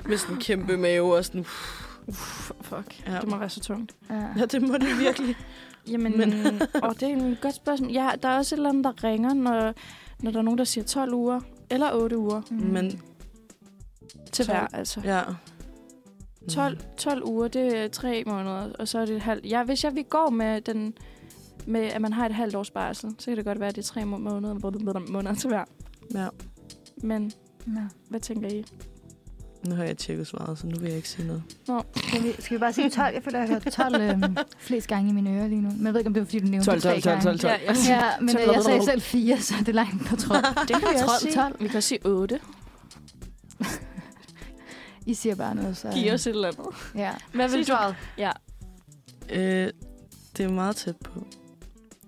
S6: Med sådan en kæmpe mave og sådan... Uff,
S4: Uff, fuck.
S6: Ja.
S4: Ja. Det må være så tungt.
S2: Ja.
S6: ja, det må det virkelig.
S4: Jamen, Men...
S6: Men-
S4: åh, det er et godt spørgsmål. Ja, der er også et eller andet, der ringer, når, når der er nogen, der siger 12 uger eller 8 uger
S6: Men
S4: til
S6: 12.
S4: hver, altså.
S6: ja... Mm.
S4: 12, 12 uger, det er tre måneder, og så er det et halvt. Ja, hvis jeg vi går med den med, at man har et halvt års barsel, så kan det godt være, at det er tre må- måneder, hvor det er måneder til hver.
S6: Ja.
S4: Men
S2: Nå.
S4: hvad tænker I?
S6: Mm, Nu har jeg tjekket svaret, så nu vil jeg ikke sige noget.
S2: Skal, vi, skal vi bare sige 12? Jeg føler, jeg har hørt 12 øhm, flest gange i mine ører lige nu. Men jeg ved ikke, om det var, fordi du nævnte
S5: 12,
S2: det tre
S5: 12, 12, 12.
S2: gange.
S4: Ja, jeg,
S2: Ja, men øh, jeg sagde selv 4, så det er langt på tråd.
S4: det kan vi også
S2: 12,
S4: sige.
S2: 12.
S4: Vi kan også sige 8.
S2: I siger bare noget, så...
S4: Giv os et eller andet.
S2: Ja.
S4: Hvad vil du?
S6: Øh, det er meget tæt på.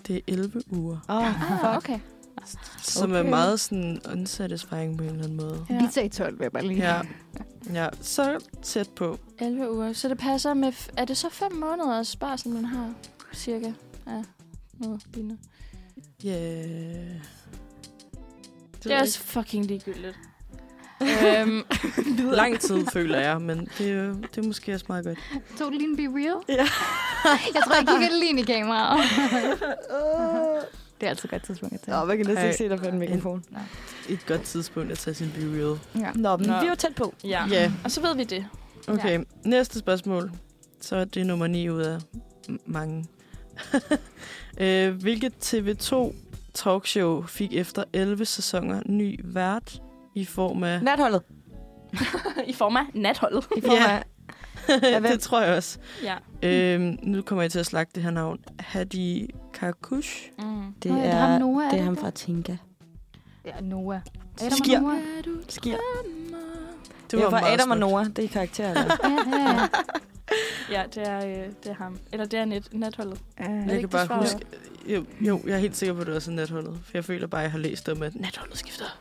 S6: Det er 11 uger,
S5: Åh, oh,
S4: Ah, okay.
S6: som er
S5: Okay.
S6: meget sådan unsatisfying på en eller anden måde.
S4: Ja.
S2: Vi sagde 12, vil jeg bare lige.
S6: Ja, ja så tæt på.
S4: 11 uger. Så det passer med... F- er det så 5 måneders barsel, man har? Cirka. Ja. Noget lignende.
S6: Ja... Yeah.
S4: Det er også fucking ligegyldigt. øhm,
S6: lang tid, føler jeg, men det, er jo- det er måske også meget godt.
S2: Tog du lige en be real?
S6: Ja.
S2: jeg tror, jeg kigger lige ind i kameraet. det er altid et godt tidspunkt at tage.
S5: oh, man kan næsten
S6: Ej.
S5: ikke se dig på en mikrofon.
S6: Et godt tidspunkt at tage sin be real.
S2: Ja.
S5: Nå, men
S4: Nå.
S5: vi er jo tæt på.
S4: ja.
S6: Ja, yeah.
S4: Og så ved vi det.
S6: okay. Ja. Næste spørgsmål. Så er det nummer 9 ud af m- mange. Øh, Hvilket TV2 talkshow fik efter 11 sæsoner ny vært i form af...
S5: Natholdet.
S4: I form af natholdet.
S5: I form
S6: Ja.
S5: af hvem?
S6: det tror jeg også.
S4: Ja.
S6: Øhm, nu kommer jeg til at slagte det her navn. Hadi Karkush.
S4: Mm.
S5: Det
S2: Nå, ja,
S5: er,
S2: ham Noah, er
S5: det er
S2: det
S5: ham
S2: ikke?
S5: fra Tinka.
S2: Ja, Noah. Adam
S5: Skier.
S2: og Noah.
S5: Skier.
S6: Det
S5: Det var fra
S6: meget
S5: Adam og
S6: smukt.
S5: Noah. Det er karakterer. der.
S2: Ja, ja, ja.
S4: Ja, det er, øh, det er ham. Eller det er net, natholdet.
S6: Jeg
S4: ikke
S6: kan
S4: det
S6: bare
S4: svar,
S6: huske... Jo, jo, jeg er helt sikker på, at det også er netholdet. For jeg føler bare, at jeg har læst om, at netholdet skifter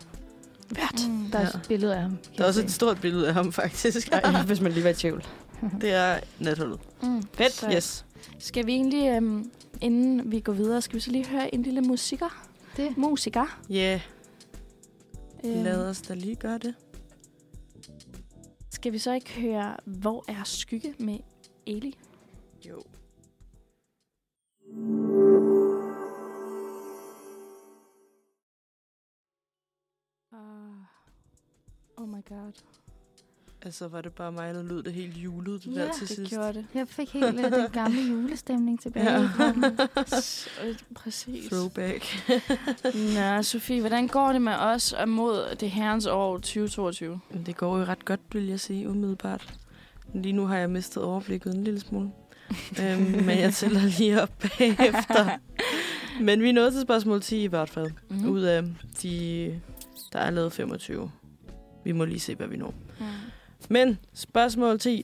S5: Hvert.
S4: Mm.
S2: Der er også et billede af ham.
S6: Der er også et stort billede af ham, faktisk.
S7: Ej, hvis man lige var i tvivl.
S6: Det er nathullet.
S4: Mm.
S6: Fedt,
S4: Så
S6: yes.
S4: Skal vi egentlig, øhm, inden vi går videre, skal vi så lige høre en lille musiker?
S2: Det.
S4: Musiker.
S6: Ja, yeah,
S4: Øhm,
S6: lad os da lige gøre det.
S4: Skal vi så ikke høre, hvor er skygge med Eli?
S6: Jo.
S4: Uh, oh my god.
S6: Altså, var det bare mig, der lød det helt julet, det der til
S4: det
S6: sidst?
S4: gjorde det.
S2: Jeg fik helt øh, den gamle julestemning tilbage.
S6: Ja.
S2: i kroppen.
S4: Præcis.
S6: Throwback.
S4: Nå, Sofie, hvordan går det med os og mod det herrens år 2022?
S6: Men Det går jo ret godt, vil jeg sige, umiddelbart. Lige nu har jeg mistet overblikket en lille smule. øhm, men jeg tæller lige op bagefter. Men vi er nået til spørgsmål 10 i hvert fald.
S4: Mm.
S6: Ud af de, der er lavet 25. Vi må lige se, hvad vi når. Men spørgsmål 10,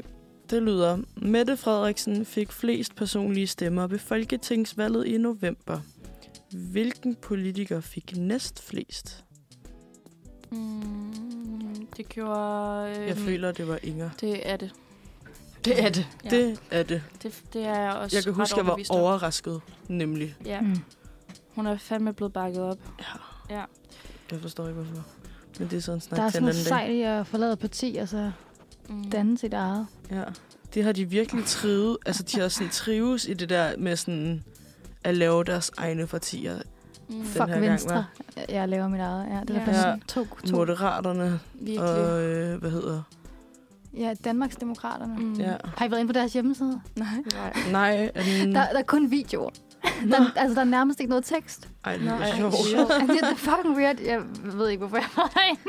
S6: det lyder, Mette Frederiksen fik flest personlige stemmer ved Folketingsvalget i november. Hvilken politiker fik næst flest?
S4: Mm. Det gjorde... Øh,
S6: Jeg føler, det var Inger.
S4: Det er det.
S6: Det er det.
S4: Ja.
S6: Det er det.
S4: Det, det er jeg også
S6: Jeg kan
S4: ret
S6: huske, jeg var
S4: overbevist om.
S6: overrasket, nemlig.
S4: Ja,
S2: Mm.
S4: hun er fandme blevet bakket op.
S6: Jeg forstår ikke, hvorfor. Men det er sådan
S2: Der er
S6: snak til
S2: sådan
S6: en
S2: noget
S6: anden dag.
S2: sejt i at forlade parti, og så
S4: Mm.
S2: danne sit eget.
S6: Ja. Det har de virkelig trivet. Altså, de har sådan trives i det der med sådan at lave deres egne partier.
S4: Mm.
S6: Den
S2: Fuck
S6: her gang,
S2: Venstre. Jeg laver mit eget. Ja, det er
S4: Ja.
S2: ja.
S6: Ja.
S2: sådan to, to. Mm.
S6: Moderaterne
S4: Virkelig.
S6: og, øh, hvad hedder?
S2: Ja, Danmarks Demokraterne. Mm.
S4: Mm.
S6: Ja.
S2: Har I været inde på deres hjemmeside?
S4: Nej.
S6: Nej, um,
S2: Der, der er kun videoer. Der, altså, der er nærmest ikke noget tekst.
S6: ej, det
S4: Nej.
S6: er
S4: Ej,
S6: sjovt.
S4: sjovt.
S2: Ej, det er fucking weird. Jeg ved ikke, hvorfor jeg var derinde.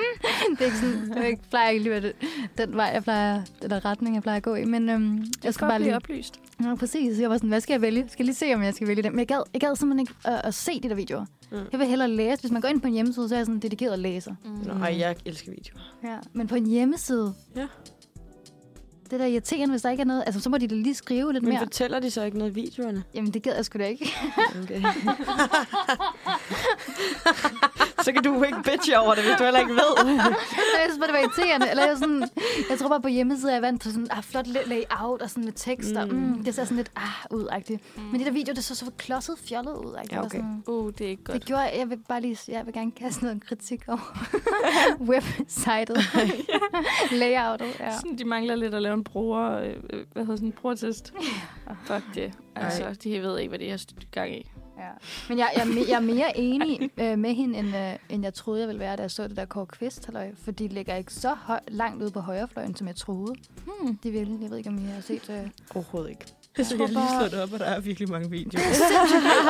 S2: Det er ikke sådan, det er ikke, plejer ikke lige at være det- den vej, jeg plejer, eller retning, jeg plejer at gå i. Men øhm, jeg skal bare lige...
S4: oplyst.
S2: Nå, præcis. Jeg var sådan, hvad skal jeg vælge? Jeg Skal lige se, om jeg skal vælge den. Men jeg gad, jeg gad simpelthen ikke øh, at se de der videoer.
S7: Mm.
S2: Mm. Jeg vil hellere læse. Hvis man går ind på en hjemmeside, så er jeg sådan en dedikeret læser.
S4: Mm.
S7: Nej, jeg elsker videoer.
S2: Ja. Men på en hjemmeside...
S7: Ja.
S2: Det er da irriterende, hvis der ikke er noget. Altså, så må de da lige skrive lidt
S7: Men
S2: mere.
S7: fortæller de så ikke noget i videoerne?
S2: Jamen, det gad jeg sgu da ikke.
S7: Okay. så kan du ikke bitche over det, hvis du heller ikke ved.
S2: jeg synes bare, det var irriterende. Eller jeg, sådan, jeg tror bare på hjemmesiden, er jeg vant til sådan, ah, flot la- layout og sådan med tekster.
S7: Mm.
S2: Mm. Mm, det ser sådan lidt ah, ud -agtigt. Men det der video, det så så klodset fjollet ud.
S7: Ja, okay.
S2: Ja, okay. sådan,
S4: Mm. Uh, det er ikke godt.
S2: det gjorde, jeg vil bare lige, jeg vil gerne kaste noget kritik over websitet, layoutet. Ja.
S4: Sådan, de mangler lidt at lave en bruger, øh, øh, hvad hedder sådan en brugertest. Fuck det. Altså, de ved ikke, hvad det er, jeg har gang i.
S2: Ja. Men jeg, jeg, er me- jeg er mere enig øh, med hende, end, øh, end jeg troede, jeg ville være, da jeg så det der Kåre Kvist, halløj, for de ligger ikke så høj, langt ude på højrefløjen, som jeg troede.
S4: Hmm.
S2: De virkelig, jeg ved ikke, om I har set... Øh,
S7: Overhovedet ikke.
S6: Jeg skal lige slå det op, og der er virkelig mange videoer.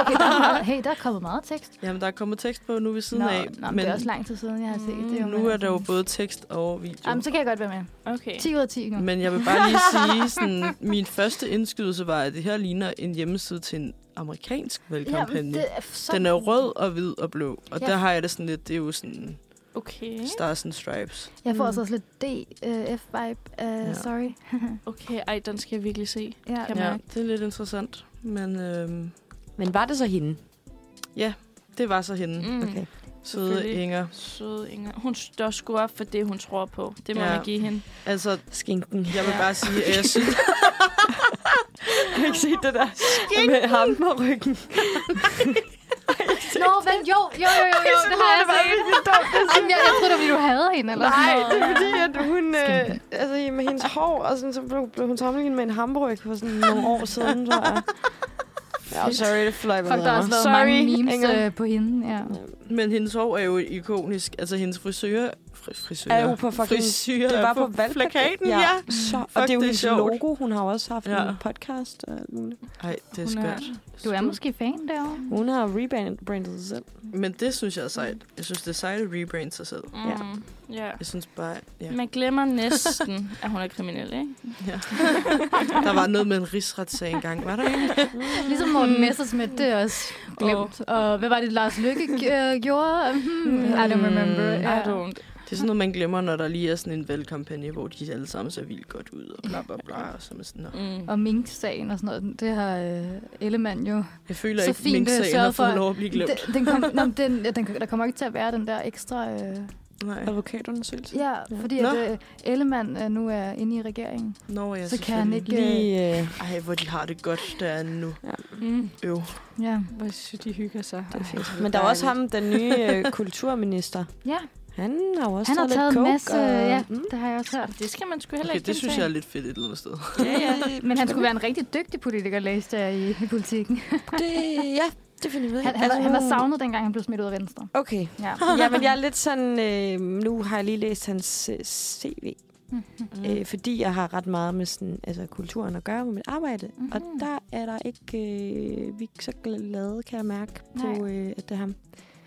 S2: okay, der er meget, hey, der er kommet meget tekst.
S6: Jamen, der er kommet tekst på nu ved siden
S2: nå,
S6: af.
S2: Nå, men det er også lang tid siden, jeg har set det. jo,
S6: Hmm, nu
S2: men
S6: er der jo
S2: altså-
S6: både tekst og video.
S2: Jamen, så kan jeg godt være med.
S4: Okay.
S2: 10 ud af 10 nu.
S6: Men jeg vil bare lige sige, sådan, min første indskydelse var, at det her ligner en hjemmeside til en amerikansk valgkampagne. Ja,
S2: er så...
S6: den er jo rød og hvid og blå, og
S2: Ja.
S6: der har jeg det sådan lidt, det er jo sådan
S4: Okay.
S6: stars and stripes.
S2: Jeg får altså også lidt DF-vibe. Uh,
S6: Ja.
S2: Sorry.
S4: Okay, ej, den skal jeg virkelig se.
S2: Ja,
S4: Kan
S6: Ja,
S4: mærke.
S6: det er lidt interessant, men øhm,
S7: Men var det så hende?
S6: det var så hende. Mm.
S4: Mm.
S7: Okay.
S6: Søde
S4: selvfølgelig.
S6: Inger.
S4: Søde Inger. Hun står sgu op for det, hun tror på. Det må
S6: Ja.
S4: man give hende.
S6: Altså,
S7: Skinken.
S6: jeg vil
S4: Ja.
S6: bare sige, at jeg synes,
S7: Jeg har ikke set det der med ham på ryggen.
S2: Nå, men jo, jo, jo, jo, jo det har jeg set. Jamen, jeg, jeg troede, det var, fordi du havde hende. Eller
S7: Nej,
S2: sådan
S7: det
S2: noget.
S7: er fordi, at hun... Øh, altså, med hendes hår, og sådan, så blev, blev hun sammenlignet med en hamburg for sådan nogle år siden, tror jeg. Ja, sorry, det fløj
S2: Fuck, der har også været
S7: Sorry,
S2: mange memes
S7: Inger.
S2: øh, på hende. Ja.
S6: men hendes hår er jo ikonisk. Altså, hendes frisør... Fri, frisør?
S7: Er jo på fucking...
S6: frisør
S7: det
S6: er
S7: var på valgplakaten,
S6: ja.
S7: Så, og det er
S6: Fuck,
S7: jo
S6: det er
S7: hendes
S6: sjovt.
S7: logo. Hun har jo også haft
S6: Ja.
S7: ja. en podcast. og alt muligt.
S6: Ej, det er
S4: Hun er-
S6: skørt.
S2: Du er måske fan derovre.
S7: Hun har rebrandet sig selv.
S6: Men det synes jeg er sejt. Jeg synes, det er sejt at rebrande sig selv.
S4: Mm. Ja. ja.
S6: Jeg synes bare, ja.
S4: Man glemmer næsten, at hun er kriminel, ikke?
S6: ja. der var noget med en rigsretssag engang, var der ikke?
S7: Mm.
S2: Ligesom Morten Messersmith, det er også glemt. Og hvad var det, Lars Lykke øh, gjorde? Hmm, I don't remember.
S6: Mm,
S4: Ja.
S2: Ja.
S4: I don't.
S6: Det er sådan noget, man glemmer, når der lige er sådan en valgkampagne, hvor de alle sammen ser vildt godt ud, og bla bla bla, og så er man sådan, "Nå."
S4: Mm.
S2: Og Mink-sagen og sådan noget, det har øh, Ellemann jo...
S6: Jeg føler
S2: Så
S6: ikke,
S2: fint,
S6: min sagen
S2: øh,
S6: har
S2: sørget for-
S6: fået lov at blive glemt.
S2: Den, den kom, nå, men den, ja, den, der kommer ikke til at være den der ekstra øh,
S6: Nej.
S5: advokatundersøgelse.
S2: Ja, fordi
S6: Nå.
S2: at, øh, Ellemann øh, nu er inde i regeringen.
S6: Nå, ja,
S2: så kan han
S6: selvfølgelig.
S2: ikke... Øh,
S5: øh,
S6: Ej, hvor de har det godt derinde nu.
S4: Mm.
S6: Øv.
S2: øh, ja.
S4: Hvor synes de hygger sig. Ej,
S5: Men der er også ham, den nye øh, kulturminister.
S2: ja,
S5: Han har jo også
S2: han har taget
S5: lidt
S2: en
S5: coke,
S2: masse...
S5: Og,
S2: Øh, ja,
S5: Mm.
S2: det har jeg også hørt.
S4: Det skal man sgu heller
S6: Okay,
S4: ikke
S6: det synes jeg er
S4: gentage.
S6: lidt fedt et eller andet sted.
S5: ja, ja.
S2: Men han skulle være en rigtig dygtig politiker, læste jeg i, i politikken.
S5: Det, ja, det finder vi ud af. Altså,
S2: Han, han, var- han var savnet, dengang han blev smidt ud af Venstre.
S5: Okay.
S2: Ja.
S5: Ja, men jeg er lidt sådan... Øh, nu har jeg lige læst hans øh, CV. Mm. Øh, fordi jeg har ret meget med sådan, altså, kulturen at gøre på mit arbejde. Mm-hmm. Og
S2: Mhm.
S5: der er der ikke... Øh, vi er ikke så glade, kan jeg mærke, på,
S2: Nej.
S5: øh, at det er ham.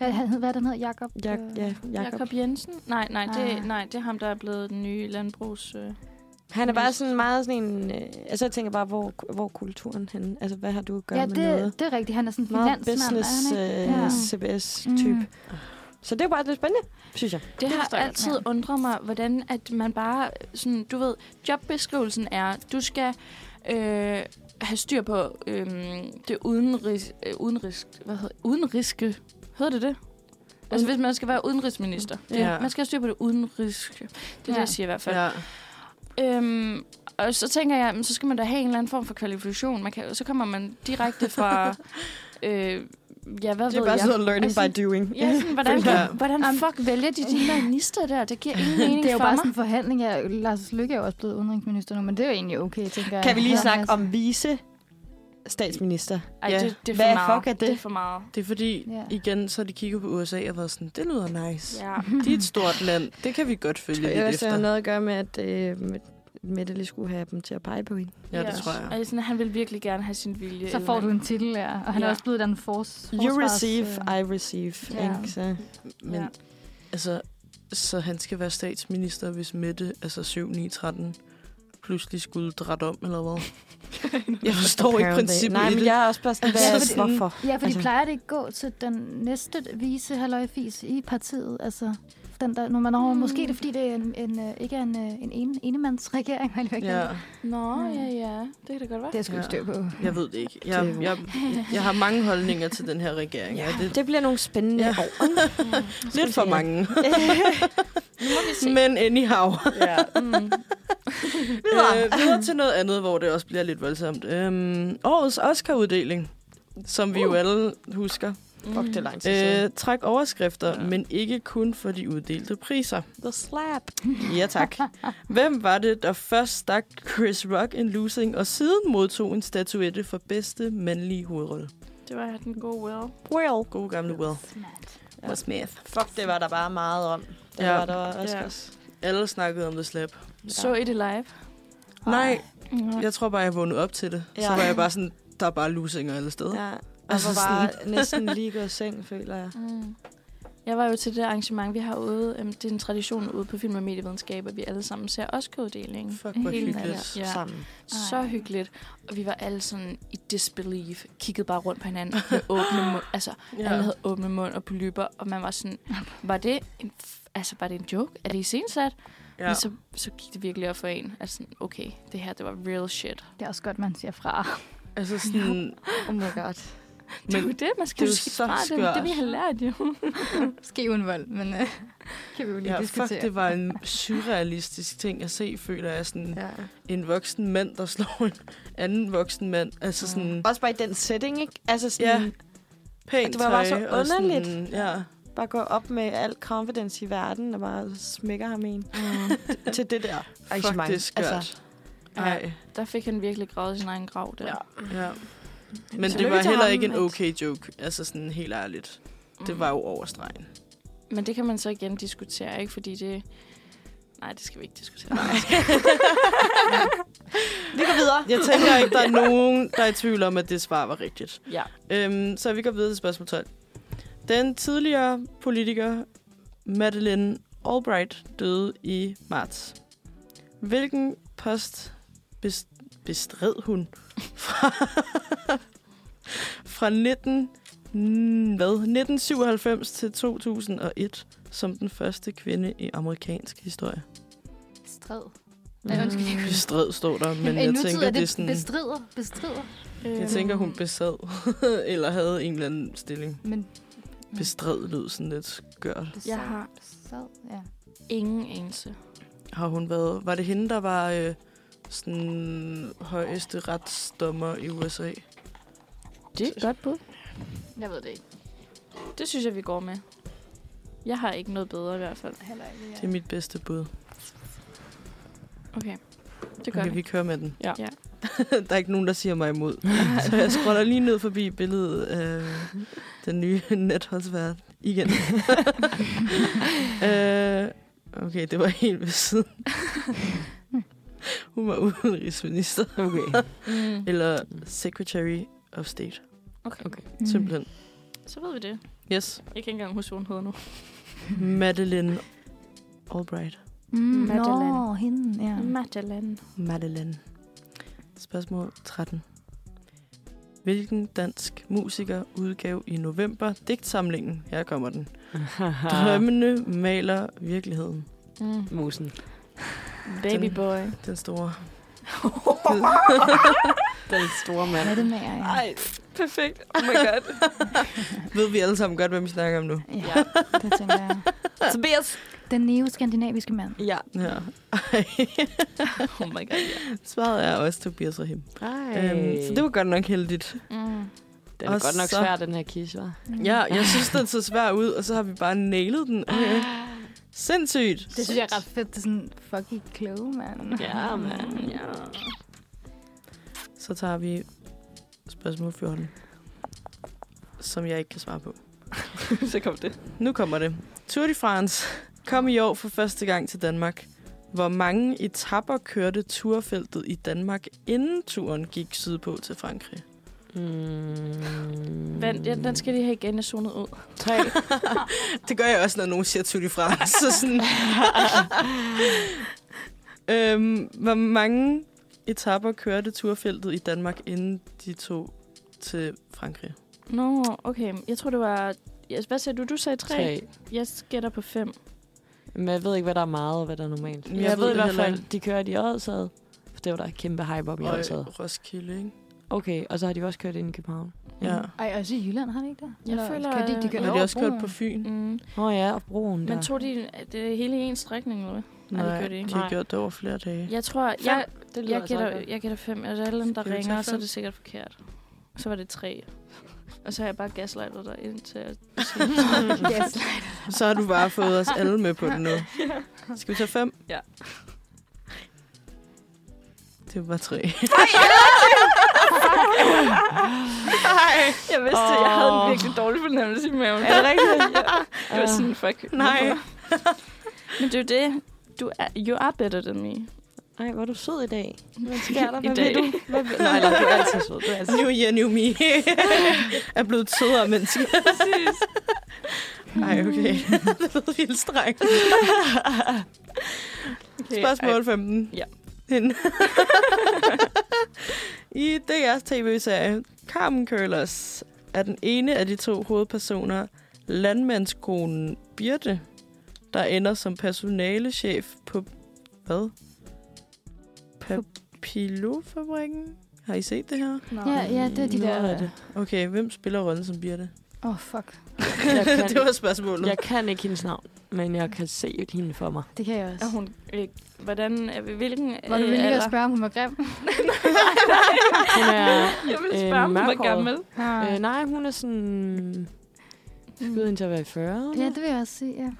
S2: Hvad, han hed, hvad er den hed? Jakob?
S5: Jak,
S2: øh,
S5: ja, Jakob.
S4: Jakob Jensen? Nej, nej,
S2: Ah.
S4: det, nej, det er ham, der er blevet den nye landbrugs... Øh.
S5: Han er bare sådan meget sådan en... Øh, altså, jeg tænker bare, hvor, hvor er kulturen henne? Altså, hvad har du at gøre
S2: ja
S5: med
S2: det,
S5: noget?
S2: det er rigtigt. Han er sådan en
S5: Meget
S2: finansmand.
S5: business,
S2: er han, ikke?
S5: øh, CBS-type.
S2: Mm.
S5: Så det er bare lidt spændende, synes jeg.
S4: Det har
S2: forstår jeg
S4: altid
S2: godt.
S4: undret mig, hvordan at man bare... Sådan, du ved, jobbeskrivelsen er, du skal øh, have styr på øh, det udenrigs, øh, udenrigs... Hvad hedder Udenriske... Hedder det det? Altså, hvis man skal være udenrigsminister. Det,
S6: Ja.
S4: Man skal have styr på det udenriske. Det er ja. det,
S2: Ja.
S4: jeg siger i hvert fald.
S6: Ja.
S4: Øhm, og så tænker jeg, jamen, så skal man da have en eller anden form for kvalifikation. Man kan, så kommer man direkekte fra... øh, ja, hvad
S5: Det er
S4: ved
S5: bare
S4: jeg?
S5: sådan noget learning
S4: Altså,
S5: by doing.
S4: Ja, sådan, hvordan,
S6: Ja.
S4: hvordan fuck vælger de de minister der? Det giver ingen mening
S2: Det er jo
S4: for
S2: bare
S4: mig.
S2: sådan en forhandling. Ja, Lars Lykke er jo også blevet udenrigsminister nu, men det er jo egentlig okay, tænker jeg.
S5: Kan vi lige
S2: Ja.
S5: snakke om vice statsminister?
S4: Ej,
S6: Ja.
S4: det, det er for
S5: Hvad
S4: meget.
S5: fuck er det?
S4: Det er for meget.
S6: Det er fordi,
S2: Ja.
S6: igen, så har de kigget på USA og været sådan, det lyder nice.
S4: Ja.
S6: De er et stort land. Det kan vi godt følge
S5: Jeg tror
S6: lidt
S5: også, det har
S6: efter.
S5: noget at gøre med, at øh, Mette lige skulle have dem til at pege på hende.
S6: Ja, det tror jeg.
S4: Og sådan, han vil virkelig gerne have sin vilje.
S2: Så får du en titel, ja. Og han er
S4: Ja.
S2: også blevet den fors,
S5: You
S2: forsvars-
S5: receive,
S2: øh,
S5: I receive.
S2: Ja.
S5: Ja. Ikke? Så.
S6: Men
S4: Ja.
S6: altså, så han skal være statsminister, hvis Mette, altså 7, 9, 13, pludselig skulle drætte om, eller hvad? jeg forstår ikke
S5: Apparently.
S6: princippet
S5: Nej,
S6: i
S5: men
S6: det.
S5: jeg er også bare sådan, hvad,
S6: Altså,
S5: altså,
S6: sådan-
S5: hvorfor?
S2: Ja, for de
S5: Altså-
S2: plejer det ikke gå til den næste vise halløjfis i partiet. Altså, den der, når man over,
S4: Mm.
S2: måske er det fordi, det er en, en, øh, ikke er en, øh, en ene, enemandsregering, hvad jeg lige vil kalde
S6: Ja,
S2: det.
S4: Nå, ja,
S2: Mm.
S4: ja. Det kan det godt være.
S2: Det er jeg sgu
S6: Ja.
S2: ikke styr på.
S6: jeg ved det ikke. Jeg, jeg, jeg har mange holdninger til den her regering. Ja, det
S5: Det bliver nogle spændende
S6: Ja.
S5: ja. år.
S6: er lidt for mange.
S4: Nu må vi se.
S6: Men anyhow.
S4: Ja. Mm.
S6: Øh, videre til noget andet, hvor det også bliver lidt voldsomt. Øhm, årets Oscar-uddeling, som vi jo
S4: Uh.
S6: alle husker,
S5: Fuck,
S4: Mm.
S5: det er lang tid siden.
S6: øh, træk overskrifter, ja. men ikke kun for de uddelte priser.
S5: The slap.
S6: Ja tak. Hvem var det, der først stak Chris Rock en losing, og siden modtog en statuette for bedste mandlige hovedrolle?
S4: Det var den gode Will.
S5: Well.
S6: God gamle Will.
S2: Smart.
S6: Will Smith.
S5: Fuck, det var der bare meget om. Det
S6: Ja.
S5: var der også.
S4: Ja.
S6: Alle snakkede om The Slap.
S4: Så I det live?
S6: Nej,
S4: Ja.
S6: jeg tror bare, jeg vågnede op til det. Ja. Så
S5: Ja.
S6: var jeg bare sådan, der er bare losinger alle steder. Ja.
S5: Ja. Jeg
S6: Altså
S5: var bare næsten lige gået i seng, føler jeg.
S4: Mm. Jeg var jo til det arrangement, vi har ude. Øhm, Det er en tradition ude på Film- og Medievidenskab, at vi alle sammen ser Oscar-uddelingen.
S6: Fuck, hvor
S4: Hele natten.
S6: hyggeligt.
S4: Ja.
S5: Sammen.
S4: Så hyggeligt. Og vi var alle sådan i disbelief. Kiggede bare rundt på hinanden med åbne mund. Altså, ja. alle havde åbne mund og polypper. Og man var sådan, var det en, f- altså, var det en joke? Er det iscensat? Ja.
S6: Ja.
S4: Men så, så gik det virkelig op for en. Altså sådan, okay, det her, det var real shit.
S2: Det er også godt, man siger fra.
S6: Altså sådan,
S5: Oh my god.
S4: Men, det er jo det, man skal
S6: det er
S4: jo
S6: jo
S4: sige
S6: så
S4: fra. Det er jo det, vi
S6: skørt.
S4: har lært jo.
S2: Ske uden vold, men øh, kan vi jo lige
S6: ja,
S2: diskutere.
S6: fuck, det var en surrealistisk ting at se, føler jeg. Sådan, ja.
S5: Ja.
S6: En voksen mand, der slår en anden voksen mand. Altså sådan,
S5: Også bare i den setting, ikke? Altså sådan,
S6: Ja.
S5: ja.
S6: pænt
S5: Mm. Det var bare så
S6: tøj og sådan-
S5: underligt.
S6: Ja.
S5: bare gå op med al confidence i verden og bare smækker ham en
S6: Mm.
S5: til det der
S6: Fuck,
S5: arrangement.
S6: det er skørt.
S5: Altså,
S6: Altså, Ej,
S4: Der fik han virkelig gravet sin egen grav der.
S5: Ja.
S6: ja. Men det
S4: Tillykke
S6: var
S4: til
S6: heller
S4: ham,
S6: ikke en
S4: at-
S6: okay joke. Altså sådan helt ærligt. Det
S5: Mm.
S6: var jo over stregen.
S4: Men det kan man så igen diskutere, ikke? Fordi det... Nej, det skal vi ikke diskutere.
S5: vi går videre.
S6: Jeg tænker ikke, der er nogen, der er i tvivl om, at det svar var rigtigt.
S4: ja.
S6: Øhm, så vi går videre til spørgsmål 12. Den tidligere politiker Madeleine Albright døde i marts. Hvilken post bes- bestred hun fra, fra 19, hmm, hvad, 1997 til 2001 som den første kvinde i amerikansk historie?
S2: Stred. Nej,
S5: Mm.
S2: undskyld.
S6: Bestred står der, men
S2: I
S6: jeg
S2: nutid
S6: tænker,
S2: er
S6: det er sådan...
S2: bestrider, bestrider.
S4: Øhm,
S6: Jeg tænker, hun besad eller havde en eller anden stilling.
S2: Men
S6: bestred lød sådan lidt skørt.
S4: Jeg har
S2: Sad, ja.
S4: ingen anelse.
S6: Har hun været... Var det hende, der var øh, sådan højeste retsdommer i USA?
S8: Det er et godt bud.
S4: Jeg ved det ikke. Det synes jeg, vi går med. Jeg har ikke noget bedre i hvert fald.
S2: Heller ikke,
S6: Det er mit bedste bud.
S4: Okay, det gør
S6: Okay,
S4: okay,
S6: vi kører med den.
S4: Ja. ja.
S6: der er ikke nogen, der siger mig imod. så jeg scroller lige ned forbi billedet af den nye netholdsvært igen. øh, okay, det var helt ved siden. Hun var udenrigsminister. Okay.
S4: Mm.
S6: Eller Secretary of State.
S4: Okay. okay,
S2: Mm.
S6: Simpelthen.
S4: så ved vi det.
S6: Yes.
S4: Jeg kan ikke engang huske, hvad hun hedder nu.
S6: Madeleine Albright.
S2: Mm,
S8: Madeleine.
S2: Nå, hende, ja.
S4: Madeline.
S6: Madeleine. Spørgsmål 13. Hvilken dansk musiker udgav i november digtsamlingen? Her kommer den. Drømmene maler virkeligheden.
S4: Mm.
S5: Musen.
S4: Baby boy.
S6: Den store.
S5: Den store mand.
S2: Hvad er det med jer? Ja.
S8: Ej, perfekt. Oh my god.
S6: Ved vi alle sammen godt, hvem vi snakker om nu?
S2: ja, det tænker jeg.
S8: Tobias.
S2: Den neo-skandinaviske mand.
S8: Ja.
S6: Ja. Ej.
S4: Oh my god, ja.
S6: Svaret er også Tobias Rahim.
S5: Ej.
S6: Øhm, så det var godt nok heldigt.
S4: Mm.
S5: Den er
S6: Og
S5: godt nok
S6: så-
S5: svær, den her quiz, hva'?
S2: Mm.
S6: Ja, jeg synes, den så svær ud, og så har vi bare nailet den. Mm, Okay.
S4: Ah.
S6: Sindssygt.
S2: Det synes jeg er ret fedt. Det er sådan, fuck, I er kloge, mand.
S5: Ja, mand.
S4: Ja.
S6: Så tager vi spørgsmål 14, som jeg ikke kan svare på.
S4: så kom det.
S6: Nu kommer det. Tour de France kom i år for første gang til Danmark. Hvor mange etapper kørte turfeltet i Danmark, inden turen gik sydpå til Frankrig?
S5: Mm.
S4: Vent, ja, den skal lige have igen, jeg zonede ud.
S5: Tre.
S6: Det gør jeg også, når nogen siger Tour de France. Så sådan. øhm, hvor mange etapper kørte turfeltet i Danmark, inden de tog til Frankrig?
S4: Nå, okay. Jeg tror, det var... Yes, hvad sagde du? Du sagde tre.
S5: Tre.
S4: Jeg gætter på fem.
S5: Men jeg ved ikke, hvad der er meget, og hvad der er normalt.
S6: Jeg
S5: Jeg, jeg ved,
S6: ved det
S5: i hvert
S6: heller
S5: fald,
S6: ikke.
S5: de kører i Odsad. For det var der kæmpe hype om i
S6: Og
S5: Odsad.
S6: Roskilde, ikke?
S5: Okay, og så har de også kørt ind i København.
S6: Ja.
S2: Ej, også i Jylland har de ikke det?
S4: Jeg føler,
S2: Kan de, ikke- de kører
S6: Men øh, de har
S2: over
S6: også kørt
S2: broen.
S6: på Fyn.
S4: Mm.
S5: Åh oh, ja, og broen der.
S4: Men tog de det hele i en strækning, eller hvad? Nej, det gør de ikke.
S6: de har
S4: Nej.
S6: gjort det over flere dage.
S4: Jeg tror, jeg,
S5: det altså
S4: jeg, gætter, jeg gætter fem. Er der alle, der
S6: altså Skal vi
S4: ringer,
S6: tage
S4: så er
S6: fem?
S4: det sikkert forkert. Så var det tre. Og så har jeg bare gaslightet dig ind til at sige
S2: Yes.
S6: Så har du bare fået os alle med på den nu. Skal vi tage fem?
S4: Ja.
S6: Det var tre.
S4: Jeg vidste, oh. jeg havde en virkelig dårlig fornemmelse i maven. Er det rigtigt? ja. Jeg var sådan, fuck.
S6: Nej.
S4: hvorfor? Men det er jo det. Du er, you are better than me.
S5: Ej, hvor er du sød i dag. Hvad
S4: sker
S5: sker
S4: der?
S5: der?
S4: Hvad vil du?
S5: Hvad vil... Nej, nej, du er altid sød. Du er altid
S6: New year, new me. er blevet et sødere menneske. Ej, okay. det lød vildt strengt.
S4: Okay.
S6: Spørgsmål 15.
S4: Ja.
S6: Hende. I DR's tv-serie Carmen Curlers er den ene af de to hovedpersoner landmandskonen Birte, der ender som personalechef på... Hvad? Papillofabrikken? Har I set det her?
S2: Ja, ja, det er de der...
S5: Noget af det.
S6: Okay, hvem spiller rollen som Birte?
S2: Åh, oh, fuck.
S5: Jeg kan,
S6: det var spørgsmålet.
S5: jeg kan ikke hendes navn, men jeg kan se hende for mig.
S2: Det kan jeg også.
S4: Er hun, øh, hvordan, er vi, hvilken øh,
S2: Var du villig at spørge, om hun var grim?
S5: Hun er,
S4: Jeg vil
S5: Øh,
S4: spørge, om hun var
S5: mørkhåret.
S4: gammel.
S2: Ah.
S5: øh, nej, hun er sådan... Skyder hende til at være i 40'erne.
S2: Ja, det vil jeg også sige, ja.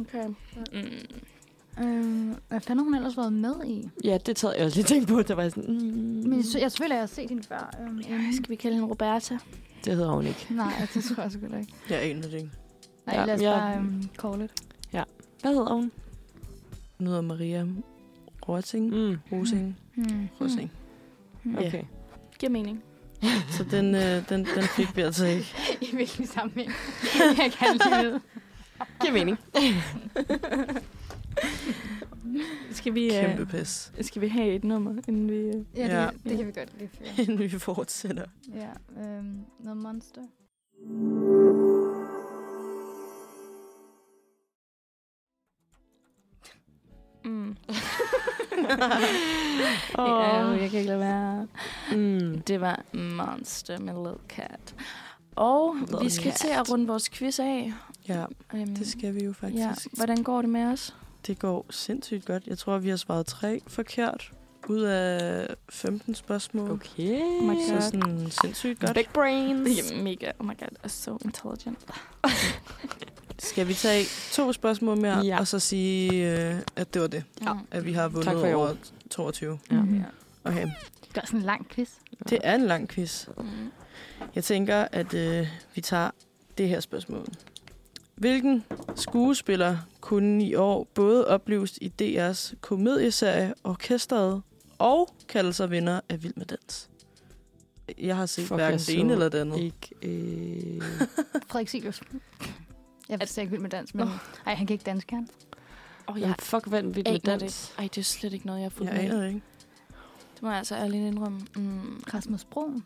S4: Okay. Mm.
S2: Øhm, hvad fanden har hun ellers været med i?
S5: Ja, det tager jeg også lige tænkt på. Der var jeg sådan... Mm,
S2: Men jeg, sy- jeg selvfølgelig, jeg har set hende før. Øhm, inden.
S4: Skal vi kalde hende Roberta?
S5: det hedder hun ikke.
S2: Nej, det tror jeg selvfølgelig ikke.
S6: Jeg aner det ikke.
S2: Nej,
S5: Ja,
S2: lad os
S5: ja.
S2: bare øhm, call it.
S5: Hvad hedder hun?
S6: Nu hedder Maria Rosing.
S5: Mm.
S6: Rosing.
S2: Hmm.
S6: Rosing.
S2: Mm.
S6: Ja.
S5: Okay.
S4: Giver mening.
S6: Så den, øh, den, den fik vi altså ikke.
S2: I hvilken sammenhæng? jeg kan lige vide.
S5: Giver mening.
S4: Skal vi,
S6: Kæmpe
S4: øh,
S6: pis.
S4: skal vi have et nummer, inden vi...
S2: Ja,
S4: Øh...
S2: det,
S6: Ja.
S2: det kan vi godt lige fyre.
S6: Inden vi fortsætter.
S2: Ja, øhm, noget monster.
S4: Mm. ja, jeg kan ikke lade være.
S5: Mm.
S4: Det var Monster med Lil Cat. Og vi skal til at runde vores quiz af.
S6: Ja,
S4: Øhm,
S6: det skal vi jo faktisk.
S4: ja. Hvordan går det med os?
S6: Det går sindssygt godt. Jeg tror, vi har svaret tre forkert ud af 15 spørgsmål. Okay.
S4: Oh my
S6: Så
S4: god.
S6: sådan sindssygt godt.
S9: Big brains.
S4: Yeah, mega. Oh my god. I'm so intelligent.
S6: Skal vi tage to spørgsmål mere,
S5: Ja.
S6: ja. og så sige, øh, at det var det.
S4: Ja.
S6: At vi har vundet
S5: Tak for i år.
S6: over 22.
S5: Ja.
S4: Mm. ja.
S6: Okay,
S2: Mm. Det er sådan en lang quiz.
S6: det er en lang quiz.
S4: Mm.
S6: Jeg tænker, at øh, vi tager det her spørgsmål. Hvilken skuespiller kunne i år både opleves i DR's komedieserie Orkestret og kalde sig vinder af Vild med Dans? Jeg har set
S5: Fuck,
S6: hverken
S5: jeg så
S6: det ene eller det andet.
S5: Ikke, øh...
S2: Frederik Silius. Jeg er ikke vild med dans, men... Nej, han kan ikke dansk, kan han?
S5: oh, ja. fuck, vand vild med
S4: Aner det
S5: dans.
S4: ikke. Ej, det er slet ikke noget, jeg har fulgt
S6: Jeg
S4: med. i.
S6: aner det ikke.
S4: Det må jeg altså ærligt indrømme. Mm.
S2: Rasmus Broen.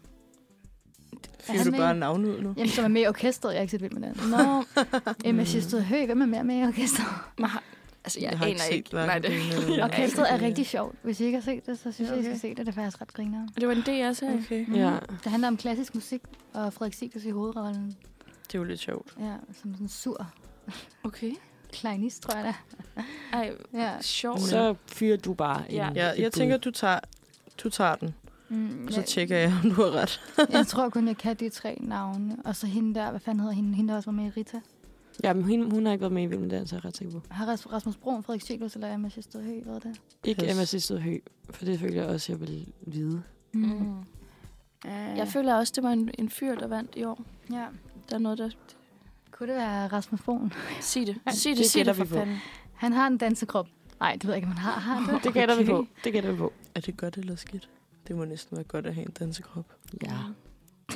S6: Fyrer
S2: han
S6: du
S2: med
S6: bare
S2: i-
S6: navn ud nu?
S2: Jamen, som er med i orkestret. Jeg har ikke set vild med dans.
S4: Nå,
S2: Emma Sjøsted Høgh, hvem er mere med i orkestret?
S4: man har, altså, jeg,
S6: Jeg har ikke
S4: aner
S6: set
S4: ikke.
S6: hverken
S4: Nej, det,
S6: det ene eller-
S4: jeg aner ikke.
S2: Orkestret er rigtig sjovt. Hvis I ikke har set det, så synes jeg, I
S6: Okay.
S2: skal se det. Det er faktisk ret griner.
S4: Det var en DR-serie. Okay.
S6: Okay.
S5: Ja.
S2: Det handler om klassisk musik, og Frederik Silius i hovedrollen.
S6: Det er jo lidt sjovt.
S2: Ja, som sådan en sur
S4: okay.
S2: kleinist, tror jeg det er.
S4: Ej,
S2: Ja.
S4: sjovt.
S6: Så-
S5: Så fyrer du bare en,
S4: Ja.
S6: Ja, jeg
S5: et
S6: tænker,
S5: bud.
S6: du tager, du tager den,
S2: Mm,
S6: og så
S2: jeg-
S6: tjekker jeg, om du har ret.
S2: Jeg tror kun, jeg kan de tre navne. Og så hende der, hvad fanden hedder hende? Hende der også var med i Rita.
S5: Jamen, hun, hun har ikke været med i Vild med dans, er jeg ret sikker på.
S2: Har Ras- Rasmus Broen, Frederik Sjælus eller Emma Sjøsted Høgh? Hvad er det?
S5: Ikke
S6: Pas.
S5: Emma Sisted Hø, for det føler jeg også, jeg vil vide.
S4: Mm. Jeg føler også, det var en, en fyr, der vandt i år.
S2: Ja.
S4: Der er noget, der...
S2: Kunne det være Rasmus Broen?
S4: Sig det.
S5: Ja,
S4: Sig det,
S5: det
S4: sig
S5: gætter
S4: det for
S5: vi på.
S4: fanden.
S2: Han har en dansekrop. Nej, det ved jeg ikke, om han har. Har han det?
S5: Det gætter okay. vi på. Det gætter vi på.
S6: Er det godt eller skidt? Det må næsten være godt at have en dansekrop.
S5: Ja.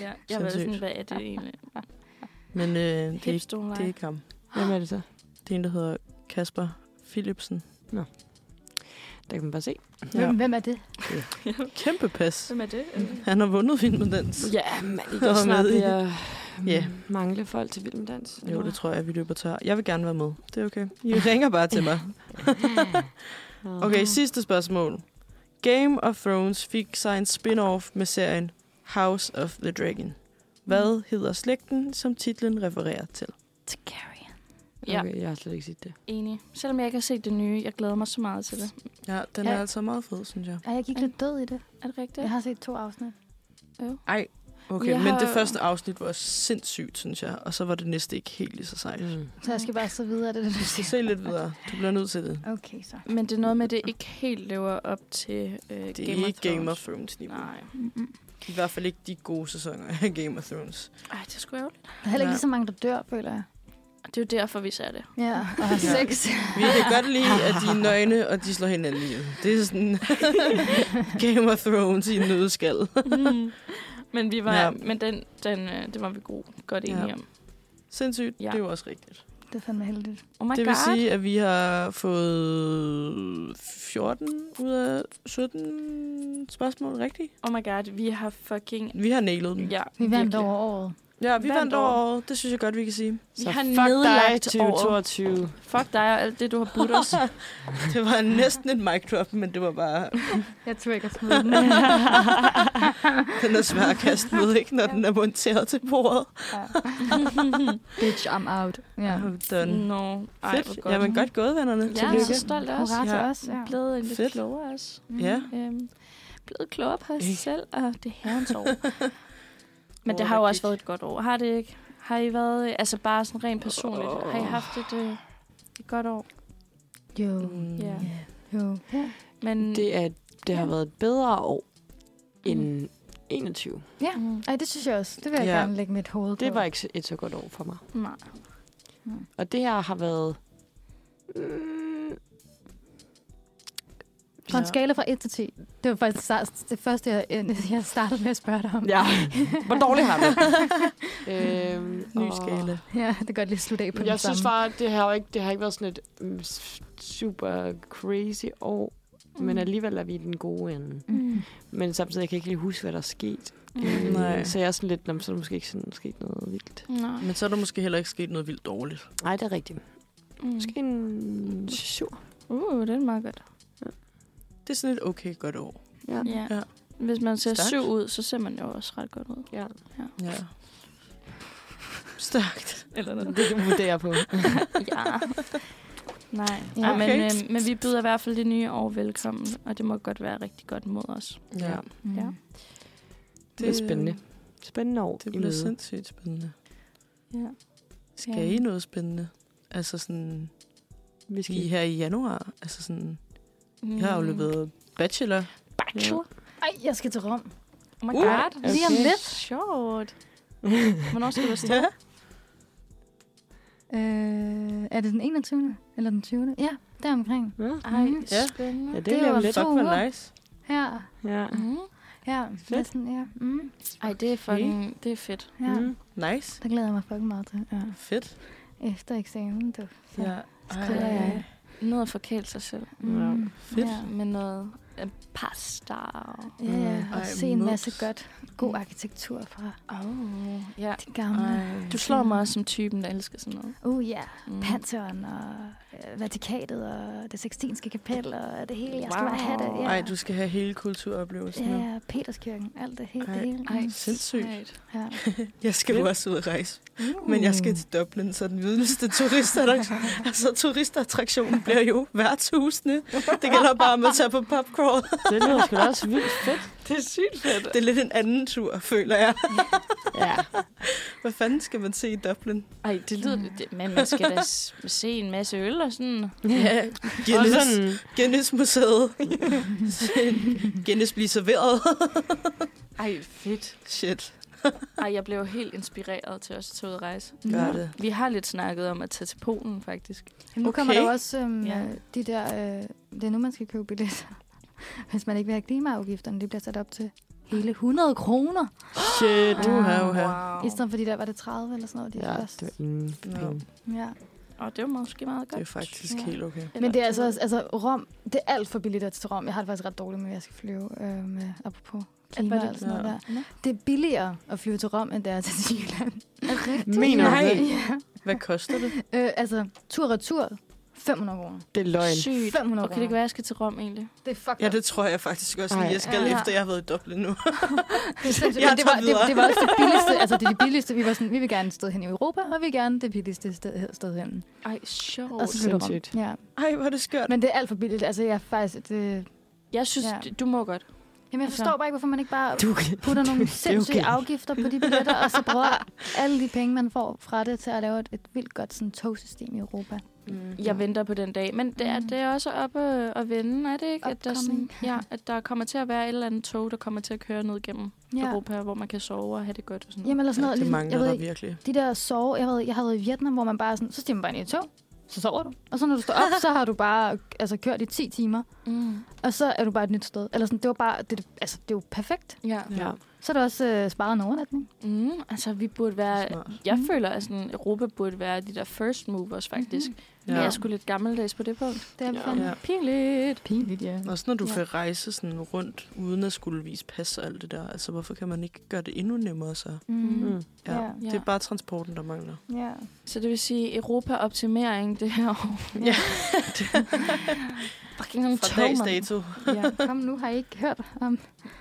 S4: Ja, jeg var
S6: Sindssygt.
S4: sådan, hvad er det egentlig?
S6: Men øh, det, er ikke,
S4: Hipstolen.
S6: det er ikke ham.
S5: Hvem er det så?
S6: Det er en, der hedder Kasper Philipsen.
S5: Der kan man bare se.
S6: Ja.
S2: Hvem, hvem er det?
S6: Kæmpe pas.
S4: Hvem er det?
S6: Han har vundet film med dans.
S5: Ja, man, det
S6: Jeg
S5: er
S6: var
S5: snart
S6: med i
S5: ved at
S6: Ja.
S5: yeah. mangle folk til Vild med dans.
S6: Jo, det tror jeg, vi løber tør. Jeg vil gerne være med. Det er okay. I ringer bare til mig. Okay, sidste spørgsmål. Game of Thrones fik sig en spin-off med serien House of the Dragon. Hvad hedder slægten, som titlen refererer til?
S2: Targaryen.
S4: Ja,
S5: Okay, jeg har slet ikke set det.
S4: enig. Selvom jeg ikke har set det nye, jeg glæder mig så meget til det.
S6: Ja, den
S2: Ja.
S6: er altså meget fed, synes jeg.
S2: Ej, jeg gik lidt død i det.
S4: Er det rigtigt?
S2: Jeg har set to afsnit.
S6: Okay,
S4: Jeg
S6: men det
S4: har-
S6: første afsnit var sindssygt, synes jeg. Og så var det næste ikke helt lige så sejt.
S5: Mm.
S2: Så jeg skal bare så videre, det er det, du
S6: Så
S2: siger.
S6: se lidt videre. Du bliver nødt til det.
S2: Okay, så.
S4: Men det er noget med, at det ikke helt lever op til øh,
S6: Det er Game ikke Game of
S4: Thrones.
S6: Thrones niveau.
S4: Nej.
S6: I hvert fald ikke de gode sæsoner af Game of Thrones.
S4: Ej, det er sgu ærgerligt.
S2: Der er heller ikke
S6: Ja.
S2: lige så mange, der dør, føler jeg.
S4: Det er jo derfor, vi ser det.
S2: Ja, og har
S6: Ja.
S2: sex.
S6: Vi kan godt lide, at de er nøgne, og de slår hinanden ihjel. Det er sådan Game of Thrones i en nødskal.
S4: Mm. men vi var,
S6: Ja.
S4: ja. men den, den, øh, det var vi god, godt enige
S6: Ja.
S4: om.
S6: Sindssygt,
S4: Ja.
S6: ja. det er jo også rigtigt.
S2: Det er fandme heldigt.
S4: Oh my
S6: det vil
S4: god.
S6: sige, at vi har fået 14 ud af 17 spørgsmål rigtigt.
S4: Oh my god, vi har fucking...
S6: Vi har nailet dem.
S4: Ja,
S2: Vi vandt
S4: virkelig.
S2: over året.
S6: Ja, vi
S4: Vandt
S6: vandt over året. Det synes jeg godt, vi kan sige.
S4: Vi
S5: Så
S4: har
S5: fuck dig,
S4: nedlagt over.
S5: 2022.
S4: Fuck dig og alt det, du har budt os.
S6: Det var næsten et mic drop, men det var bare...
S2: Jeg tror ikke, jeg smider den.
S6: Den er svær at kaste med, ikke, når den er monteret til bordet.
S2: Bitch, I'm out. Ja.
S6: Done.
S4: Nå, ej, hvor
S6: Fedt.
S4: godt.
S6: Jamen godt gået, vennerne.
S4: Ja, jeg er så
S6: Tillykke.
S4: stolt af os.
S2: Hurra til
S6: Ja.
S2: os.
S4: Jeg
S2: Ja.
S4: er blevet en lidt
S6: Fedt.
S4: klogere også.
S6: Ja.
S4: Øhm, blevet klogere på os
S6: Ikke?
S4: selv, og det er herrens år. Men
S6: Året,
S4: det har jo
S6: der
S4: også
S6: gik.
S4: været et godt år. Har det ikke? Har I været, øh, altså bare sådan rent personligt, har I haft et, øh, et godt år?
S2: Jo.
S6: Mm.
S4: Ja.
S2: Jo. Ja.
S4: Men
S5: Det, er, det har
S4: Ja.
S5: været et bedre år end 21.
S2: Ja. Ej, det synes jeg også. Det vil jeg
S6: Ja.
S2: ja. gerne lægge mit hoved på.
S5: Det var ikke så- et så godt år for mig.
S4: nej.
S5: Og det her har været... Mm,
S2: På en skala fra 1 til 10. Det var faktisk start- det første, jeg, jeg startede med at spørge dig om.
S5: ja, hvor dårligt har det? øhm,
S6: Ny
S5: og-
S6: skala.
S2: ja det kan godt lige slutte af på
S5: Jeg
S2: den
S5: synes
S2: samme.
S5: bare, det har jo ikke, det har ikke været sådan et mm, s- super crazy år, mm. men alligevel er vi i den gode ende.
S2: Mm.
S5: Men samtidig jeg kan jeg ikke lige huske, hvad der er sket. Øh,
S4: Mm.
S6: Nej.
S5: Så jeg er sådan lidt, "Nå, men så er der måske ikke sådan, sket noget vildt.
S4: Nej.
S6: Men så er der måske heller ikke sket noget vildt dårligt.
S5: Nej, det er rigtigt. Mm.
S4: Mm.
S5: Måske en sur.
S4: Uh, det er meget godt.
S6: Det er sådan et okay godt år.
S5: Ja.
S4: Ja.
S6: Ja.
S4: Hvis man ser
S6: Stærkt.
S4: syv ud, så ser man jo også ret godt ud.
S5: ja.
S6: Ja. Stærkt.
S4: Eller noget.
S7: Det kan du vurdere på.
S4: ja. Nej,
S2: Ja.
S4: ja. Ej, men,
S6: Okay.
S4: øh, men vi byder i hvert fald det nye år velkommen, og det må godt være rigtig godt mod os.
S6: Ja.
S2: Mm.
S4: Ja.
S7: Det er spændende. Spændende år
S6: Det
S7: i
S6: bliver
S7: møde.
S6: sindssygt spændende.
S4: Ja.
S6: Skal
S4: Ja.
S6: I noget spændende? Altså sådan,
S7: Vi skal
S6: lige her i januar. Altså sådan,
S4: Mm.
S6: jeg har afleveret bachelor.
S4: Bachelor.
S2: Ej, jeg skal til Rom.
S4: Oh my
S6: Uh,
S4: god.
S7: okay.
S4: Lige om lidt. Sjovt. Hvornår skal du afsted?
S2: Øh, er det den 21. eller den 20. Ja, deromkring.
S7: Ja.
S4: Ej,
S2: Mhm.
S6: Mm-hmm. Ja.
S4: spændende.
S7: Ja,
S2: Det
S7: det,
S2: var
S7: bliver lidt.
S2: to
S6: Fuck, hvor
S2: uger.
S6: nice.
S2: Her,
S7: Ja.
S4: Mm.
S2: her. Næsten, ja. Mm.
S4: Ej, det er fucking, det er fedt.
S2: ja. Mm.
S7: Mm.
S6: Nice.
S2: Der glæder jeg mig fucking meget til. Ja.
S6: Fedt.
S2: Efter eksamen, du. Så
S6: Ja.
S2: skriver
S4: Ej.
S2: jeg.
S4: Noget at forkæle sig selv.
S2: Mm.
S6: Fedt.
S2: Ja,
S4: Med noget øh, pasta.
S2: ja, ja.
S6: Mm. Ej, Mm.
S2: Og se en
S6: mums.
S2: masse godt, god arkitektur fra
S4: Oh, ja.
S2: de gamle.
S4: Du slår mig også som typen, der elsker sådan noget.
S2: Oh ja, yeah.
S4: Mm.
S2: Pantheon og øh, Vatikatet og det sextinske kapel og det hele. Jeg skal bare have det.
S4: Wow.
S2: Ja.
S6: Ej, du skal have hele kulturoplevelsen. nu.
S2: Ja, ja, Peterskirken, alt det hele.
S6: Ej,
S2: det hele.
S4: Ej,
S2: Mm.
S6: sindssygt.
S4: sejt.
S2: Ja.
S6: Jeg skal jo også ud og rejse. Men jeg skal til Dublin, så den vidneste turistattraktion, altså turistattraktionen bliver jo værtshusene. Det gælder bare om at tage på popcrawl.
S7: Det lyder sgu da også vildt fedt.
S4: Det er sygt fedt.
S6: Det er lidt en anden tur, føler jeg.
S7: Ja.
S6: Hvad fanden skal man se i Dublin?
S4: Ej, det
S6: Mm.
S4: lyder... Det, men man skal da s- se en masse øl og sådan.
S6: Ja,
S7: Og
S6: Guinness,
S7: sådan,
S6: Guinness-museet. Guinness bliver serveret.
S4: Ej, fedt.
S6: Shit.
S4: Ej, jeg blev helt inspireret til også at tage ud og rejse.
S6: Gør det.
S4: Vi har lidt snakket om at tage til Polen, faktisk.
S2: Jamen, nu okay. kommer
S6: Okay.
S2: der jo også øhm,
S4: Ja.
S2: ja. de der... Øh, det er nu, man skal købe billetter. Hvis man ikke vil have klimaafgifterne, det bliver sat op til hele 100 kroner.
S6: Shit. Uha, uha.
S2: I
S4: Ah, Wow.
S2: stedet for de der, var det 30 eller sådan noget, de
S7: ja,
S2: ja, først.
S7: det var ingen penge.
S2: Ja.
S4: Og det var måske meget
S6: Det er
S4: godt.
S6: faktisk
S2: Ja.
S6: helt okay.
S2: Men det er altså, også- altså Rom, det er alt for billigt at tage til Rom. Jeg har det faktisk ret dårligt med, at jeg skal flyve øh, med, apropos klima
S4: var det-
S2: og sådan noget
S6: Nå.
S2: der.
S4: Nå.
S2: Det er billigere at flyve til Rom, end det er at tage til Jylland.
S7: Mener du
S6: Nej.
S7: det?
S2: ja.
S6: Hvad koster det?
S2: øh, altså, tur og retur, 500 kroner.
S7: Det er løgn.
S4: Sygt.
S2: 500
S4: Og kan det ikke være, at jeg skal til Rom egentlig?
S2: Det er fucked
S6: Ja,
S2: up.
S6: det tror jeg faktisk også, lige, jeg skal,
S2: Ej.
S6: efter jeg har været i Dublin nu.
S2: Det, er sindssygt,
S6: Jeg
S2: men det,
S6: tager
S2: var, det,
S6: videre.
S2: det var også det billigste. Altså, det er det billigste. Vi var sådan, vi vil gerne et sted hen i Europa, og vi vil gerne det billigste sted, sted hen.
S4: Ej, sjovt.
S2: Og så flytter Rom.
S7: sindssygt.
S2: Ja.
S6: Ej, hvor er det skørt.
S2: Men det er alt for billigt. Altså, jeg er faktisk... Det,
S4: Jeg synes,
S2: Ja.
S4: ja. du må godt.
S2: jamen, jeg
S4: Altså-
S2: forstår bare ikke, hvorfor man ikke bare
S7: Du,
S2: putter nogle sindssyge
S7: okay.
S2: afgifter på de billetter, og så bruger alle de penge, man får fra det, til at lave et, et vildt godt sådan, togsystem i Europa.
S7: Mm.
S4: Jeg venter på den dag. Men det er,
S2: Mm.
S4: det er også oppe øh, at vende, er det ikke? At der, sådan,
S2: Upcoming.
S4: ja, at der kommer til at være et eller andet tog, der kommer til at køre ned gennem ja. Europa, hvor man kan sove og have det godt og sådan noget.
S2: Jamen, eller sådan noget.
S6: det
S2: ligesom-
S6: mangler
S2: jeg ved
S6: der
S2: ikke,
S6: virkelig.
S2: de der sove... Jeg, ved, jeg havde i Vietnam, hvor man bare er sådan, så stiger man bare ind i et tog, så sover du. Og så når du står op, så har du bare altså, kørt i 10 timer.
S4: Mm.
S2: Og så er du bare et nyt sted. Eller sådan, det var bare, det, altså, det er jo perfekt.
S4: Ja.
S7: Ja.
S2: Så er der også øh, sparet en overnatning.
S4: Mm. Altså, vi burde være...
S6: Smart.
S4: Jeg
S2: Mm.
S4: føler, at sådan, Europa burde være de der first movers, faktisk.
S2: Mm-hmm.
S4: Mm. Ja. Men
S6: Ja.
S4: jeg er sgu lidt gammeldags på det punkt.
S2: Mhm. Det er
S7: Ja.
S2: fandme
S6: Ja.
S4: Pinligt.
S2: pinligt, ja.
S6: Også når du
S4: Ja.
S6: ja. kan rejse sådan rundt, uden at skulle vise pas og alt det der. Altså, hvorfor kan man ikke gøre det endnu nemmere så?
S2: Mm.
S7: Mm.
S6: Ja.
S2: Ja.
S6: Ja. Det er bare transporten, der mangler.
S2: ja.
S4: Så det vil sige Europa-optimering det her år.
S6: Ja.
S4: Fucking nogle
S6: Fra
S4: tog,
S6: dags
S4: mand.
S6: dato.
S4: Ja.
S2: Kom nu, har I ikke hørt om,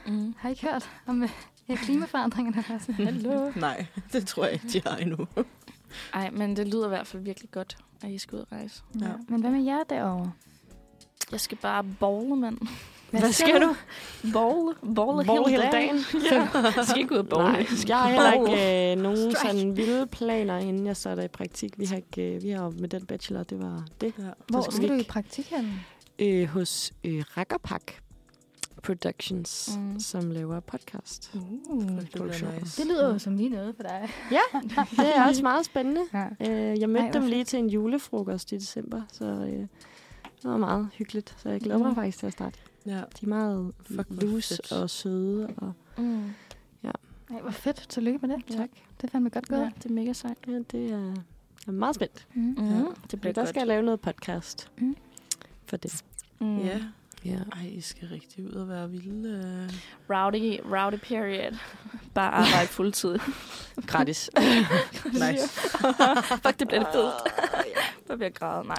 S4: Mm.
S2: har I ikke hørt om øh, ja, klimaforandringerne? Altså,
S4: Hallo.
S6: Nej, det tror jeg ikke, de har endnu.
S4: Ej, men det lyder i hvert fald virkelig godt, at I skal ud og rejse.
S2: ja. Men hvad med jer derovre?
S4: Jeg skal bare bowle, mand.
S2: Hvad,
S4: Bowle. Bowle,
S7: Bowle hele dagen.
S4: Ja. Jeg skal ikke ud og bowle.
S7: Nej, jeg har heller ikke øh, nogen
S2: Strike.
S7: sådan vilde planer, inden jeg starter i praktik. Vi har, ikke, øh, vi har jo med den bachelor, det var det.
S6: Ja.
S2: Hvor
S7: skal vi
S2: skal du i
S7: ikke-
S2: praktik hen?
S7: Øh, hos øh, Rakkerpak Productions,
S4: Mm.
S7: mm. som laver podcast.
S6: Uh, det bliver
S7: produktioner.
S6: nice.
S2: Det lyder jo som lige noget for dig.
S7: Det er også meget spændende.
S2: Ja.
S7: Øh, jeg
S2: Ej,
S7: mødte
S2: hvor
S7: dem
S2: fedt.
S7: lige til en julefrokost i december, så øh, det var meget hyggeligt. Så jeg glæder mig
S4: Mm.
S7: faktisk til at starte.
S6: Ja.
S7: De er meget
S6: Fuck, hvor
S7: loose
S6: fedt.
S7: og søde. Og,
S4: Mm.
S2: Ej, hvor fedt. Tillykke med det.
S7: tak.
S2: Det er fandme godt
S4: Ja,
S2: gået.
S4: det er mega sejt.
S7: Ja, det er, jeg er meget spændt.
S2: Mm.
S4: Mm.
S6: Ja.
S4: Det
S7: Der
S4: bliver godt.
S7: skal jeg lave noget podcast
S2: Mm.
S7: mm. for det.
S4: Mm.
S6: Ja.
S7: Ja.
S6: Ej, I skal rigtig ud og være vilde. øh.
S4: Rowdy, rowdy period. Bare arbejde fuldtid.
S7: Gratis.
S6: Nice. Ah,
S4: Fuck, det bliver det fedt. Hvor bliver jeg græde? Nej.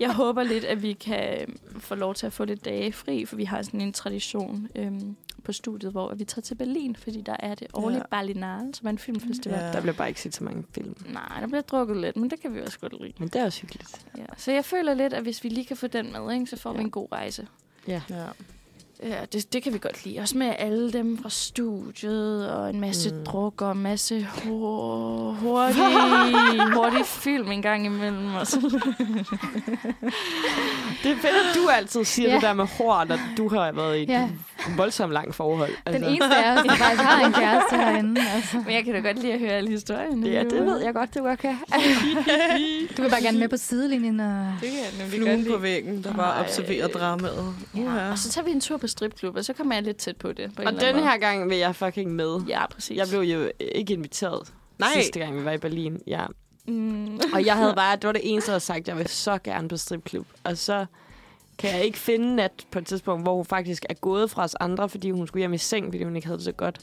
S4: Jeg håber lidt, at vi kan få lov til at få lidt dage fri, for vi har sådan en tradition øhm, på studiet, hvor vi tager til Berlin, fordi der er det årlige
S6: Ja.
S4: ja. Berlinale, som er en filmfestival.
S6: Ja.
S5: Der bliver bare ikke set så mange film.
S4: Nej, der bliver drukket lidt, men det kan vi også godt lide.
S5: Men det er også hyggeligt.
S4: Ja. Så jeg føler lidt, at hvis vi lige kan få den med, ikke, så får ja. vi en god rejse.
S6: Ja.
S4: Ja, det, det kan vi godt lide. Også med alle dem fra studiet, og en masse
S6: Mm.
S4: mm. druk, og en masse hur- hurtig, hurtig film en gang imellem. Og så.
S5: Det er fedt, at du altid siger
S2: Ja.
S5: det der med hår, når du har været i et
S2: Ja.
S5: voldsomt langt forhold.
S6: Altså.
S5: Altså.
S2: Den eneste af os, der faktisk har en kæreste herinde. Altså.
S4: Men jeg kan da godt lide at høre alle historierne.
S5: Ja, det ved
S4: jeg godt, du godt kan.
S2: Du vil bare gerne med på sidelinjen og...
S4: Det kan jeg nemlig
S6: Fluen på væggen, der bare
S4: Ej.
S6: observerer dramaet.
S4: Ja.
S6: Uha.
S4: Og så tager vi en tur på stripklub, og så kommer jeg lidt tæt på det. På en
S5: Og
S4: eller anden
S5: den
S4: måde.
S5: her gang vil jeg fucking med.
S4: Ja, præcis.
S5: Jeg blev jo ikke inviteret
S6: Nej.
S5: sidste gang, vi var i Berlin. Ja.
S4: Mm.
S5: Og jeg havde bare, det var det eneste, jeg havde sagt, jeg vil så gerne på stripklub. Og så kan jeg ikke finde Nat på et tidspunkt, hvor hun faktisk er gået fra os andre, fordi hun skulle hjem i seng, fordi hun ikke havde det så godt.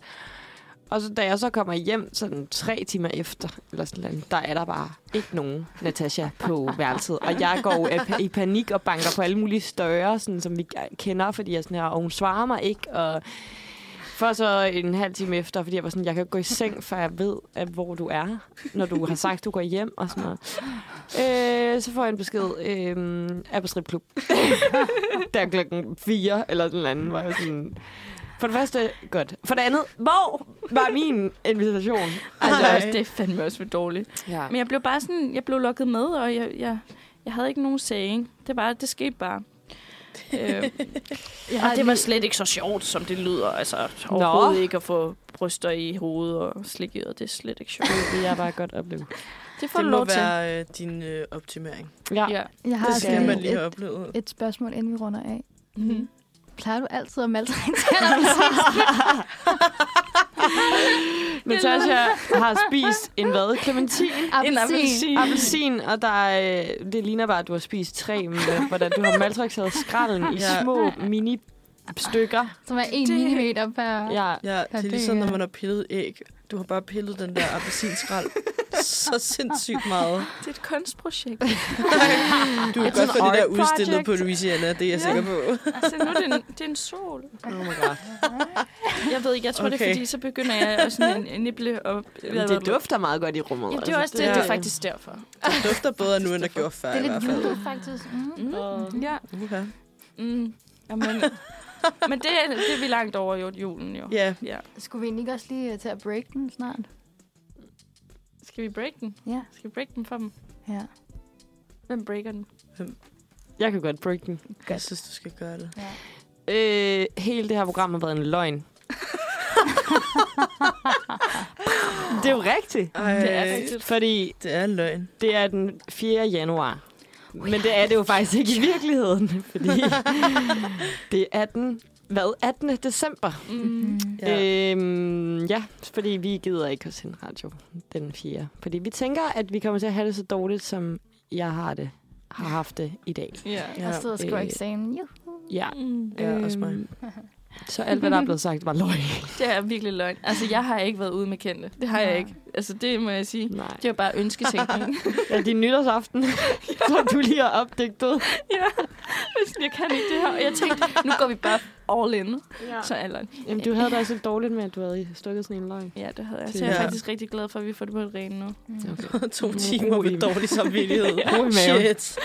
S5: Og så da jeg så kommer hjem sådan tre timer efter, eller sådan noget, der er der bare ikke nogen Natasha på værelset. Og jeg går i- i panik og banker på alle mulige større, sådan, som vi kender, fordi jeg sådan her, og hun svarer mig ikke, og for så en halv time efter, fordi jeg var sådan, jeg kan ikke gå i seng, før jeg ved, at, hvor du er, når du har sagt, du går hjem og sådan noget. Øh, så får jeg en besked, øh, er på stripklub. der er klokken 4 eller den anden, var jeg sådan... For det første, godt. For det andet, hvor var min invitation?
S4: Altså,
S6: Ej.
S4: også, det er fandme også for dårligt.
S5: Ja.
S4: Men jeg blev bare sådan, jeg blev lukket med, og jeg, jeg, jeg havde ikke nogen saying. Det, var, det skete bare. øh, ja, og det var slet ikke så sjovt, som det lyder. Altså, overhovedet Nå. ikke at få bryster i hovedet og slik i øret. Det er slet ikke sjovt.
S5: Det vil jeg bare godt opleve.
S4: Det får
S6: Det
S4: du
S6: må
S4: lov til.
S6: være øh, din øh, optimering.
S5: Ja.
S4: Ja.
S2: Jeg har
S6: Det
S2: altså
S6: skal man lige
S2: et,
S6: have oplevet.
S2: et spørgsmål, inden vi runder af.
S4: Mm.
S2: Plejer du altid at maltraktere dig?
S5: Natasha har spist en hvad? Clementin?
S4: En appelsin.
S5: Appelsin, og der, er, øh, det ligner bare, at du har spist tre, med, hvordan du har maltrakteret skralden i
S6: Ja.
S5: små mini-stykker.
S2: Som er en millimeter per...
S5: Ja.
S6: Ja, det er
S2: det
S6: ligesom,
S2: er-
S6: når man har pillet æg. Du har bare pillet den der appelsinskrald så sindssygt meget.
S4: Det er et
S5: Oh
S4: kunstprojekt.
S6: Du kan
S5: sådan
S6: godt få det der
S5: art
S6: udstillet på
S5: project.
S6: Louisiana, det er
S4: Ja.
S6: jeg sikker på.
S4: altså, nu er det en, det er en sol.
S5: Oh my god.
S4: Jeg ved ikke, jeg tror okay. det er
S6: Okay.
S4: fordi, så begynder jeg at sådan en nible og...
S5: Men det dufter meget godt i rummet. altså.
S4: Jamen, det er også det,
S6: det
S4: det,
S6: er-
S4: er faktisk derfor.
S6: Det dufter bedre nu, end det gjorde før
S2: Det er
S6: i hvert
S2: lidt
S6: fald.
S2: julet, faktisk. Mm.
S4: Mm. Ja.
S6: Uha.
S4: Mm. Jamen, men det, er- det er vi langt over jo, julen jo.
S6: Ja,
S4: Ja.
S2: Mm. Skulle vi egentlig ikke også lige øh, til at break den snart?
S4: Skal vi break den?
S2: Ja.
S4: Skal vi break den for dem?
S2: Ja.
S4: Hvem breaker den?
S5: Jeg kan godt break den.
S6: jeg synes, du skal gøre det.
S5: Øh, hele det her program har været en løgn. det er jo rigtigt.
S6: Ej,
S4: Det er rigtigt.
S5: Fordi
S6: det er løgn.
S5: det er den 4. januar. Men det er det jo faktisk ikke i virkeligheden, fordi det er den hvad, 18. december.
S4: Mm.
S6: Ja.
S5: Ja. Øhm, ja, fordi vi gider ikke at sende radio den 4. Fordi vi tænker, at vi kommer til at have det så dårligt, som jeg har det har haft det i dag.
S4: Ja.
S2: Jeg sidder og skriver
S5: Øh.
S2: eksamen. Jo.
S5: Ja.
S4: Mm.
S6: Ja, også mig.
S5: Øhm, Så alt, hvad der er blevet sagt, var løgn.
S4: Det er virkelig løgn. Altså, jeg har ikke været ude med kendte. Det har jeg ikke. Altså, det må jeg sige.
S5: Nej.
S4: Det var bare ønsketænkning.
S5: Ja, din nytårsaften, som du lige har opdigtet.
S4: ja. Jeg kan ikke det her. Og jeg tænkte, nu går vi bare all in. Ja. Så alderen.
S5: Jamen, du havde da også lidt dårligt med, at du havde stukket sådan en løgn.
S4: Ja, det havde jeg. Så jeg er
S6: Ja.
S4: faktisk rigtig glad for, at vi får det på det rene nu.
S2: Mm.
S6: to timer
S5: Ro Mm, i-
S6: med dårlig samvittighed.
S5: Ro i maven.
S6: Shit.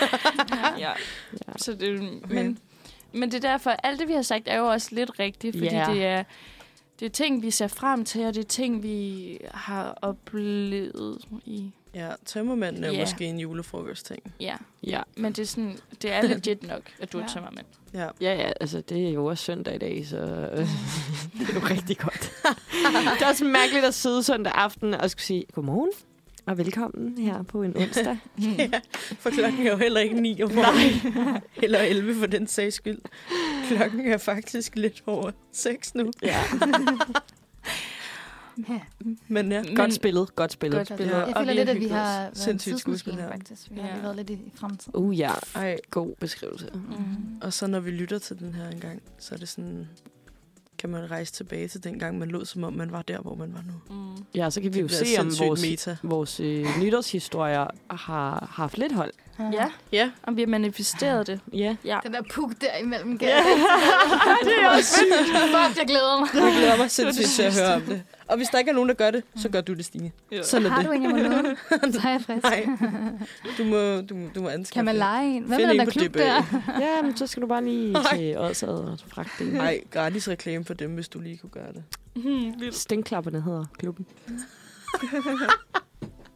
S4: Ja. Så det, men, men det er derfor, alt det, vi har sagt, er jo også lidt rigtigt, fordi
S5: Ja.
S4: yeah. det, er, det er ting, vi ser frem til, og det er ting, vi har oplevet i...
S6: Ja, tømmermanden er
S4: Ja.
S6: yeah. øh, måske en julefrokostting.
S4: Ja,
S5: Ja.
S4: men det er, sådan, det er legit nok, at du er
S2: Ja.
S4: tømmermand.
S6: Ja.
S5: Ja, ja, altså det er jo også søndag i dag, så øh, det er jo rigtig godt. det er også mærkeligt at sidde søndag aften og skulle sige godmorgen og velkommen her på en onsdag.
S6: For klokken er jo heller ikke 9 om morgenen. Eller 11 for den sags skyld. Klokken er faktisk lidt over 6 nu.
S5: ja.
S2: Ja.
S6: Men ja,
S4: Men-
S5: Godt spillet, godt spillet.
S4: Godt spillet.
S6: Ja.
S2: Jeg
S6: Og
S2: føler
S6: vi
S2: lidt, at vi
S6: hygger
S2: har
S6: os.
S2: været en
S6: Sindssygt
S2: tidsmaskine,
S6: skuespiller.
S2: faktisk. Vi har
S4: Ja.
S2: lige været lidt i, i fremtiden.
S5: Uh, ja.
S6: ej.
S5: God beskrivelse.
S4: Mm.
S6: Og så når vi lytter til den her engang, så er det sådan... kan man rejse tilbage til dengang, man lå som om, man var der, hvor man var nu.
S4: Mm.
S5: Ja, så kan vi
S6: Det
S5: jo
S6: bliver
S5: se, om
S6: sindssygt
S5: vores,
S6: meta.
S5: vores øh, nytårshistorier har haft lidt hold.
S4: Ja,
S6: Ja,
S4: og vi har manifesteret det.
S5: Ja.
S2: Den der puk der imellem gav. det er også sygt. Fuck, jeg glæder mig.
S6: jeg glæder mig sindssygt til at høre om det. Og hvis der ikke er nogen, der gør det, så gør du det, Stine.
S4: Ja.
S6: Sådan er
S2: Har
S6: det.
S2: du en, jeg må låne? Så er jeg frisk.
S6: Nej, du må, du, må- du må anskaffe
S2: Kan man
S6: det.
S2: lege en? Hvad
S6: Find
S2: med den
S6: en
S2: der
S6: på
S2: klub
S6: DBA.
S2: der?
S5: ja, men så skal du bare lige
S6: Nej.
S5: til Odsad og fragte det.
S6: Nej, gratis reklame for dem, hvis du lige kunne gøre det.
S5: Stinklapperne hedder klubben.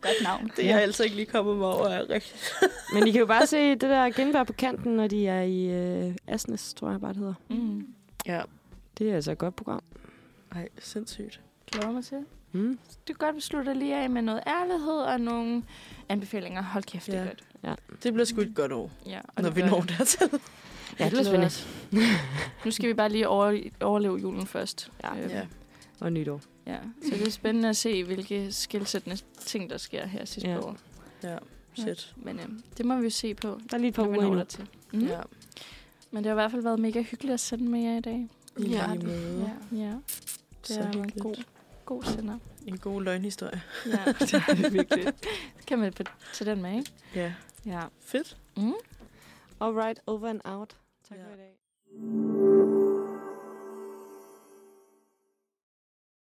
S4: Godt navn.
S6: Det er jeg altså ikke lige kommet mig over af rigtigt.
S5: Men I kan jo bare se det der genvær på kanten, når de er i øh, Asnes, tror jeg bare, det hedder.
S4: Mm.
S6: Ja.
S5: Det er altså et godt program.
S6: Nej, sindssygt.
S4: Glæder mig til.
S5: Mm.
S4: Det er godt, vi slutter lige af med noget ærlighed og nogle anbefalinger. Hold kæft, det er
S6: Ja.
S4: godt.
S6: Det bliver sgu et godt år,
S4: Ja,
S6: og når
S4: det
S6: vi
S4: gør
S6: når
S4: det.
S6: dertil.
S5: Ja, det
S4: Jeg
S5: bliver
S4: glæder
S5: spændende.
S4: os. Nu skal vi bare lige over, overleve julen først.
S5: Ja.
S4: Øhm,
S6: Ja.
S5: Og nytår.
S4: ja. Så det er spændende at se, hvilke skilsættende ting, der sker her sidst
S5: Ja.
S4: på år.
S6: Ja, shit.
S4: Men øhm, det må vi jo se på,
S5: Der er lige et par
S4: når vi
S5: uger
S4: når
S5: endnu.
S4: dertil. Mm. Ja.
S6: Ja.
S4: Men det har i hvert fald været mega hyggeligt at sende med jer i dag.
S6: I
S10: Ja,
S6: lige
S10: det-
S6: måde.
S4: Ja, ja det
S6: Mm. Så
S4: har været en
S6: hyggeligt.
S4: god, god sender.
S6: En god løgnhistorie.
S4: Ja, det er det virkelig. Det kan man tage den med, ikke?
S6: Ja.
S4: Ja.
S6: Fedt.
S4: Mm.
S5: All right, over and out. Tak
S6: Ja.
S5: for i dag.